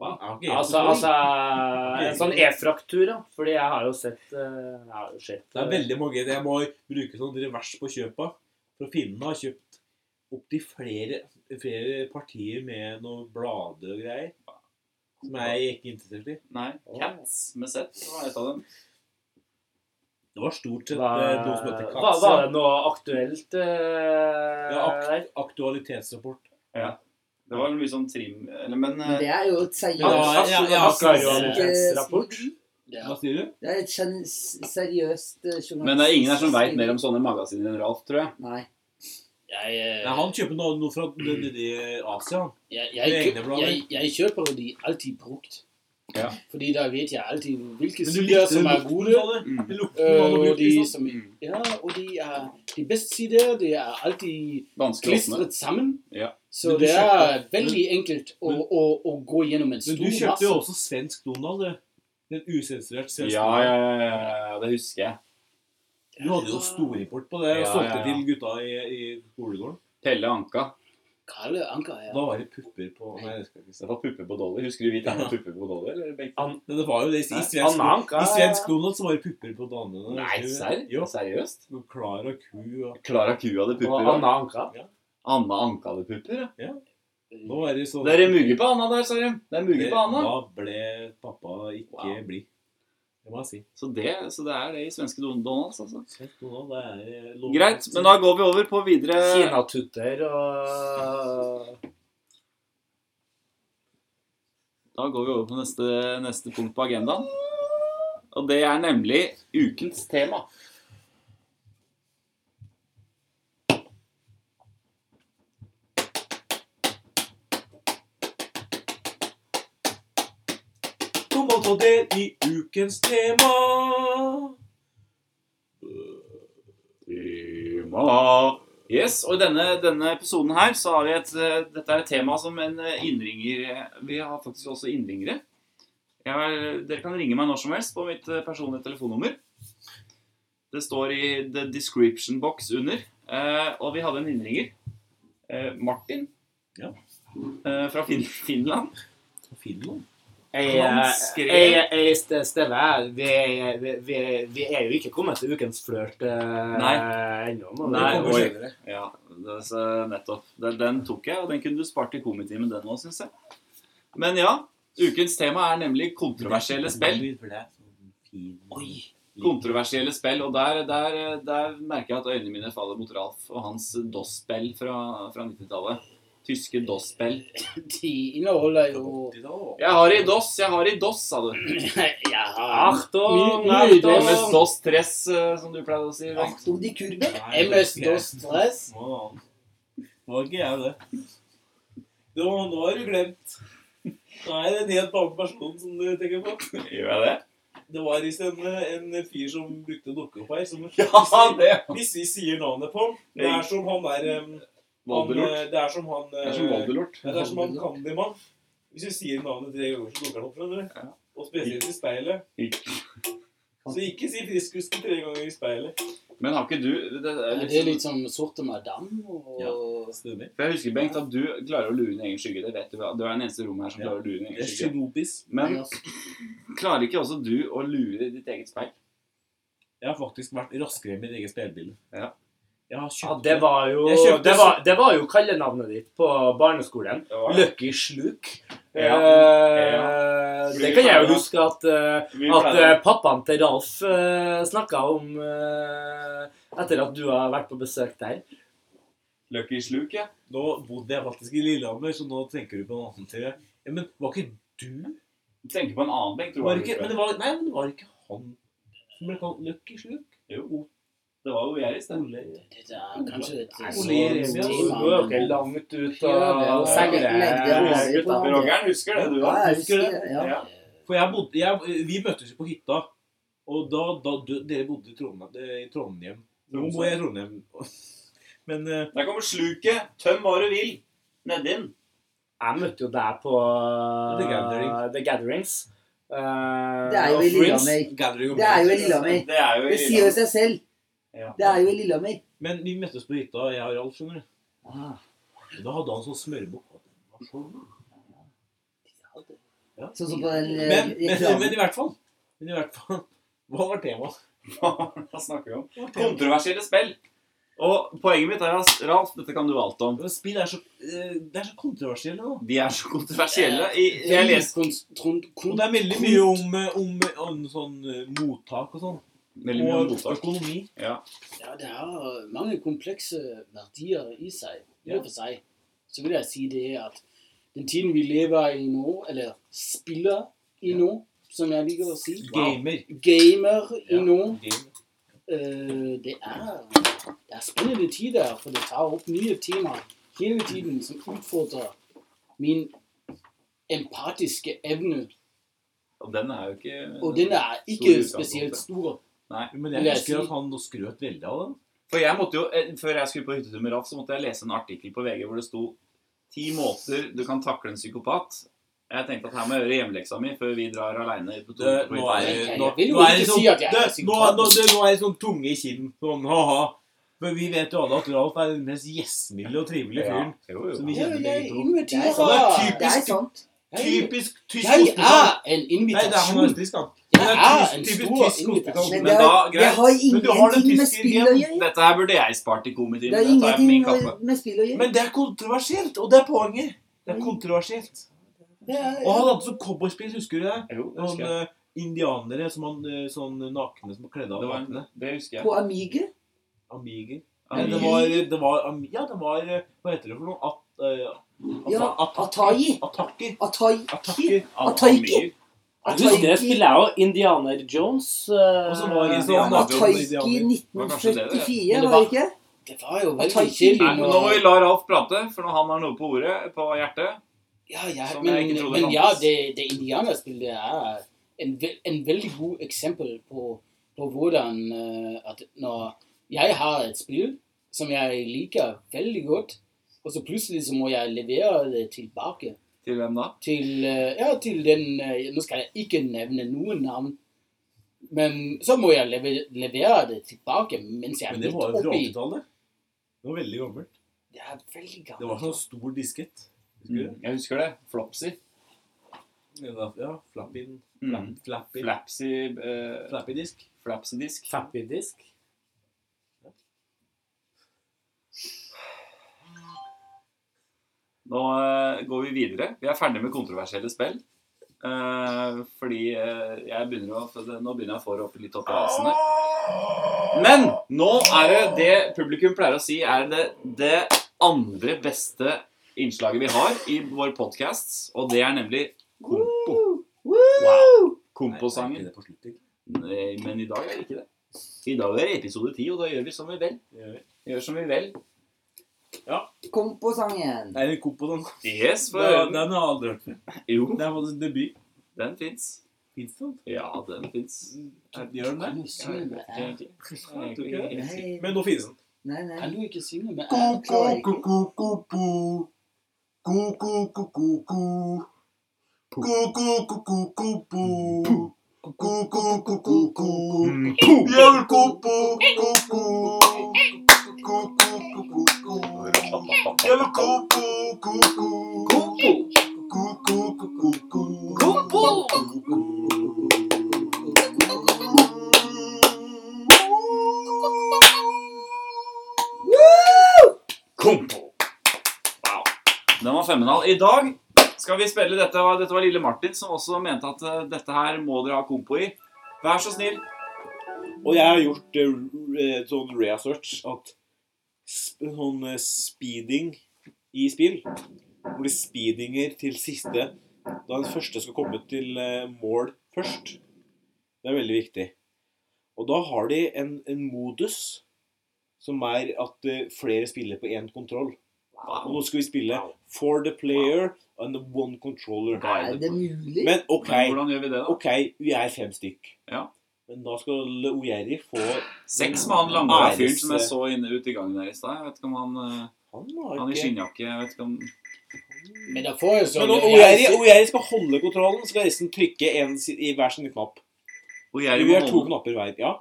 Speaker 1: Er ikke
Speaker 6: Altså,
Speaker 1: e-faktura.
Speaker 6: altså En sånn e-fraktur, da. Fordi jeg har jo sett eh, Jeg har jo sett
Speaker 1: Det er
Speaker 6: eh,
Speaker 1: veldig mange Jeg må bruke sånn revers på kjøpa. For finnene har kjøpt opptil flere, flere partier med noen blader og greier. Som jeg er ikke interessert i.
Speaker 2: Nei, Cats med Z var et av dem.
Speaker 1: Det var stort sett
Speaker 6: hva-
Speaker 1: eh, noe som heter
Speaker 6: hva, Var
Speaker 1: Katsa.
Speaker 6: det noe aktuelt eh,
Speaker 1: Ja,
Speaker 6: der?
Speaker 1: Aktualitetsrapport.
Speaker 2: Det var mye sånn trim eller, Men
Speaker 5: Men
Speaker 2: eh,
Speaker 5: det er jo et
Speaker 1: Ja,
Speaker 5: seriøst
Speaker 1: ja, ja, ja,
Speaker 6: Aktualitetsrapport.
Speaker 3: Ja.
Speaker 1: Hva sier du?
Speaker 5: Det er et kjen- seriøst eh, journalist...
Speaker 2: men det er ingen her som veit mer om sånne magasiner enn Ralf, tror jeg.
Speaker 5: Nei.
Speaker 3: Jeg, eh,
Speaker 1: Nei, han kjøper noe, noe fra nedi Asia. han.
Speaker 3: jeg, jeg,
Speaker 1: Egne
Speaker 3: kø-
Speaker 1: blader.
Speaker 3: jeg, jeg kjøper de alltid brukt.
Speaker 2: Ja.
Speaker 3: Fordi da vet jeg alltid hvilke
Speaker 1: Men du
Speaker 3: sider
Speaker 1: likte
Speaker 3: som er
Speaker 1: lukten
Speaker 3: gode.
Speaker 1: av det?
Speaker 2: Mm.
Speaker 1: Det lukter
Speaker 3: øh,
Speaker 1: av noe
Speaker 3: og
Speaker 1: brukt,
Speaker 3: de
Speaker 1: liksom.
Speaker 3: som Ja, og de er de beste sider. Det er alltid
Speaker 2: Vanskelig å åpne.
Speaker 3: klistret sammen.
Speaker 2: Ja.
Speaker 3: Så
Speaker 1: Men du
Speaker 3: det er
Speaker 1: kjøpte-
Speaker 3: veldig enkelt å,
Speaker 1: Men-
Speaker 3: å, å gå gjennom en
Speaker 1: Men
Speaker 3: stor
Speaker 1: du kjøpte
Speaker 3: masse.
Speaker 1: jo også svensk Donald, du. Den usensurert
Speaker 2: Ja,
Speaker 1: svensk
Speaker 2: ja,
Speaker 1: Donald.
Speaker 2: ja, ja, ja, det husker jeg.
Speaker 1: Du hadde jo storimport på det og
Speaker 2: Ja,
Speaker 1: solgte
Speaker 2: ja, ja.
Speaker 1: til gutta i, i skolegården.
Speaker 2: Pelle Anka.
Speaker 3: Kalle Anker, ja.
Speaker 1: Da var det pupper på Nei, jeg skal ikke si
Speaker 2: Det var pupper på dolly. Husker du vi tegnet pupper på dolly? Eller Bengt?
Speaker 1: Men det var jo det i
Speaker 6: Nei,
Speaker 1: svensk,
Speaker 6: Anna Anka-
Speaker 1: i svensk Donald så var det pupper på damene.
Speaker 2: Nei, serr?
Speaker 1: Jo.
Speaker 2: Seriøst?
Speaker 1: Og Klar og ku og
Speaker 2: Klara Ku hadde
Speaker 6: Og
Speaker 2: pupper.
Speaker 6: Anna Anka.
Speaker 2: og Anna Anka hadde pupper. ja.
Speaker 1: Nå er det sånn
Speaker 2: Det er muge på Anna der, sa de. Det er muge på Anna.
Speaker 1: Da ble pappa ikke
Speaker 2: Wow.
Speaker 1: blid. Det må jeg si.
Speaker 2: Så det, så det er det i svenske Don- Donalds, altså.
Speaker 1: Svensk Donald, det er eh, lov-
Speaker 2: Greit, men da går vi over på
Speaker 1: Eh.
Speaker 2: videre
Speaker 6: Kinatutter og
Speaker 2: Da går vi over på neste, neste punkt på agendaen. Og det er nemlig ukens tema.
Speaker 1: Kom og ta del i ukens tema.
Speaker 2: Tema. Yes, og i denne, denne episoden her så har vi et eh, Dette er et tema som en eh, innringer eh, Vi har faktisk også innringere. Jeg har, dere kan ringe meg når som helst på mitt eh, personlige telefonnummer. Det står i the description box under. Eh, og vi hadde en innringer eh, Martin
Speaker 1: Ja.
Speaker 2: eh, fra Fin Finland.
Speaker 1: Finland?
Speaker 6: Jeg,
Speaker 2: Han
Speaker 6: jeg,
Speaker 2: skrev-
Speaker 6: jeg, jeg, Ste- Steve, vi, vi, vi, vi er jo ikke kommet til ukens flørt eh, ennå. må vi-
Speaker 2: Nei,
Speaker 1: kommer
Speaker 2: oi.
Speaker 1: senere.
Speaker 2: Ja, det, så nettopp. Den, den tok jeg, og den kunne du spart til komitimen, den òg, syns jeg. Men ja, ukens tema er nemlig kontroversielle spill.
Speaker 1: Oi.
Speaker 2: Kontroversielle spill, og der, der, der merker jeg at øynene mine faller mot Ralf og hans DOS-spill fra, fra 90-tallet. Tyske DOS-spill.
Speaker 3: De inneholder jo
Speaker 2: Jeg har i DOS, jeg har i DOS, sa du.
Speaker 1: Ah,
Speaker 3: Ja
Speaker 6: Achtung,
Speaker 3: Mye- mye
Speaker 2: Det er med
Speaker 6: achtung!
Speaker 2: DOS stress, eh, som du pleide å si. Bengt.
Speaker 5: Achtung Ah, de kurve!
Speaker 3: MS DOS stress.
Speaker 1: Var ikke jeg det. det var, nå har du glemt. Nå er det en helt annen person som du tenker på.
Speaker 2: Gjør jeg det?
Speaker 1: Det var visst en, en fyr som brukte å dukke opp her. Som,
Speaker 2: Ja, det!
Speaker 1: Hvis vi sier navnet på ham Det er som han der em, han,
Speaker 2: Voldbelort.
Speaker 1: eh, Det er som han
Speaker 2: Det er som
Speaker 1: eh,
Speaker 2: Voldbelort.
Speaker 1: Ja, det er som han Candyman. Hvis du sier navnet tre ganger, så dukker han opp. skjønner du?
Speaker 2: Ja.
Speaker 1: Og spesielt i speilet. Så ikke si friskusten tre ganger i speilet.
Speaker 2: Men har ikke du det,
Speaker 3: Ja,
Speaker 2: er
Speaker 3: Det er litt som sorte madame og
Speaker 1: Ja. Stemmer.
Speaker 2: For jeg husker, Bengt, at du klarer å lure din egen skygge. Det vet du. hva- Du er den eneste i rommet her som
Speaker 1: Ja.
Speaker 2: klarer å lure din
Speaker 1: Det
Speaker 2: egen
Speaker 1: er
Speaker 2: skygge.
Speaker 1: shinobis.
Speaker 2: Men klarer ikke også du å lure ditt eget speil?
Speaker 1: Jeg har faktisk vært raskere i mitt eget spillbilde.
Speaker 2: Ja.
Speaker 1: Jeg har kjøpt
Speaker 6: Ja, det var jo,
Speaker 1: Jeg kjøpte
Speaker 6: det var, det var jo kallenavnet ditt på barneskolen. Lucky Sluk.
Speaker 2: Ja.
Speaker 6: Eh, det kan jeg jo huske at, eh,
Speaker 2: Vi
Speaker 6: at
Speaker 2: pleier-
Speaker 6: eh, pappaen til Ralf uh, snakka om eh, etter at du har vært på besøk der.
Speaker 2: Lucky Sluk, ja.
Speaker 1: Nå bodde jeg faktisk i Lillehammer, så nå tenker du på en annen TV. Ja, men var ikke du
Speaker 2: Tenker på en annen Bengt. tror
Speaker 1: var
Speaker 2: jeg.
Speaker 1: ikke, men det var, Nei, men det var ikke han som ble kalt Lucky Sluk?
Speaker 2: Jo. Det var jo Gjerris, det.
Speaker 1: Ole
Speaker 3: Det er kanskje et
Speaker 1: Nei,
Speaker 3: sånt
Speaker 1: Ole Remi,
Speaker 6: Nå
Speaker 1: altså.
Speaker 3: tema,
Speaker 6: er dere
Speaker 3: men-
Speaker 6: langt
Speaker 5: Ja,
Speaker 6: ut av
Speaker 5: det er- legg det
Speaker 6: seglet.
Speaker 5: over.
Speaker 2: Gutta, Rogeren husker det, du
Speaker 5: Ja,
Speaker 2: òg.
Speaker 5: jeg husker det. Ja.
Speaker 2: Ja.
Speaker 1: For jeg bodde, jeg, vi møttes jo på hytta, og da, da dø- Dere bodde i Trondheim. I Trondheim. Nå bor jeg i Trondheim. Men eh,
Speaker 2: Der kommer sluket. Tøm hva du vil. Nedin.
Speaker 6: Jeg møtte jo deg på eh,
Speaker 1: The Gathering.
Speaker 6: The Gatherings. Eh,
Speaker 5: Det er jo i
Speaker 6: og Friends.
Speaker 5: Lillehammer.
Speaker 1: Gathering of
Speaker 5: Det er jo i
Speaker 1: Brothers.
Speaker 5: Lillehammer.
Speaker 2: Det er jo i
Speaker 5: Det sier jo
Speaker 2: Lillehammer.
Speaker 5: seg selv.
Speaker 2: Ja.
Speaker 5: Det er jo i Lillehammer.
Speaker 1: Men vi møttes på hytta, jeg og Ralf, skjønner du.
Speaker 5: Ah,
Speaker 1: Da hadde han sånn smørbukk. Det var så god.
Speaker 5: Sånn som på den eh,
Speaker 1: Men, men, men
Speaker 5: reklamen.
Speaker 1: i hvert fall Men i hvert fall Hva var temaet?
Speaker 2: Hva snakker vi om? Kontroversielle spill. Og poenget mitt er at Ralf, dette kan du alt om.
Speaker 1: Spill er så, eh, det er så kontroversielle nå.
Speaker 2: De er så kontroversielle.
Speaker 3: Äh,
Speaker 2: I- Jeg leste
Speaker 1: Og det er veldig mye om, eh, om, eh, om sånn eh, mottak og sånn.
Speaker 2: Veldig mye om
Speaker 1: Og
Speaker 2: mottak.
Speaker 1: økonomi.
Speaker 2: Ja.
Speaker 3: Ja, det har mange komplekse verdier i seg. I
Speaker 1: Ja.
Speaker 3: og for seg. Så vil jeg si det at den tiden vi lever i nå, eller spiller i nå, som jeg liker å si,
Speaker 1: Gamer.
Speaker 3: gamer i nå,
Speaker 1: Game.
Speaker 3: eh, det, er, det er spennende tider, for det tar opp nye temaer hele tiden som utfordrer min empatiske evne.
Speaker 2: Og den er jo ikke
Speaker 3: Og den er ikke
Speaker 2: Stor
Speaker 3: spesielt stor.
Speaker 2: Nei.
Speaker 1: Men jeg
Speaker 3: Vil jeg
Speaker 1: husker
Speaker 3: si-
Speaker 1: at han skrøt veldig av den.
Speaker 2: For jeg måtte jo, eh, Før jeg skulle på hyttetur med Ralf, så måtte jeg lese en artikkel på VG hvor det sto ti måter du kan takle en psykopat. Jeg tenkte at her må jeg gjøre hjemmeleksa mi før vi drar aleine. på
Speaker 1: Det,
Speaker 2: tur på
Speaker 1: nå
Speaker 2: hytta.
Speaker 1: er det
Speaker 3: Jeg
Speaker 1: nå,
Speaker 3: vil jo
Speaker 1: nå er det
Speaker 3: ikke
Speaker 1: sånn,
Speaker 3: si at jeg er
Speaker 1: det, nå,
Speaker 3: psykopat.
Speaker 1: nå, det, nå er det sånn tunge i kinn. Sånn ha-ha. Men vi vet jo alle at Ralf er den mest gjestmilde og trivelige
Speaker 2: Ja.
Speaker 1: fyren.
Speaker 2: Jo, jo.
Speaker 1: Som vi kjenner begge to.
Speaker 3: inviterer
Speaker 1: sånn det er
Speaker 5: Det er
Speaker 1: typisk-
Speaker 5: sant.
Speaker 1: Typisk tysk
Speaker 3: Jeg
Speaker 1: hospital.
Speaker 3: er en
Speaker 1: Nei, det er han
Speaker 3: invitasjon.
Speaker 1: østerriksk, han.
Speaker 3: Jeg
Speaker 1: Det
Speaker 3: er
Speaker 1: typisk-
Speaker 3: en
Speaker 1: typisk tysk
Speaker 3: stor
Speaker 1: hospital.
Speaker 5: Men
Speaker 2: Men
Speaker 5: det,
Speaker 2: da,
Speaker 5: har- det
Speaker 2: greit.
Speaker 5: har
Speaker 1: Men du har den
Speaker 5: ingenting med
Speaker 1: tyske
Speaker 5: spill å
Speaker 1: ideen.
Speaker 5: gjøre.
Speaker 2: Dette her burde jeg spart til
Speaker 5: Det har
Speaker 2: komitimen. Det tar jeg på min
Speaker 5: ingenting
Speaker 2: kappe.
Speaker 5: med- med spill å gjøre.
Speaker 1: Men det er kontroversielt, og det er poenget. Det er kontroversielt. Mm. Og han hadde sånn cowboyspill, husker du det?
Speaker 2: Jo, det
Speaker 1: Sånn
Speaker 2: husker jeg.
Speaker 1: eh, indianere som han, eh, sånn nakne som var kledd av
Speaker 2: Det, var,
Speaker 1: nakne.
Speaker 2: det husker jeg.
Speaker 5: På Amiga
Speaker 1: Amiger. Nei, det
Speaker 2: Amiga.
Speaker 1: var, det var Ami- Ja, det var eh, Hva heter det for noe? At, eh,
Speaker 5: Ja, Atai.
Speaker 1: Attacker.
Speaker 5: Ataiki.
Speaker 1: Attacker.
Speaker 5: Ataiki. Altså,
Speaker 6: Jeg husker det spiller jeg òg. Indianer Jones. eh,
Speaker 1: Og så var det sånn
Speaker 2: Ja,
Speaker 5: Ataiki
Speaker 2: var kanskje det, det.
Speaker 5: 1944,
Speaker 3: Men det
Speaker 5: var
Speaker 3: var-
Speaker 5: det ikke?
Speaker 3: Det var jo
Speaker 5: Jeg
Speaker 3: veldig
Speaker 5: tar ikke-
Speaker 2: Nei,
Speaker 3: kjedelig
Speaker 2: men nå må vi
Speaker 3: når
Speaker 2: la Ralf prate, for når han har noe på ordet, på hjertet
Speaker 3: ja, ja,
Speaker 2: Som jeg
Speaker 3: men,
Speaker 2: ikke trodde
Speaker 3: men
Speaker 2: fantes.
Speaker 3: ja, det, det indianerspillet er en, ve- en veldig god eksempel på, på hvordan eh, at når jeg har et spill som jeg liker veldig godt, og så plutselig så må jeg levere det tilbake
Speaker 2: Til hvem da?
Speaker 3: til, eh, ja, til den eh, Nå skal jeg ikke nevne noen navn. Men så må jeg leve, levere det tilbake mens jeg er
Speaker 1: Men det
Speaker 3: midt
Speaker 1: var jo fra
Speaker 3: oppi
Speaker 1: 80-tallet. Det var veldig gammelt.
Speaker 5: Det er veldig
Speaker 1: Det var
Speaker 5: gammelt.
Speaker 1: sånn stor diskett. Husker du?
Speaker 2: Mm. Jeg husker det. Flopsy.
Speaker 1: Ja, flappin,
Speaker 2: Mm.
Speaker 1: flappy,
Speaker 2: Flapsy eh,
Speaker 1: flappy disk.
Speaker 2: Flapsy-disk.
Speaker 6: Fappy disk.
Speaker 2: Nå eh, går vi videre. Vi er ferdig med kontroversielle spill. Eh, fordi eh, jeg begynner å, for det- nå begynner jeg å få det opp litt opp i halsen her. Men nå er det det publikum pleier å si er det, det andre beste innslaget vi har i vår podkast, og det er nemlig kompo. Wow. Komposangen.
Speaker 1: Nei, det er ikke det på slutt, ikke?
Speaker 2: Nei, Men i dag er det ikke det. I dag er det episode 10, og da gjør vi som vi vil.
Speaker 1: Det gjør vi.
Speaker 2: Gjør som vi vil.
Speaker 5: Kom på sangen.
Speaker 1: Det er en kompo sånn.
Speaker 2: Yes,
Speaker 1: Det
Speaker 2: for
Speaker 1: er-
Speaker 2: den.
Speaker 1: Den har jeg aldri hørt før.
Speaker 2: Jo,
Speaker 1: Det er faktisk debut.
Speaker 2: den fins.
Speaker 1: Fins den?
Speaker 2: Ja, den fins.
Speaker 1: Gjør den det?
Speaker 3: Kan du synge med æ?
Speaker 1: Jeg tror ikke det.
Speaker 5: Nei,
Speaker 1: Men nå finnes den.
Speaker 5: nei. nei.
Speaker 3: Kan du ikke synge med æ?
Speaker 5: Jeg klarer ikke.
Speaker 2: Kompo! Wow. Den var femmennal. I dag skal vi spille dette. og Dette var lille Martin som også mente at eh, dette her må dere ha kompo i. Vær så snill.
Speaker 1: Og jeg har gjort eh, re- eh, sånn research at sp sånn eh, speeding i spill Hvor det speedinger til siste Da den første skal komme til eh, mål først. Det er veldig viktig. Og da har de en, en modus som er at eh, flere spiller på én kontroll. Og nå skal vi spille for the player and one controller.
Speaker 5: Er det mulig?
Speaker 1: Men OK,
Speaker 2: Men hvordan gjør vi det, da?
Speaker 1: ok, vi er fem stykk.
Speaker 2: Ja.
Speaker 1: Men da skal Ojeri få
Speaker 2: Seks med han langhåra
Speaker 1: Æres-
Speaker 2: fyren som jeg så inne ute i gangen her i stad. Jeg vet ikke om han eh,
Speaker 1: Han har
Speaker 2: Han i
Speaker 1: ikke
Speaker 2: skinnjakke. Jeg vet ikke om
Speaker 3: Men da får jeg
Speaker 1: Men
Speaker 3: sånn
Speaker 1: nå, Ojeri, Ojeri skal holde kontrollen, så skal resten trykke en, si- i hver sin knapp.
Speaker 2: Og
Speaker 1: Vi
Speaker 2: Jerry må
Speaker 1: har to
Speaker 2: holde-
Speaker 1: knapper hver. ja.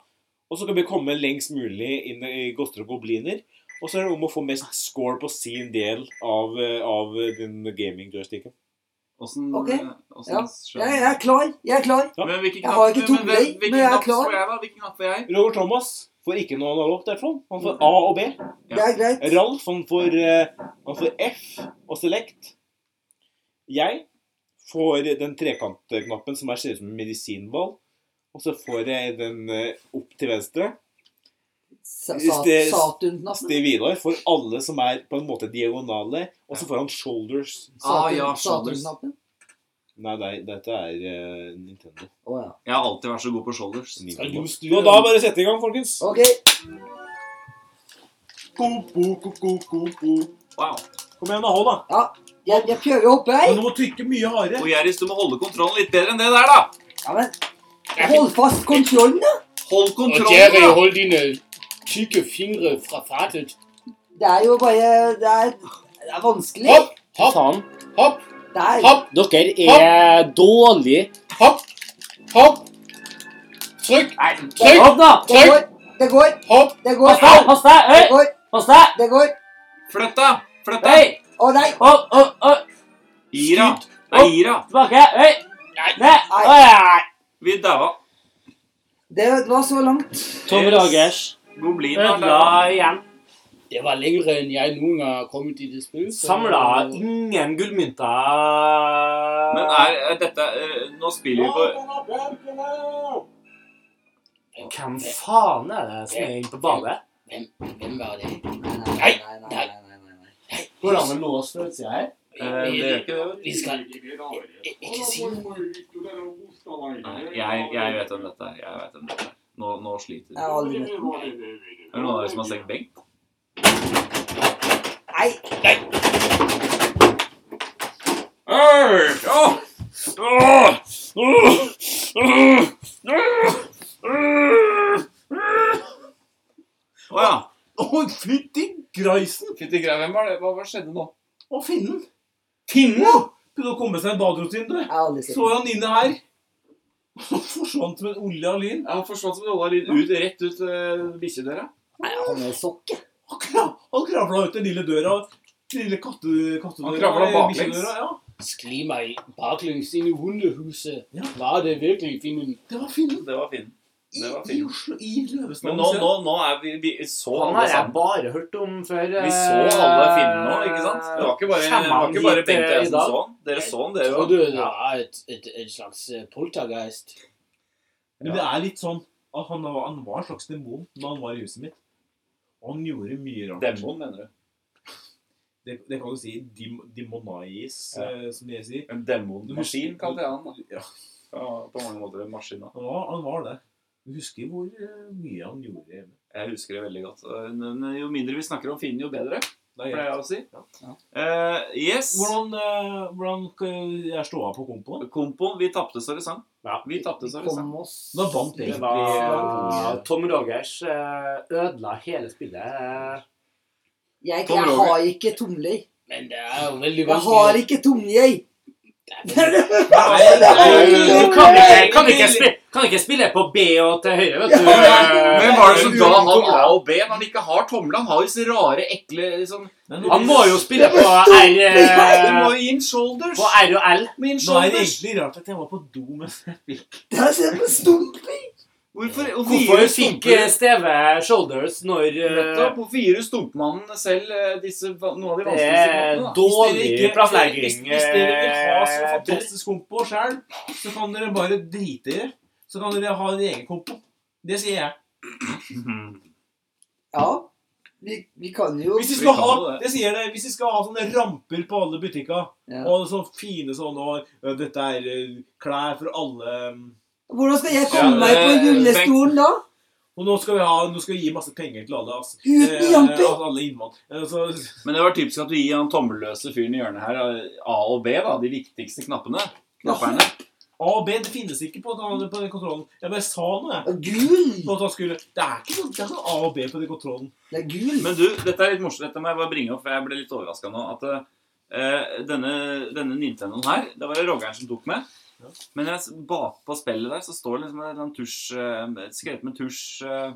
Speaker 1: Og så kan vi komme lengst mulig inn i Goster og gobliner. Og så er det om å få mest score på sin del av, eh, av den gaming-joysticken.
Speaker 2: Åssen-
Speaker 5: Ok.
Speaker 2: åssen
Speaker 5: Ja.
Speaker 2: skjønner
Speaker 5: Jeg jeg er klar. Jeg er klar.
Speaker 1: Ja.
Speaker 2: Men hvilken
Speaker 5: Jeg har
Speaker 2: knapp-
Speaker 5: ikke to
Speaker 2: men hvem-
Speaker 5: play,
Speaker 2: hvilken
Speaker 5: men jeg er
Speaker 2: knapp
Speaker 5: klar.
Speaker 2: får jeg, da? Hvilken knapp får jeg?
Speaker 1: Roger Thomas får ikke noe analog derfra. Han får A og B.
Speaker 2: Ja.
Speaker 5: Det er greit.
Speaker 1: Ralf han får, eh, han får F og select. Jeg får den trekantknappen som er ser ut som en medisinball. Og så får jeg den eh, opp til venstre.
Speaker 5: Sa-
Speaker 1: Hvis det-
Speaker 5: sa- Saturn-knappen.
Speaker 1: Stig Vidar får alle som er på en måte diagonale, og så får han shoulders.
Speaker 2: Ah, ja,
Speaker 5: Saturn- Saturn-knappen.
Speaker 1: Nei, nei dette er eh, Nintendo.
Speaker 5: Å ja.
Speaker 2: Jeg har alltid vært så god på shoulders.
Speaker 1: Nintendo.
Speaker 3: Skal du styre?
Speaker 1: Så da bare sette i gang, folkens.
Speaker 5: OK.
Speaker 2: Wow.
Speaker 1: Kom igjen, da. Hold, da.
Speaker 5: Ja. Jeg, jeg prøver å hoppe her.
Speaker 1: Men du må trykke mye hardere.
Speaker 2: Og Jerry, du må holde kontrollen litt bedre enn det der, da.
Speaker 5: Ja, men hold fast kontrollen, da.
Speaker 2: Hold
Speaker 3: Og
Speaker 2: kontrollen,
Speaker 3: Jerry,
Speaker 2: da.
Speaker 3: hold dine tykke ne fingre fra fatet.
Speaker 5: Det er jo bare Det er, det er vanskelig.
Speaker 3: Hopp, hopp,
Speaker 6: Faen.
Speaker 3: hopp,
Speaker 5: Det er
Speaker 3: hopp,
Speaker 6: Dere er dårlige.
Speaker 3: hopp, hopp. Trykk,
Speaker 2: Nei,
Speaker 3: trykk,
Speaker 6: Hopp, da!
Speaker 5: Det
Speaker 3: trykk,
Speaker 5: går, det går,
Speaker 3: hopp.
Speaker 5: det går.
Speaker 6: Pass deg! Pass deg!
Speaker 5: Det
Speaker 6: Hei!
Speaker 5: går,
Speaker 6: Pass deg!
Speaker 5: det går.
Speaker 2: flytt deg. Flytt
Speaker 6: Hei!
Speaker 2: deg.
Speaker 5: Å nei.
Speaker 6: Opp, opp, opp!
Speaker 2: Ira. Nei, Ira.
Speaker 6: Tilbake! Hei!
Speaker 3: Nei.
Speaker 6: Ned!
Speaker 5: Nei.
Speaker 6: Oi, oi, oi.
Speaker 2: Vi daua.
Speaker 5: Det var så langt.
Speaker 6: Tom
Speaker 2: Yes.
Speaker 6: Rogers.
Speaker 2: Goblin er
Speaker 6: Ødela
Speaker 2: daua.
Speaker 6: igjen.
Speaker 3: Det var lengre enn jeg noen gang har kommet i det spillet. så-
Speaker 6: Samla ingen gullmynter.
Speaker 2: Men er, er dette eh, Nå spiller vi på
Speaker 6: Hvem faen er det som er inne på badet?
Speaker 3: Hvem, hvem var det?
Speaker 5: Nei, nei, nei, nei, nei, nei, nei.
Speaker 6: Går det an å låse fra utsida her?
Speaker 2: eh, Det gjør ikke det.
Speaker 3: Vi skal Ik- ikke si noe.
Speaker 2: Nei, jeg, jeg vet hvem dette er. Jeg vet hvem dette er. Nå, nå sliter
Speaker 5: Jeg
Speaker 2: de.
Speaker 5: har aldri møtt den.
Speaker 2: Er det noen av dere som har stengt benk?
Speaker 5: Nei.
Speaker 2: Åh! Åh! Å ja.
Speaker 1: Å, fytti greisen!
Speaker 2: Fytti grei, hvem var det? Hva, hva skjedde nå?
Speaker 1: Å, finnen.
Speaker 2: Finnen!
Speaker 1: Prøvde å komme seg en baderutin, du.
Speaker 5: Jeg har aldri sett
Speaker 1: Så han inne her. Så forsvant som en olje av lyn.
Speaker 2: Ja, han forsvant som en olje ut, rett ut uh, eh, bikkjedøra.
Speaker 5: den. Han med sokke.
Speaker 1: Akkurat! Han kravla ut den lille døra. Den lille katte, kattedøra.
Speaker 2: Han kravla
Speaker 1: eller
Speaker 2: baklengs.
Speaker 1: bikkjedøra, Ja.
Speaker 3: Skli meg baklengs inn i hundehuset.
Speaker 1: Ja.
Speaker 3: Var det virkelig Finnen?
Speaker 1: Det var Finn.
Speaker 2: Det var fin.
Speaker 1: I,
Speaker 2: Det var
Speaker 1: I
Speaker 2: Finn.
Speaker 1: Oslo. I Løvestad.
Speaker 2: Men nå, nå, nå er vi, vi så
Speaker 6: Han
Speaker 2: alle
Speaker 6: har jeg
Speaker 2: sammen.
Speaker 6: bare hørt om før
Speaker 2: Vi så alle finnene nå, ikke sant? Eh, Det var ikke bare, det var ikke bare
Speaker 6: eh,
Speaker 2: Bengt og jeg som så han. Dere så han, dere
Speaker 3: Tror
Speaker 2: òg.
Speaker 3: du det var et, et, et slags eh, poltergeist?
Speaker 1: Men det er litt sånn at han var, han var en slags demon da han var i huset mitt. Og han gjorde mye rart.
Speaker 2: Demon, mener du?
Speaker 1: Det, det kan du si. Dim, demonais,
Speaker 2: Ja.
Speaker 1: eh, som de sier.
Speaker 2: En demonmaskin, kalte jeg han. da.
Speaker 1: Ja.
Speaker 2: Ja, på mange måter en maskin. da.
Speaker 1: Han var, han var det. Du husker hvor eh, mye han gjorde hjemme.
Speaker 2: Jeg husker det veldig godt. Eh, Men Jo mindre vi snakker om Finn, jo bedre,
Speaker 1: Det er
Speaker 2: pleier jeg
Speaker 1: greit.
Speaker 2: å si.
Speaker 5: Ja.
Speaker 2: Eh, yes.
Speaker 1: Hvordan, eh, hvordan k- jeg stod av på kompoen?
Speaker 2: Kompo, vi tapte så det sang.
Speaker 6: Ja.
Speaker 2: Vi tapte så det sang.
Speaker 5: Kom oss
Speaker 1: Da vant
Speaker 6: Det
Speaker 1: egentlig
Speaker 6: var Tom Rogers eh, ødela hele spillet. eh,
Speaker 5: Jeg,
Speaker 2: Tom
Speaker 5: jeg
Speaker 2: Roger.
Speaker 5: har ikke tomler.
Speaker 3: Men det er jo veldig
Speaker 5: Jeg har ikke tomler!
Speaker 6: Du kan ikke, kan ikke, spille, kan ikke spille på B og til høyre, vet du.
Speaker 2: Men hva er det som ga han A og B når han ikke har tomle? Han har jo disse rare, ekle liksom.
Speaker 1: Men nå-
Speaker 6: Han må jo spille på R,
Speaker 2: Du må
Speaker 6: eh,
Speaker 2: jo in shoulders!
Speaker 6: på R og L.
Speaker 2: Må in
Speaker 1: Nå er det
Speaker 2: shoulders.
Speaker 1: egentlig rart at jeg var på do mens jeg fikk
Speaker 5: Det er sånn på stumper!
Speaker 2: Hvorfor, og
Speaker 6: Hvorfor
Speaker 2: fire
Speaker 6: fikk
Speaker 2: stumper-
Speaker 6: eh, Steve shoulders når eh,
Speaker 2: Nettopp. Hvorfor gir du stumpmannen selv eh, disse, va- noen av de
Speaker 6: Det
Speaker 2: vanskeligste
Speaker 6: er
Speaker 2: måtene? da?
Speaker 6: dårlig planlegging,
Speaker 1: Hvis dere, hvis dere vil ha så
Speaker 6: eh,
Speaker 1: fantastisk kompo sjøl, så kan dere bare drite i det. Så kan dere ha en egen kompo. Det sier jeg.
Speaker 5: Ja, vi, vi kan jo
Speaker 1: Hvis de
Speaker 2: Vi
Speaker 1: skal
Speaker 2: kan
Speaker 1: ha,
Speaker 2: jo det.
Speaker 1: det sier det, hvis de skal ha sånne ramper på alle butikker,
Speaker 5: Ja.
Speaker 1: og så fine sånne og ø, Dette er ø, klær for alle mm, ø,
Speaker 5: Hvordan skal jeg komme
Speaker 2: Ja,
Speaker 5: meg på
Speaker 2: eh,
Speaker 5: rullestolen da?
Speaker 1: Og nå skal vi ha, nå skal vi gi masse penger til alle. ass.
Speaker 5: Uten
Speaker 1: Eh,
Speaker 5: jamper?
Speaker 1: altså, alle innvandrere. Eh, så-
Speaker 2: Men det var typisk at du gir han tommelløse fyren i hjørnet her eh, A og B, da, de viktigste knappene. Knapperne.
Speaker 1: A og B det finnes ikke på, den- på den kontrollen. Jeg bare sa noe, jeg.
Speaker 5: Og Gul!
Speaker 1: På at han skulle, det er ikke noe, det er ikke noe A og B på den kontrollen.
Speaker 5: Det er gul.
Speaker 2: Men du, dette er litt morsomt. Dette må jeg bare bringe opp, for jeg ble litt overraska nå. At eh, denne, denne Nintendoen her, det var det Roggeren som tok med.
Speaker 1: Ja.
Speaker 2: Men jeg, s- bakpå spillet der så står det liksom en eller annen tusj eh, Skrevet med tusj eh,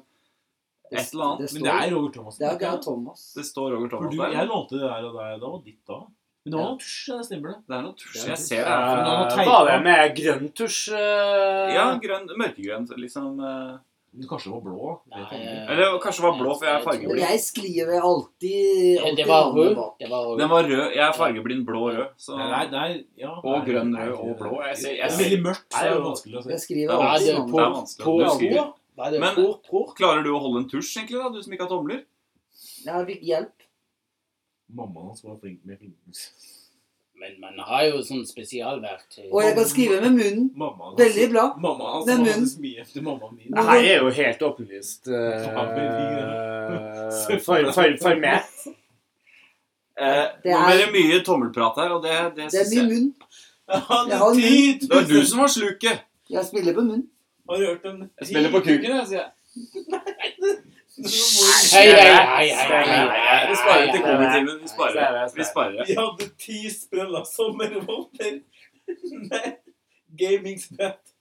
Speaker 2: et eller annet.
Speaker 1: Men det er Roger Thomas.
Speaker 5: Det er, det er Thomas.
Speaker 2: Det står Roger
Speaker 1: For
Speaker 2: Thomas
Speaker 1: du,
Speaker 2: der.
Speaker 1: jeg lånte det der og der. Det var ditt da. Men det var noe tusj, det stemmer det.
Speaker 2: Det er noe tusj.
Speaker 5: Det er
Speaker 2: Jeg
Speaker 5: tusj.
Speaker 2: ser det her.
Speaker 1: han må
Speaker 6: Eh,
Speaker 1: teipe.
Speaker 6: Var det med grønn tusj? eh,
Speaker 2: Ja, grønn, mørkegrønn, liksom. eh,
Speaker 1: Men kanskje det var blå.
Speaker 3: Nei,
Speaker 1: vet jeg ikke.
Speaker 3: eh,
Speaker 2: Eller kanskje det var blå, for jeg er
Speaker 3: tror-
Speaker 5: Men
Speaker 2: fargeblind.
Speaker 5: jeg skriver alltid,
Speaker 3: Eh,
Speaker 5: alltid
Speaker 3: Det var
Speaker 5: navnet
Speaker 3: rød.
Speaker 5: bak.
Speaker 3: Det var rød.
Speaker 2: Den var rød. Jeg er fargeblind blå-rød. Så
Speaker 1: Nei, nei, ja.
Speaker 2: Og
Speaker 1: nei,
Speaker 2: grønn,
Speaker 1: nei,
Speaker 2: rød og
Speaker 1: det-
Speaker 2: blå. Jeg ser- jeg
Speaker 1: det er
Speaker 2: ser-
Speaker 1: veldig mørkt, så
Speaker 6: Nei,
Speaker 1: det er
Speaker 6: jo.
Speaker 1: vanskelig å se.
Speaker 5: Jeg
Speaker 2: Det
Speaker 5: skriver
Speaker 2: er
Speaker 5: alltid
Speaker 3: vanskelig.
Speaker 2: det er
Speaker 5: navnet.
Speaker 2: vanskelig. Du skriver.
Speaker 3: Var det
Speaker 2: Men-
Speaker 3: por, por?
Speaker 2: Klarer du å holde en tusj, egentlig, da, du som ikke har tomler?
Speaker 5: Ja, vi- hjelp.
Speaker 1: Mammaen hans var flink med fingeren.
Speaker 3: Men man har jo sånn spesialverktøy.
Speaker 5: Og jeg kan skrive med munnen.
Speaker 1: Mammaen hans-
Speaker 5: Veldig bra.
Speaker 1: Mammaen hans
Speaker 5: Med
Speaker 1: var
Speaker 5: munn.
Speaker 1: faktisk mye etter mammaen min.
Speaker 6: Det her er jo helt åpenlyst
Speaker 1: eh,
Speaker 6: for, for, for meg.
Speaker 2: Eh,
Speaker 5: Det
Speaker 2: nå
Speaker 5: er-
Speaker 2: ble det mye tommelprat her, og det, det
Speaker 5: Det er
Speaker 2: syns
Speaker 5: mye
Speaker 2: jeg
Speaker 5: munn. Jeg
Speaker 1: Ja,
Speaker 5: har en
Speaker 1: tid!
Speaker 2: Det var du som var sluket!
Speaker 5: Jeg spiller på munn.
Speaker 1: Har du hørt om det?
Speaker 2: Jeg spiller på kuken, jeg, sier jeg.
Speaker 3: Hei, hei, hei, hei, hei,
Speaker 6: Nei, nei, nei,
Speaker 3: hei,
Speaker 2: Vi sparer til
Speaker 3: hei, hei.
Speaker 2: komitimen. Vi sparer det. Vi sparer det.
Speaker 1: Vi hadde ti sprella sommervolter med gamingspett.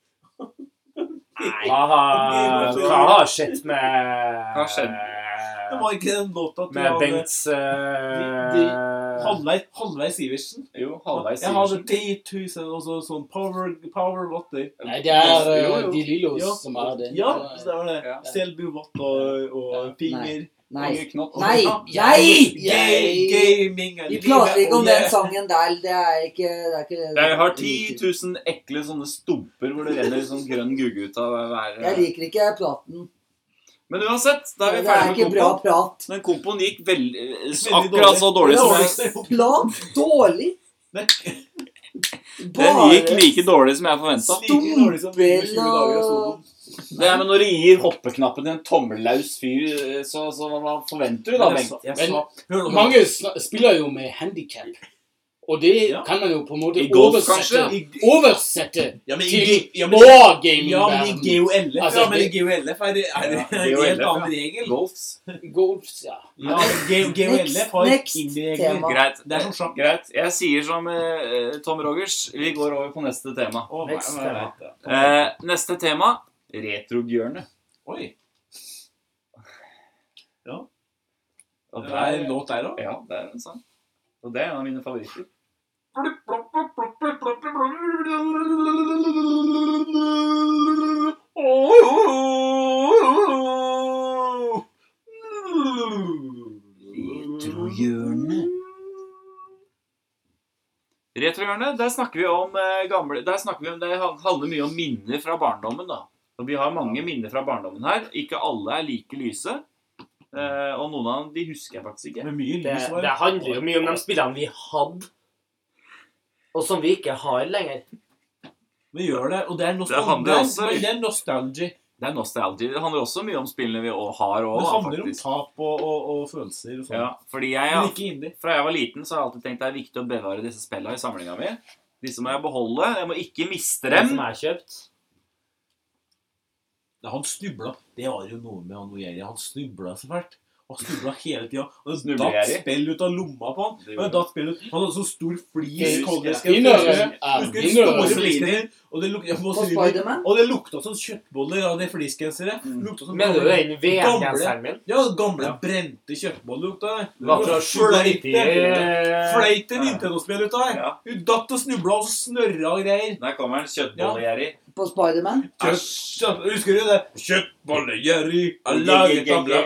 Speaker 6: Hva har- hva har skjedd med eh,
Speaker 2: Hva har skjedd?
Speaker 1: Det var ikke den låta til
Speaker 6: Med
Speaker 1: han
Speaker 6: Bengts eh,
Speaker 1: halvveis, halvveis Sivertsen.
Speaker 2: Jo, halvveis
Speaker 1: Jeg hadde
Speaker 2: Sivertsen.
Speaker 1: 10 000 og så sånn power, power votter.
Speaker 3: Nei, det er eh,
Speaker 2: Jo, jo.
Speaker 3: De Lillos
Speaker 1: Ja,
Speaker 3: som har det.
Speaker 1: ja stemmer det.
Speaker 2: Ja.
Speaker 1: Selbu vått og, og finger.
Speaker 5: Nei.
Speaker 2: Knott.
Speaker 5: Nei!
Speaker 1: Ga-
Speaker 5: Nei!
Speaker 1: Gaming
Speaker 5: Vi prater ikke om den sangen der. Det er ikke Det er ikke
Speaker 2: Jeg har 10 000 ekle sånne stumper hvor det renner sånn grønn gugge ut av hver
Speaker 5: Jeg liker ikke praten.
Speaker 2: Men uansett, da er
Speaker 5: Det
Speaker 2: vi
Speaker 5: er
Speaker 2: ferdig
Speaker 5: ikke
Speaker 2: med
Speaker 5: bra
Speaker 2: kompoen.
Speaker 5: prat.
Speaker 2: Den kompoen gikk veldig,
Speaker 1: Veldig
Speaker 2: akkurat så dårlig som jeg
Speaker 5: Plat? Dårlig?
Speaker 1: jeg
Speaker 2: Den gikk like dårlig som jeg forventa. Det er med når du gir hoppeknappen til en tommellaus fyr, eh, så, så hva hva forventer du da, Bengt?
Speaker 1: Jeg sa Hør nå.
Speaker 3: Mange sn- spiller jo med handikap. Og det
Speaker 1: Ja.
Speaker 3: kan man jo på en måte
Speaker 2: I golf,
Speaker 3: oversette,
Speaker 2: kanskje,
Speaker 1: I-
Speaker 3: oversette
Speaker 1: Ja, men i-
Speaker 3: til
Speaker 1: ja, men-
Speaker 3: vår
Speaker 1: Ja, men i
Speaker 3: gamingverden.
Speaker 1: GOLF
Speaker 3: Altså,
Speaker 1: ja, men i
Speaker 3: det-
Speaker 1: GOLF er det, er det en
Speaker 2: Ja,
Speaker 1: helt
Speaker 2: GOLF,
Speaker 1: annen regel.
Speaker 2: Golfs.
Speaker 3: Golf, ja.
Speaker 1: Ja, G- GOLF har
Speaker 5: Next
Speaker 1: innregler.
Speaker 5: tema.
Speaker 2: Greit.
Speaker 1: Det er sånn som sjakk.
Speaker 2: Greit. Jeg sier som eh, Tom Rogers, vi går over på neste tema.
Speaker 1: Å, nei,
Speaker 6: Next
Speaker 1: nei, nei, nei.
Speaker 2: Eh, neste tema retrogjørne.
Speaker 1: Oi. Ja, Det er en låt der òg.
Speaker 2: Ja, det er en sang. Og det er en av mine favoritter.
Speaker 5: Retrohjørnet.
Speaker 2: Retrohjørnet, der snakker vi om eh, gamle Der snakker vi om, Det handler mye om minner fra barndommen, da. Og vi har mange minner fra barndommen her. Ikke alle er like lyse. Eh, og noen av dem de husker jeg faktisk ikke.
Speaker 1: Med mye
Speaker 6: Det,
Speaker 1: lys. var
Speaker 6: det handler jo mye om de spillene vi hadde, og som vi ikke har lenger.
Speaker 1: Vi gjør det, og det er
Speaker 2: Det handler også-
Speaker 1: nostalgi. Det er nostalgi.
Speaker 2: Det er nostalgi. Det handler også mye om spillene vi også har
Speaker 1: Det
Speaker 2: òg,
Speaker 1: handler om
Speaker 2: faktisk.
Speaker 1: tap og, og, og følelser og sånn.
Speaker 2: Ja, fordi jeg,
Speaker 1: Men ikke indie.
Speaker 2: Fra jeg var liten, så har jeg alltid tenkt det er viktig å bevare disse spillene i samlinga mi. Disse må jeg beholde. Jeg må ikke miste
Speaker 6: De
Speaker 2: dem.
Speaker 6: som jeg kjøpt.
Speaker 1: Da han snubla Det var jo noe med han Ojeri. Han snubla så fælt. Han snubla hele tida. Og det datt
Speaker 2: Snuble-Jerry.
Speaker 1: spill ut av lomma på han. Og
Speaker 2: Det
Speaker 1: det
Speaker 2: gjorde
Speaker 1: datt spill ut. Han hadde så stor flis.
Speaker 3: Jeg
Speaker 1: kolde-
Speaker 3: husker det. Innøren er
Speaker 1: Husker du store
Speaker 3: innøren.
Speaker 1: flisgensere? Og det lukta,
Speaker 5: På Spiderman.
Speaker 1: og det lukta som kjøttboller av de fleecegensere.
Speaker 2: Mm.
Speaker 1: Lukta som
Speaker 6: Mener du
Speaker 1: gamle-
Speaker 6: den VM-genseren min?
Speaker 1: Ja, gamle
Speaker 2: Ja.
Speaker 1: brente kjøttboller lukta det.
Speaker 6: Var fra
Speaker 1: Fløyte-
Speaker 6: 97
Speaker 1: Fløyte Nintendo-spill ut av det.
Speaker 2: Ja.
Speaker 1: Hun datt og snubla og snørra og greier.
Speaker 2: Der kommer den. Kjøttbolle-Jerry.
Speaker 5: På Spiderman.
Speaker 1: Kjøtt, kjøtt, husker du det? Kjøttbolle-Jerry er laget av blad.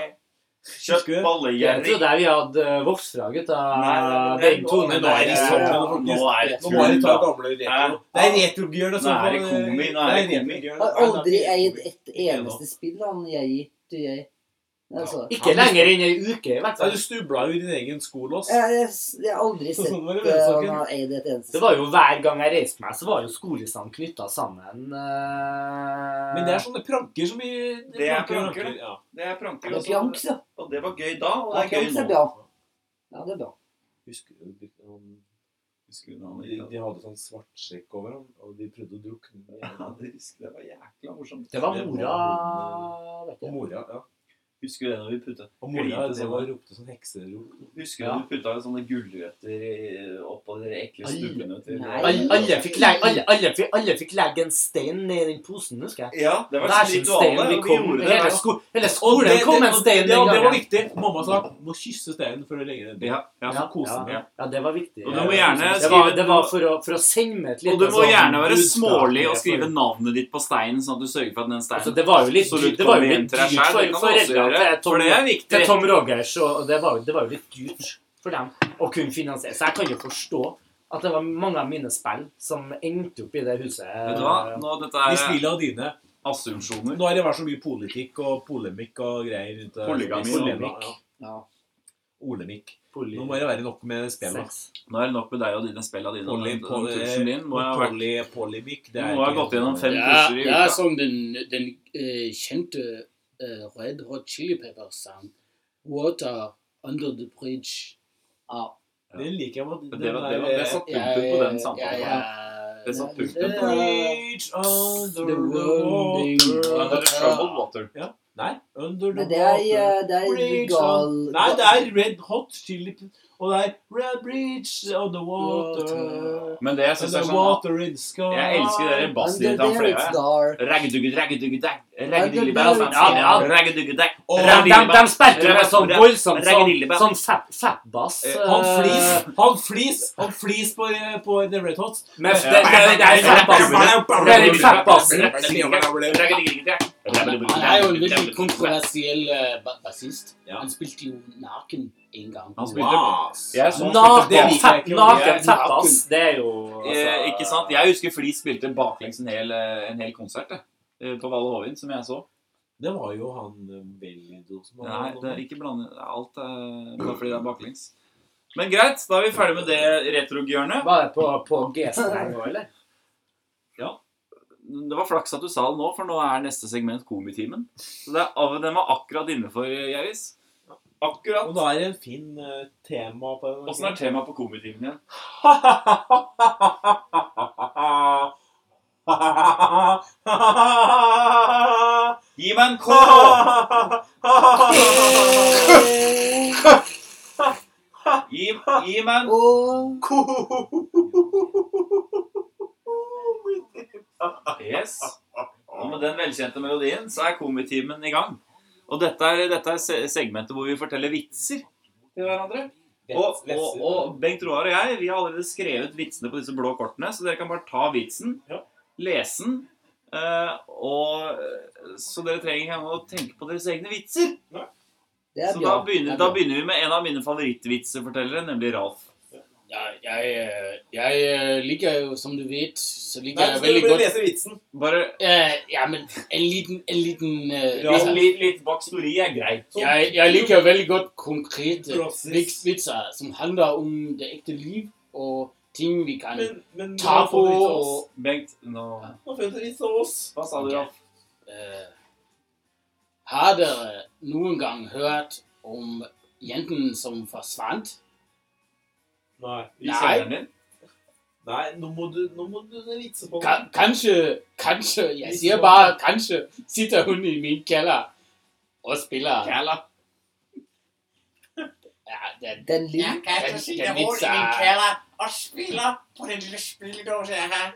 Speaker 6: Jeg
Speaker 2: Kjøttbolle-Jerry.
Speaker 6: trodde vi hadde vokst fra, gutta. Den tonen
Speaker 1: nå er
Speaker 6: der.
Speaker 1: det sånn,
Speaker 6: eh,
Speaker 1: faktisk.
Speaker 2: Nå er det
Speaker 1: Nå må vi
Speaker 2: tull,
Speaker 1: ta
Speaker 2: da.
Speaker 1: gamle retro.
Speaker 2: Ja.
Speaker 1: Det er sånn. retrogear, det.
Speaker 2: Nå er det komi, nå er det komi.
Speaker 5: Har aldri eid et eneste spill han jeg gitt du jeg. Altså,
Speaker 6: Ikke lenger enn ei uke, i hvert
Speaker 1: Nei,
Speaker 6: fall.
Speaker 1: du snubla jo i din egen skolås.
Speaker 5: jeg, jeg, jeg har aldri sett
Speaker 1: Sånn var det
Speaker 5: eh,
Speaker 1: vedtaket.
Speaker 5: han har eid et eneste
Speaker 6: Det var jo Hver gang jeg reiste meg, så var jo skolissene knytta sammen. eh,
Speaker 1: Men det er sånn- sånne pranker som vi
Speaker 2: Det er pranker, det.
Speaker 1: Ja.
Speaker 2: Det er pranker.
Speaker 5: spill. Det er Pjanks, ja.
Speaker 2: Og det var gøy da, og
Speaker 5: Ja,
Speaker 2: det
Speaker 5: Pjanks
Speaker 2: er gøy
Speaker 5: er
Speaker 2: nå.
Speaker 5: bra. Ja, det er bra.
Speaker 1: Husker du de, om-
Speaker 2: Husker du
Speaker 1: de,
Speaker 2: navnet?
Speaker 1: de hadde sånn svartsekk over ham, og de prøvde å drukne den
Speaker 2: Ja,
Speaker 1: igjen.
Speaker 2: det husker jeg. Det var jækla morsomt.
Speaker 6: Det var mora
Speaker 1: Og
Speaker 6: vet du.
Speaker 1: mora, ja.
Speaker 2: Husker du det når vi putta
Speaker 1: Og mora
Speaker 2: Grinte
Speaker 1: det
Speaker 2: sånn.
Speaker 1: var, ropte sånn hekserop.
Speaker 2: Husker
Speaker 6: Ja.
Speaker 2: du du putta sånne gulrøtter i- oppå de ekle
Speaker 6: Alle-
Speaker 2: stubbene til
Speaker 5: nei.
Speaker 6: Alle, alle, fikk legge, alle, alle, fikk, alle fikk legge en stein ned i den posen, husker jeg.
Speaker 2: Ja, det var
Speaker 6: Hver
Speaker 2: et
Speaker 6: sin
Speaker 2: ritual,
Speaker 6: stein
Speaker 2: og
Speaker 6: vi
Speaker 2: vi
Speaker 6: kom
Speaker 2: gjorde det.
Speaker 6: Hele,
Speaker 2: ja.
Speaker 6: sko, hele
Speaker 1: Og
Speaker 6: skolen kom en stein
Speaker 1: det, det
Speaker 6: den
Speaker 1: var
Speaker 6: gangen.
Speaker 1: viktig. Mamma sa må kysse steinen før du legger den.
Speaker 2: Ja, ja.
Speaker 1: Ja, kose
Speaker 6: ja.
Speaker 1: meg.
Speaker 6: Ja, det var viktig.
Speaker 2: Og du må gjerne
Speaker 6: det var,
Speaker 2: skrive-
Speaker 6: det var for, å, for å sende med et
Speaker 2: Og
Speaker 6: lite
Speaker 2: du må
Speaker 6: sånn
Speaker 2: gjerne være
Speaker 6: budskap
Speaker 2: smålig
Speaker 6: med
Speaker 2: og skrive
Speaker 6: for-
Speaker 2: navnet ditt på steinen, sånn at du sørger for at den steinen
Speaker 6: Altså, det var jo litt,
Speaker 2: absolutt
Speaker 6: det var jo
Speaker 2: kommer hjem
Speaker 6: litt
Speaker 2: til
Speaker 6: dyrt
Speaker 2: deg
Speaker 6: for
Speaker 2: selv. Det kan man også
Speaker 6: foreldrene
Speaker 2: gjøre,
Speaker 6: til
Speaker 2: for
Speaker 6: Tom,
Speaker 2: det er
Speaker 6: til
Speaker 2: viktig.
Speaker 6: Tom Rogers, og det var, jo- det var jo litt dyrt for dem å kunne finansiere. Så jeg kan jo forstå at det var mange av mine spill som endte opp i det huset.
Speaker 2: Vet du hva? Nå, dette
Speaker 1: De
Speaker 2: er
Speaker 1: spilla dine.
Speaker 2: assumpsjoner.
Speaker 1: Nå har det vært så mye politikk og polemikk og greier rundt det.
Speaker 2: Polygami.
Speaker 1: Polemikk. Ja.
Speaker 5: Ja.
Speaker 1: Olemikk.
Speaker 6: Poly-
Speaker 1: Nå må det være nok med spillene.
Speaker 6: sex.
Speaker 2: Nå er det nok med deg og dine spillene dine.
Speaker 1: Poly,
Speaker 2: og
Speaker 1: poly,
Speaker 2: kursen din må ha vært
Speaker 1: poly, polymikk.
Speaker 2: Nå har jeg gått gjennom fem
Speaker 3: Ja,
Speaker 2: kurser i
Speaker 3: ja,
Speaker 2: uka.
Speaker 3: som den, den eh, kjente eh, Red Hot Chili Peppers-sang. Water Under the Bridge.
Speaker 5: Ja.
Speaker 1: Den liker jeg. men
Speaker 2: Det,
Speaker 1: den
Speaker 2: var,
Speaker 1: der,
Speaker 2: det, var, det satt punktum på den samtalen.
Speaker 3: Ja,
Speaker 2: her.
Speaker 3: ja.
Speaker 2: Det satt
Speaker 1: The
Speaker 2: punktum.
Speaker 1: bridge under the
Speaker 2: Under
Speaker 1: water
Speaker 2: the troubled water.
Speaker 1: Nei, under the
Speaker 5: Men det er,
Speaker 1: water.
Speaker 5: eh, det er
Speaker 1: Bridge
Speaker 5: legal
Speaker 1: on- Nei, det er Red Hot Chili Pe- Og det er Red Bridge on the water.
Speaker 2: Men det jeg
Speaker 1: And
Speaker 2: synes er
Speaker 1: the
Speaker 2: sånn
Speaker 1: water in sky.
Speaker 2: Jeg elsker det der
Speaker 5: Under
Speaker 2: bassgitar
Speaker 5: there
Speaker 2: fløya.
Speaker 5: it's dark.
Speaker 2: Raggeduggedaggeduggedag.
Speaker 5: Under there it's
Speaker 6: Ja,
Speaker 5: dark.
Speaker 2: Raggeduggedag.
Speaker 1: Og
Speaker 6: De, de, de spilte jo med sånn
Speaker 2: Raggedille-
Speaker 6: voldsom sånn,
Speaker 2: Raggedille-
Speaker 6: sånn fat- fatbass.
Speaker 2: Eh,
Speaker 1: Han flis,
Speaker 6: eh,
Speaker 1: han flis, han flis på, på The Red Hot.
Speaker 6: Men
Speaker 2: Eh,
Speaker 6: det, det, det, det er fatbassen. Det er den fatbassen.
Speaker 3: Han er jo en veldig kontroversiell eh, ba- bassist.
Speaker 1: Ja.
Speaker 3: Han spilte jo naken en gang.
Speaker 2: Han spilte-
Speaker 1: Wow.
Speaker 2: Jeg så-
Speaker 1: Det
Speaker 6: Naken
Speaker 1: liker jeg
Speaker 6: fat-
Speaker 1: ikke.
Speaker 6: naken
Speaker 2: Jeg-
Speaker 6: fatbass. Det er jo
Speaker 2: sånn-
Speaker 6: altså-
Speaker 2: Eh, Ikke sant? Jeg husker Flis spilte baklengs en hel, eh, en hel konsert jeg, eh, på Valle Hovin, som jeg så.
Speaker 1: Det var jo han eh, Bellido som
Speaker 2: Nei, det er ikke blande alt eh, bare fordi det er baklengs. Men greit, da er vi ferdig med det retrogjørnet.
Speaker 6: Var det på, på G-streng òg, eller?
Speaker 2: Det var flaks at du sa det nå, for nå er neste segment Komitimen. Så det er, av- den var akkurat innenfor, Jerris.
Speaker 1: Og
Speaker 2: Akkurat.
Speaker 1: da er det en fin eh, tema på den.
Speaker 2: Åssen er temaet på Komitimen igjen? Gi meg en K! Gi, gi meg en
Speaker 5: Og
Speaker 2: Yes. Og med den velkjente melodien så er Komitimen i gang. Og dette er, dette er se- segmentet hvor vi forteller vitser. til hverandre. Og,
Speaker 7: Vets-
Speaker 2: og,
Speaker 7: vetser.
Speaker 2: og Bengt Roar og jeg vi har allerede skrevet vitsene på disse blå kortene, så dere kan bare ta vitsen,
Speaker 1: Ja.
Speaker 2: lese den, eh, og, eh, så dere trenger ikke engang å tenke på deres egne vitser.
Speaker 5: Det er
Speaker 2: Så da
Speaker 5: bra.
Speaker 2: begynner,
Speaker 5: Det er
Speaker 2: da
Speaker 5: bra.
Speaker 2: begynner vi med en av mine favorittvitsefortellere, nemlig Ralf.
Speaker 3: Ja, jeg, eh, jeg eh, liker jo, som du vet, så liker
Speaker 7: Nei,
Speaker 3: jeg
Speaker 7: så
Speaker 3: veldig
Speaker 7: du bør
Speaker 3: godt
Speaker 7: lese vitsen.
Speaker 2: Bare
Speaker 3: Eh, Ja, men en liten, en liten eh,
Speaker 1: Ja.
Speaker 2: litt,
Speaker 3: vits-
Speaker 2: litt, litt bakstori er greit.
Speaker 3: jeg, jeg liker veldig godt konkrete
Speaker 1: Prosess.
Speaker 3: vits- vitser som handler om det ekte liv og ting vi kan
Speaker 1: Men, men
Speaker 3: ta på og
Speaker 2: Bengt, nå
Speaker 7: Nå følte vi så oss.
Speaker 2: Hva sa du,
Speaker 3: Ok.
Speaker 2: Ralf?
Speaker 3: Eh, Har dere noen gang hørt om jenten som forsvant?
Speaker 1: Nei.
Speaker 2: I
Speaker 3: Nei.
Speaker 2: kjelleren din?
Speaker 7: Nei, nå må du, nå må du vitse på.
Speaker 3: Ka kanskje, kanskje, jeg sier bare kanskje, sitter hun i min kjeller og spiller. Kjeller? Ja, den,
Speaker 5: Den
Speaker 4: Jeg
Speaker 5: lyden
Speaker 4: kan ikke
Speaker 3: Den-
Speaker 4: sitte
Speaker 3: den
Speaker 4: hvor i
Speaker 3: vitsen
Speaker 4: min
Speaker 3: er-
Speaker 4: kjeller og spille på den lille spilledåsa her.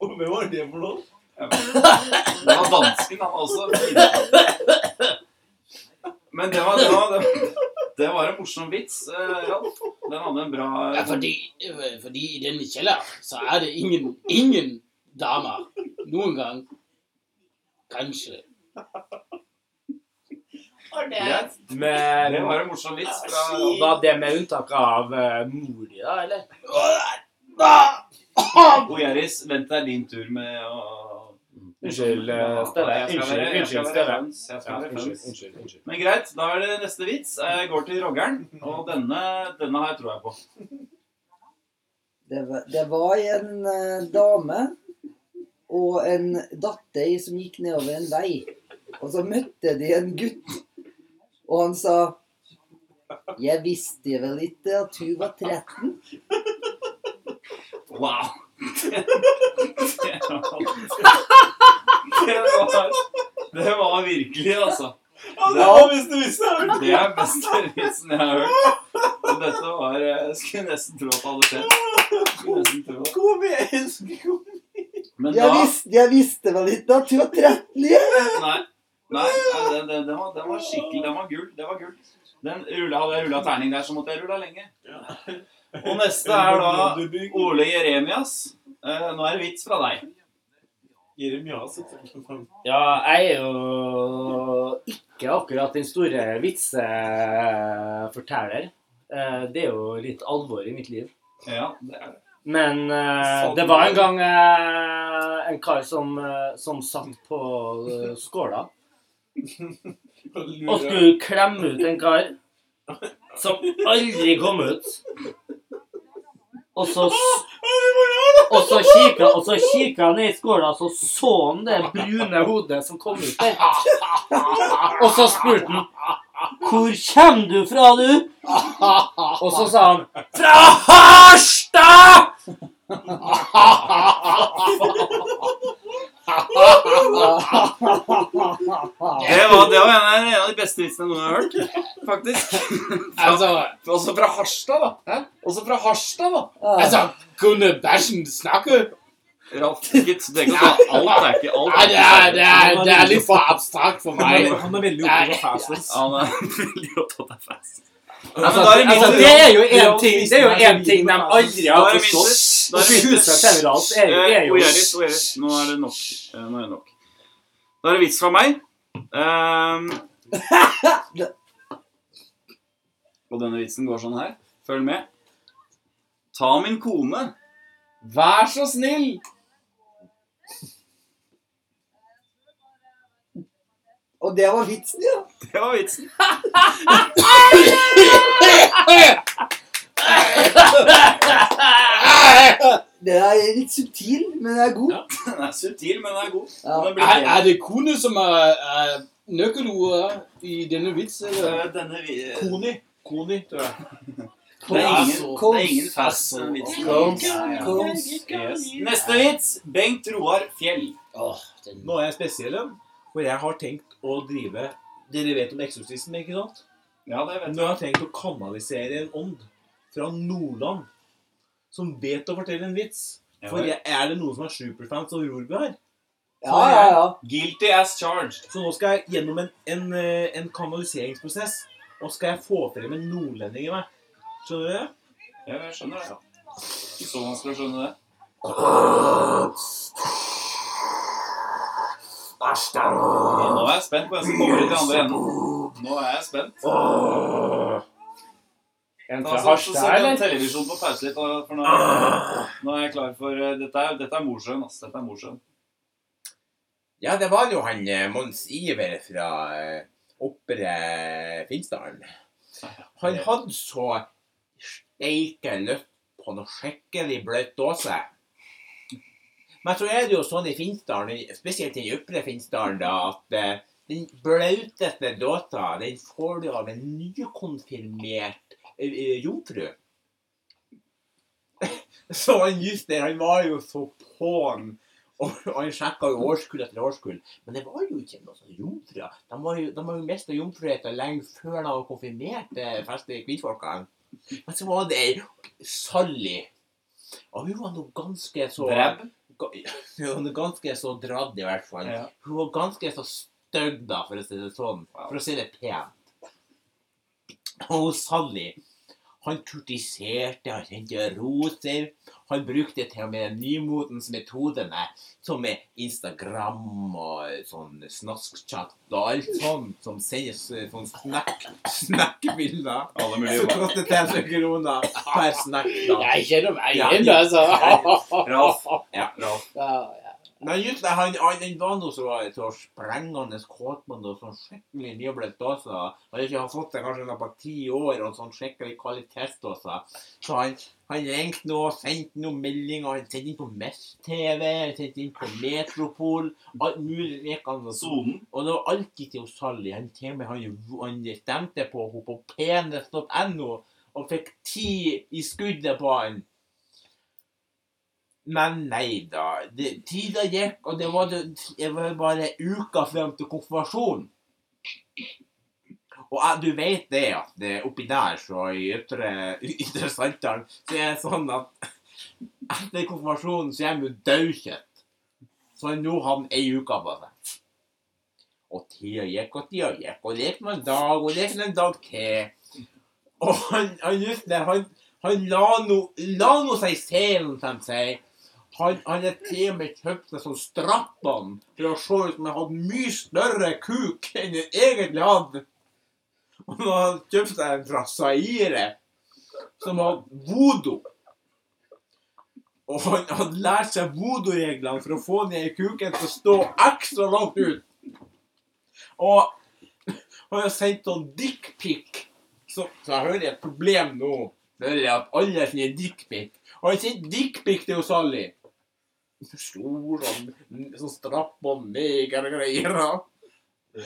Speaker 7: Og Hvem var det for noe?
Speaker 2: Det var dansken, han også. Men det var, det var, det var, det var en morsom vits, eh, Ralf. Den hadde en bra
Speaker 3: ja, fordi, eh, fordi i denne kjeller så er det ingen, ingen damer noen gang. Kanskje.
Speaker 4: Og det er
Speaker 2: Greit.
Speaker 6: Men
Speaker 2: Det var en morsom vits fra Ralf.
Speaker 6: var det med unntak av uh, mor di, da, eller?
Speaker 2: Bojeris, vent det er din tur med å
Speaker 6: Unnskyld, eh, Stelle.
Speaker 2: Jeg skal
Speaker 6: Unnskyld,
Speaker 2: være- jeg skal
Speaker 6: unnskyld,
Speaker 2: være
Speaker 6: Stelle.
Speaker 2: fans. Jeg skal
Speaker 6: Ja,
Speaker 2: være
Speaker 6: unnskyld,
Speaker 2: fans.
Speaker 6: unnskyld, unnskyld.
Speaker 2: Men greit, da er det neste vits. Jeg går til Roggeren,
Speaker 6: Mhm.
Speaker 2: og denne, denne har jeg troa på.
Speaker 5: Det var, det var en eh, dame og en datter som gikk nedover en vei. Og så møtte de en gutt, og han sa Jeg visste vel ikke at hun var 13.
Speaker 2: Wow! Det var, det var virkelig, altså. Det
Speaker 7: Ja,
Speaker 2: er-
Speaker 7: hvis du visste det!
Speaker 2: Det er beste vitsen jeg har hørt. Og dette var Jeg skulle nesten tro at det hadde skjedd. Skulle nesten tro det.
Speaker 7: Kom igjen! kom igjen.
Speaker 2: Men da
Speaker 5: Jeg visste, jeg visste vel ikke at hun var 13! Jeg.
Speaker 2: Nei. Nei, nei, den, den, den, var, den var skikkelig Den var gull. Den var gull. Den rulla, hadde jeg rulla terning der, så måtte jeg rulla lenge. Og neste er da Ole Jeremias. Eh, nå er det vits fra deg.
Speaker 7: Jeremias sitter
Speaker 6: Ja, jeg er jo ikke akkurat den store vitseforteller. Eh, Det er jo litt alvor i mitt liv.
Speaker 2: Ja, det er det.
Speaker 6: Men eh,
Speaker 7: Sånn.
Speaker 6: det var en gang eh, en kar som, eh, som satt på eh, skåla og skulle klemme ut en kar som aldri kom ut. Og så, og så kikka og så kikka han ned i skåla, så så han det brune hodet som kom ut der. Og så spurte han Hvor kommer du fra, du? Og så sa han Fra Harstad!
Speaker 2: Det var, det var en, av- en av de beste vitsene jeg noen gang har hørt, faktisk.
Speaker 3: Altså,
Speaker 2: Også fra Harstad, da. Hæ? Også fra Harstad, da.
Speaker 3: altså kunne bæsjen snakke?
Speaker 2: Ralf, ikke tenk å ta alt. er ikke alt.
Speaker 3: Nei, det er, det er, det er litt for abstrakt for
Speaker 1: Han
Speaker 3: meg.
Speaker 1: er, han er veldig opptatt av fastness.
Speaker 2: Han er veldig opptatt av fast. Nei, men
Speaker 6: Altså,
Speaker 2: da er det min
Speaker 6: altså,
Speaker 2: tur.
Speaker 6: det er jo en ting, det er jo en ting de aldri
Speaker 2: Da
Speaker 6: har
Speaker 2: er det min
Speaker 6: forstått.
Speaker 2: tur. Da er
Speaker 6: Og
Speaker 2: det min tur.
Speaker 6: huset Fenrals er, er
Speaker 2: Eh,
Speaker 6: jo
Speaker 2: Ojeris, Ojeris. Nå er det nok. Eh, Nå er det nok. Da er det vits fra meg. Ehm. og denne vitsen går sånn her. Følg med. Ta min kone. Vær så snill.
Speaker 5: Og det var vitsen, ja.
Speaker 2: Det var vitsen.
Speaker 5: Den er litt subtil, men den er god.
Speaker 2: Den er subtil, men den er god.
Speaker 5: Ja.
Speaker 2: Den blir
Speaker 3: Er,
Speaker 2: bedre.
Speaker 3: er det kone som er, er nøkkelordet i denne vitsen? eller?
Speaker 2: Eh, Denne vi-
Speaker 1: Koni. Koni, tror jeg.
Speaker 2: Det er ingen,
Speaker 5: Kons-
Speaker 2: det er ingen fast
Speaker 5: kons-
Speaker 2: den vitsen.
Speaker 5: kons-
Speaker 2: Ja, ja.
Speaker 5: kons.
Speaker 2: Yes. Neste vits. Bengt Roar Fjell.
Speaker 3: Åh, den...
Speaker 1: Nå er jeg spesiell en, for jeg har tenkt å drive Dere vet om eksorsismen, ikke sant?
Speaker 2: Ja, det
Speaker 1: Nå har jeg tenkt å kanalisere en ånd fra Nordland som vet å fortelle en vits. For jeg, er det noen som er superfans av Rorbu her?
Speaker 5: Ja, ja, ja.
Speaker 2: Guilty as charged.
Speaker 1: Så nå skal jeg gjennom en, en, eh, en kanaliseringsprosess Og skal jeg få frem en nordlending i meg? Skjønner du?
Speaker 2: Ja, jeg skjønner det. ja. Ikke så vanskelig å skjønne det. Ok, Nå er jeg spent på hvem som kommer ut i andre enden. Nå er jeg spent.
Speaker 6: En
Speaker 2: Ta
Speaker 6: fra
Speaker 2: så- så
Speaker 6: Harstad,
Speaker 2: Sett en
Speaker 6: eller?
Speaker 2: televisjon på pause litt, og- for nå er, nå er jeg klar for eh, Dette er, dette er Mosjøen, ass. Dette er Mosjøen.
Speaker 8: Ja, det var jo han eh, Mons Iver fra eh, Oppre Finnsdalen. Han hadde så steike løft på noe skikkelig bløtt dåse. Men så er det jo sånn i Finnsdalen, i- spesielt i Oppre Finnsdalen, da, at eh, den blauteste dåsa, den får du av en nykonfirmert eh, eh, jomfru. Så han Juster, han var jo så på'n. Og, og han sjekka jo årskull etter årskull. Men det var jo ikke noe sånn jomfruer. De var jo, de var jo mista jomfruheten lenge før de var konfirmert, de fleste kvinnfolka. Men så var det ei Sally. Og hun var nå ganske så
Speaker 2: Drab.
Speaker 8: ga- Hun var ganske så dradd, i hvert fall.
Speaker 2: Ja.
Speaker 8: Hun var ganske så stygg, da, for å si det sånn. For å si det pent. Og hun Sally han kurtiserte, han sendte roser. Han brukte til og med nymotens metodene, som er Instagram og sånn snaskchat og alt sånt som sendes eh, sånn snack, snackbilder.
Speaker 2: Alle mulige
Speaker 8: Som koster 1000 kroner per snack. da.
Speaker 3: Jeg kjenner meg
Speaker 8: Ja.
Speaker 3: igjen, altså.
Speaker 2: Ralf.
Speaker 8: Ja.
Speaker 2: Ralf.
Speaker 3: Ja, ja.
Speaker 8: Men just det, han, han, han var noe så, så sprengende kåtmann og sånn skikkelig nybløtt også. Han ikke har fått seg kanskje noe på ti år og sånn skikkelig kvalitet også. Så han, han ringte nå og sendte noen meldinger. Han sendte inn på Mest-TV, han sendte inn på Metropol. Alt mulig lekende. og sånn.
Speaker 2: Sonen.
Speaker 8: Og det var alltid til Sally. Han, til og med, han, han stemte på henne på penis.no og fikk ti i skuddet på han. Men nei da. Det, tida gikk, og det var, det, det var bare uka frem til konfirmasjonen. Og jeg, du vet det at det, oppi der, så i Ytre, ytre Saltdal, så er det sånn at etter konfirmasjonen så er de jo daukjøtt. Så nå har han ei uke på seg. Og tida gikk og tida gikk, og det gikk noen dag, og det gikk noen dag til. Og han, han just der, han, han la nå la nå seg i selen, som de sier. Han han hadde til og med kjøpt seg sånn strappene for å se ut som han hadde mye større kuk enn han egentlig hadde. Og han hadde kjøpt seg en fra Zaire som hadde voodoo. Og han hadde lært seg voodoo-reglene for å få ned kuken til å stå ekstra langt ut. Og han har sendt sånn dickpic. Så, så jeg hører et problem nå. Det er at alle sier dickpic. Og han sier dickpic til jo Sally. Stor og sånn strapp og neger og greier. da.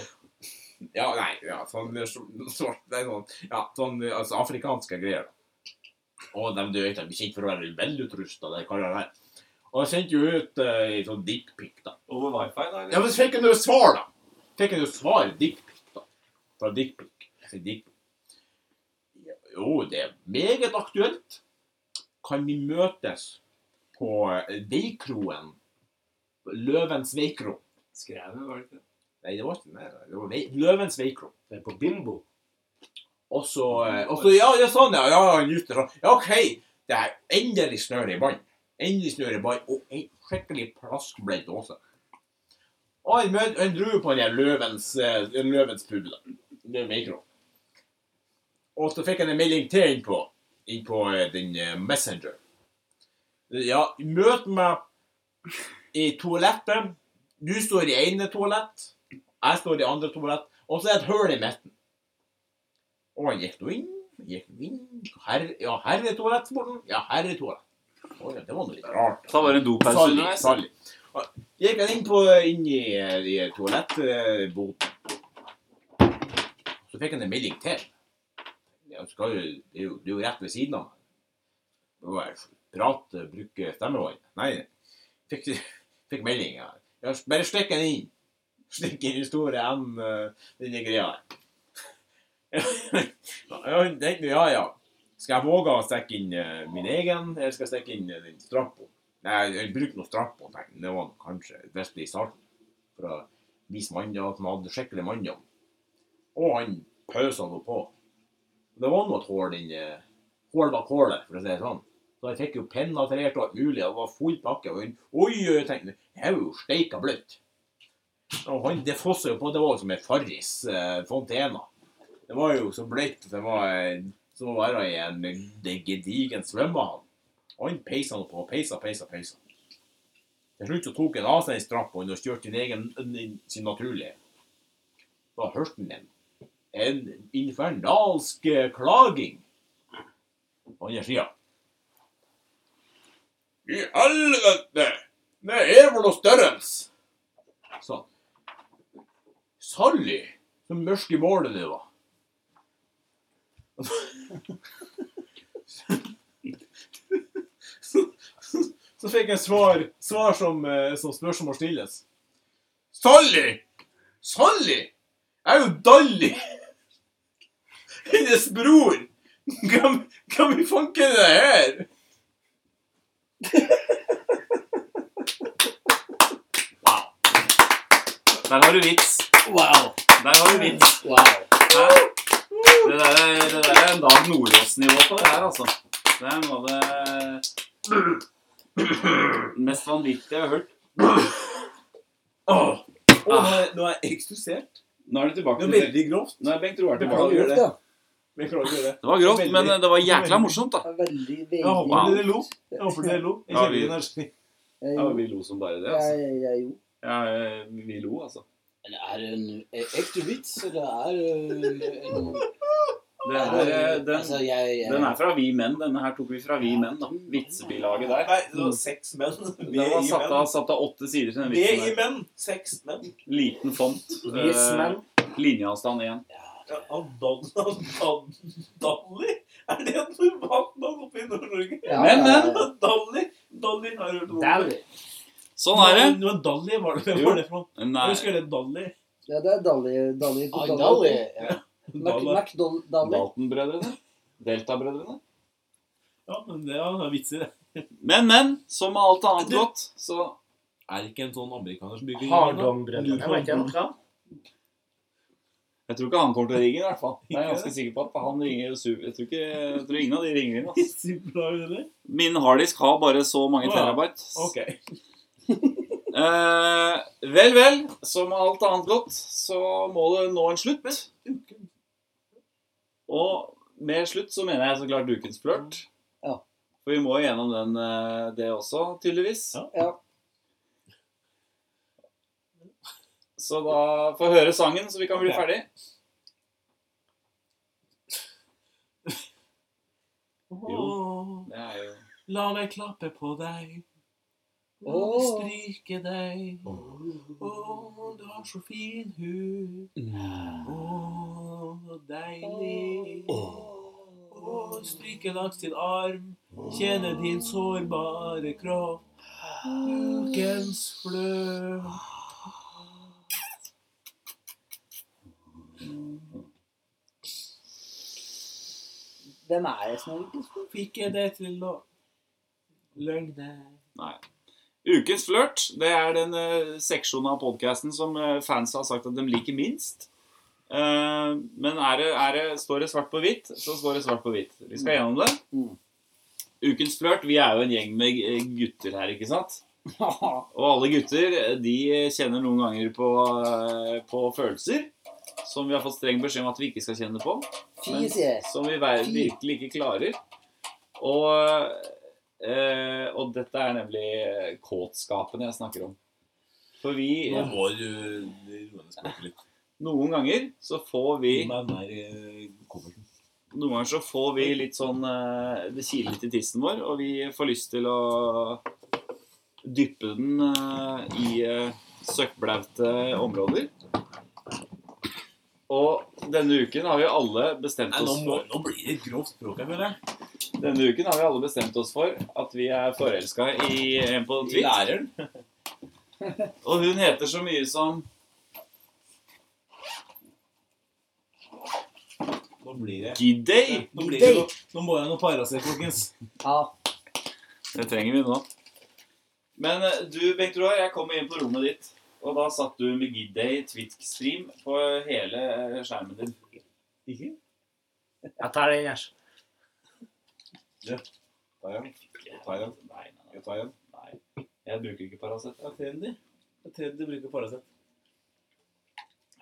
Speaker 8: Ja, nei, ja, sånn eh, så- svart Nei, sånn, ja, sånn eh, altså, afrikanske greier. da. Og de du vet, de er kjent for å være velutrusta, de karene her. Og jeg sendte jo ut eh, en sånn dickpic, da.
Speaker 2: Over wifi, da? eller?
Speaker 8: Ja, men så fikk han jo svar, da. Fikk han jo svar dickpic, da. Fra dickpic. Så dick- Jo, det er meget aktuelt. Kan vi møtes på eh, Veikroen? Løvens Veikro.
Speaker 2: Skrevet, var det ikke det?
Speaker 8: Nei, det var ikke det. Det var vei, Løvens Veikro.
Speaker 6: Det er på Bimbo.
Speaker 8: Og så, eh, og så ja, ja, sånn, ja. Ja, han lytter sånn. Ja, OK. Det er endelig snør i vann. Endelig snør i vann. Og ei skikkelig plaskbleit også. Og han, mød, han dro på den løvens, eh, den løvens pudel. Det er mikro. Og så fikk han en melding til innpå. Innpå eh, den eh, Messenger. Ja, møt meg i toalettet. Du står i ene toalett. Jeg står i andre toalett. Og så er det et hull i midten. Og han gikk nå inn, gikk nå inn herre, Ja, herretoalett, spurte han. Ja, herretoalett. Å, ja, det var noe litt rart.
Speaker 2: Ta bare en dopause
Speaker 8: Sally,
Speaker 2: underveis.
Speaker 8: Sally. Og Gikk han inn, på, inn i, eh, i toalettboten. Så fikk han en melding til. Ja, du skal jo, det, er jo, det er jo rett ved siden av meg. Det var Prat, eh, bruke stemmehånd. Nei, fikk, fikk melding. Ja. Ja, bare stikk den inn. Stikk inn i store M, eh, denne greia her. Ja, jeg tenkte, ja, ja. Skal jeg våge å stikke inn eh, min egen, eller skal jeg stikke inn eh, den strappa? Nei, jeg brukte noe strapp på den. Det var kanskje best i starten. For å vise mannen at han hadde skikkelig manndom. Og han pausa nå på. Det var noe hull inni Hull bak hullet, for å si det sånn. Så jeg fikk jo penetrert alt mulig, og det var full pakke. Og hun, oi, oi, jeg tenkte det er jo steika bløtt. Og han, det fossa jo på. Det var jo som en farris eh, fontene. Det var jo så bløtt som det var som å være i en gedigen svømmehall. Og han peisa nå på. Peisa, peisa, peisa. Til slutt så tok han av seg en strapp og han kjørte sin egen sin naturlige. Da hørte han den. En infernalsk eh, klaging. På andre sida. I helvete! Det er vel noe størrelse! sa han. Sally, så mørk i målet du var.
Speaker 1: Så fikk jeg svar, svar som, eh, som spørsmål stilles.
Speaker 8: Sally! Sally! Jeg er jo Dolly! Hennes bror! Hvem, hvem i fanken er det her?
Speaker 2: Der har du vits.
Speaker 3: Wow.
Speaker 2: Der har du vits.
Speaker 3: wow.
Speaker 2: Hæ? Det der, er- det der er en Dag Nordås-nivå på det her, altså. Det er noe av det mest vanvittige jeg har hørt.
Speaker 1: Åh,
Speaker 2: nå
Speaker 1: er, jeg ekstrusert.
Speaker 2: Nå er det tilbake
Speaker 1: Det
Speaker 2: til
Speaker 1: er veldig grovt.
Speaker 2: Nå er Bengt Roar tilbake.
Speaker 1: Beklager det.
Speaker 5: da.
Speaker 1: Beklager det.
Speaker 2: Det var grått, men eh, det var jækla morsomt, da.
Speaker 5: Det er Veldig, veldig
Speaker 1: Jeg
Speaker 2: Wow.
Speaker 1: håper dere lo. Jeg håper dere lo. Jeg
Speaker 2: Ja,
Speaker 1: kjenner
Speaker 2: vi-
Speaker 1: energi.
Speaker 5: Jeg,
Speaker 2: Ja, vi lo som bare det, altså.
Speaker 5: jeg, jeg, jo.
Speaker 2: Ja, eh, vi lo, altså.
Speaker 3: Men er det en e- ekte vits, eller er det en, en
Speaker 2: Det er, eh,
Speaker 3: altså,
Speaker 2: den,
Speaker 3: jeg, jeg,
Speaker 2: den er fra Vi Menn. Denne her tok vi fra Vi Menn, da. Vitsebilaget der.
Speaker 7: Nei, det var seks menn. Vi
Speaker 2: Den
Speaker 7: er
Speaker 2: var
Speaker 7: i
Speaker 2: satt av,
Speaker 7: menn.
Speaker 2: satt av åtte sider til den
Speaker 7: Vi er i
Speaker 2: vitsen. der.
Speaker 7: menn. Seks menn.
Speaker 2: Liten font.
Speaker 6: Vis menn.
Speaker 2: eh, Linjeavstand igjen.
Speaker 7: Ja, Adnan- Adnan- Dalli? Er det et normalt navn oppe i Nord-Norge?
Speaker 5: Ja,
Speaker 2: Men, men.
Speaker 5: ja,
Speaker 7: Dalli? Dalli har
Speaker 2: Eh,
Speaker 7: du noe
Speaker 6: Dæven.
Speaker 2: Sånn er det. eh,
Speaker 1: Det var Dalli, var det
Speaker 2: Jo.
Speaker 1: var det for noe?
Speaker 2: Nei.
Speaker 1: Jeg husker det Dalli.
Speaker 5: Ja, det er Dali. Dali,
Speaker 3: Ah, Dali, ja.
Speaker 1: Dali.
Speaker 5: McDonald-Dali.
Speaker 2: Dalton-brødrene. Delta-brødrene.
Speaker 1: Ja, men det er vitser.
Speaker 2: Men, men. Som med alt annet godt, så
Speaker 1: Er det ikke en sånn amerikaner som bygger
Speaker 6: Hardong-brødrene, var ikke det noe?
Speaker 2: Jeg tror ikke han kommer til å ringe, i hvert fall. Jeg er
Speaker 1: Ikke?
Speaker 2: ganske sikker på at han ringer su- Jeg tror, ikke, jeg tror ingen av de ringer inn. ass.
Speaker 1: Superlag, eller?
Speaker 2: Min harddisk har bare så mange
Speaker 1: Å, ja.
Speaker 2: terabyte.
Speaker 1: Ok.
Speaker 2: Eh, vel, vel. Som med alt annet godt, så må det nå en slutt. Og med slutt så mener jeg så klart ukens flørt.
Speaker 5: Ja.
Speaker 2: For vi må jo gjennom den, eh, det også, tydeligvis.
Speaker 1: Ja.
Speaker 5: Ja.
Speaker 2: Så da får jeg høre sangen, så vi kan bli
Speaker 1: Ok.
Speaker 2: ferdig. Jo. Det er jo
Speaker 1: La meg klappe på deg. La
Speaker 5: Åh.
Speaker 1: meg stryke deg. Åh, du har så fin hud. Åh, så deilig. Åh, stryke langs din arm. Kjenne din sårbare kropp. Ukens flørt.
Speaker 5: Hvem er det som har gjort det?
Speaker 1: Fikk jeg deg til å løgne.
Speaker 2: Ukens flørt, det er den eh, seksjonen av podcasten som eh, fans har sagt at de liker minst. Eh, men er det, er det, står det svart på hvitt, så står det svart på hvitt. Vi skal gjennom det.
Speaker 5: Mm.
Speaker 2: Ukens flørt, vi er jo en gjeng med eh, gutter her, ikke sant? Og alle gutter, eh, de kjenner noen ganger på, eh, på følelser som vi har fått streng beskjed om at vi ikke skal kjenne på.
Speaker 5: Fy,
Speaker 2: Men
Speaker 5: sier jeg.
Speaker 2: som vi ver- virkelig ikke klarer. Og, eh, og dette er nemlig eh, kåtskapen jeg snakker om. For vi
Speaker 8: Nå må du roe ned språket litt.
Speaker 2: Noen ganger så får vi
Speaker 1: Den der eh, kofferten.
Speaker 2: Noen ganger så får vi litt sånn eh, Det kiler litt i tissen vår, og vi får lyst til å dyppe den eh, i eh, søkkblaute områder. Og denne uken har vi alle bestemt
Speaker 1: Nei, nå,
Speaker 2: oss
Speaker 1: må,
Speaker 2: for
Speaker 1: nå blir det grovt språk her, føler jeg.
Speaker 2: Denne uken har vi alle bestemt oss for at vi er forelska i en på
Speaker 1: I
Speaker 2: Twitter.
Speaker 1: læreren.
Speaker 2: Og hun heter så mye som
Speaker 1: Nå blir det
Speaker 2: Gidday.
Speaker 1: Nå, blir det, noe- nå må jeg nå pare seg, folkens.
Speaker 5: Ja.
Speaker 2: Det trenger vi nå. Men eh, du, Bengt Roar, jeg kom inn på rommet ditt. Og da satt du med Gidday Twitch-stream på hele eh, skjermen din.
Speaker 1: Ikke?
Speaker 9: Jeg tar den, Ers.
Speaker 8: Ta igjen. Ta igjen. Jeg tar igjen. Nei. Jeg bruker ikke Paracet. Det er trendy. Det er trendy å bruke Paracet.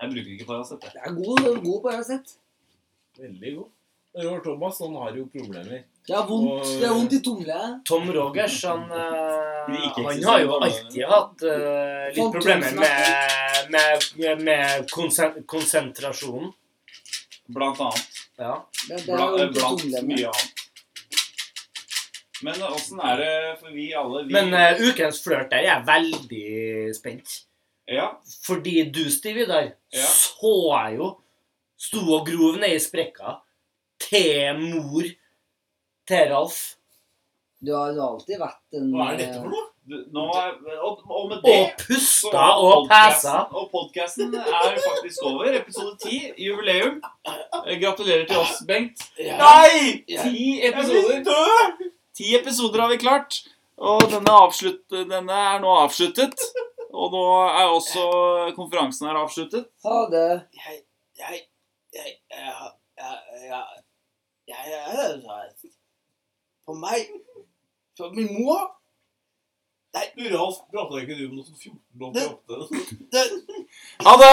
Speaker 8: Jeg bruker ikke Paracet. jeg.
Speaker 5: Det er god, god Paracet.
Speaker 8: Veldig god. Roar Thomas han har jo problemer.
Speaker 5: Det er vondt, det er vondt i tungla.
Speaker 6: Tom Rogers, han, eh,
Speaker 8: Det er ikke
Speaker 6: han
Speaker 8: eksistent,
Speaker 6: har jo
Speaker 8: da, men-
Speaker 6: alltid hatt eh, litt
Speaker 5: Tom
Speaker 6: problemer
Speaker 5: Thomsen,
Speaker 6: med, med, med, med konsen konsentrasjonen.
Speaker 2: Blant annet.
Speaker 6: Ja.
Speaker 5: Det, det er
Speaker 2: Blant,
Speaker 5: vondt i
Speaker 2: blant
Speaker 5: tunglene.
Speaker 2: eh, mye annet. Men eh, åssen er det for vi alle vi,
Speaker 6: Men eh, ukens flørt der jeg er veldig spent.
Speaker 2: Ja.
Speaker 6: Fordi du, Stevie, der
Speaker 2: Ja.
Speaker 6: så jeg jo sto og grov ned i sprekka til mor til Ralf.
Speaker 5: Du har jo alltid vært en
Speaker 8: Hva er dette for noe?
Speaker 2: Du, nå er, og, og med det
Speaker 6: Og
Speaker 2: så
Speaker 6: pusta
Speaker 2: er
Speaker 6: og
Speaker 2: podcasten-
Speaker 6: pæsa.
Speaker 2: Og podkasten er faktisk over. Episode 10, jubileum. Eh, Gratulerer til oss, Bengt. Nei! Ti episoder. Ti episoder har vi klart. Og denne, avslutt, denne er nå avsluttet. Og nå er også konferansen her avsluttet.
Speaker 5: eh, Ha det.
Speaker 3: Jeg Jeg Jeg Jeg, jeg, jeg er altså For meg For min mor
Speaker 1: Du, Ralf, prata ikke du om noe sånt 14
Speaker 3: det,
Speaker 2: Ha det!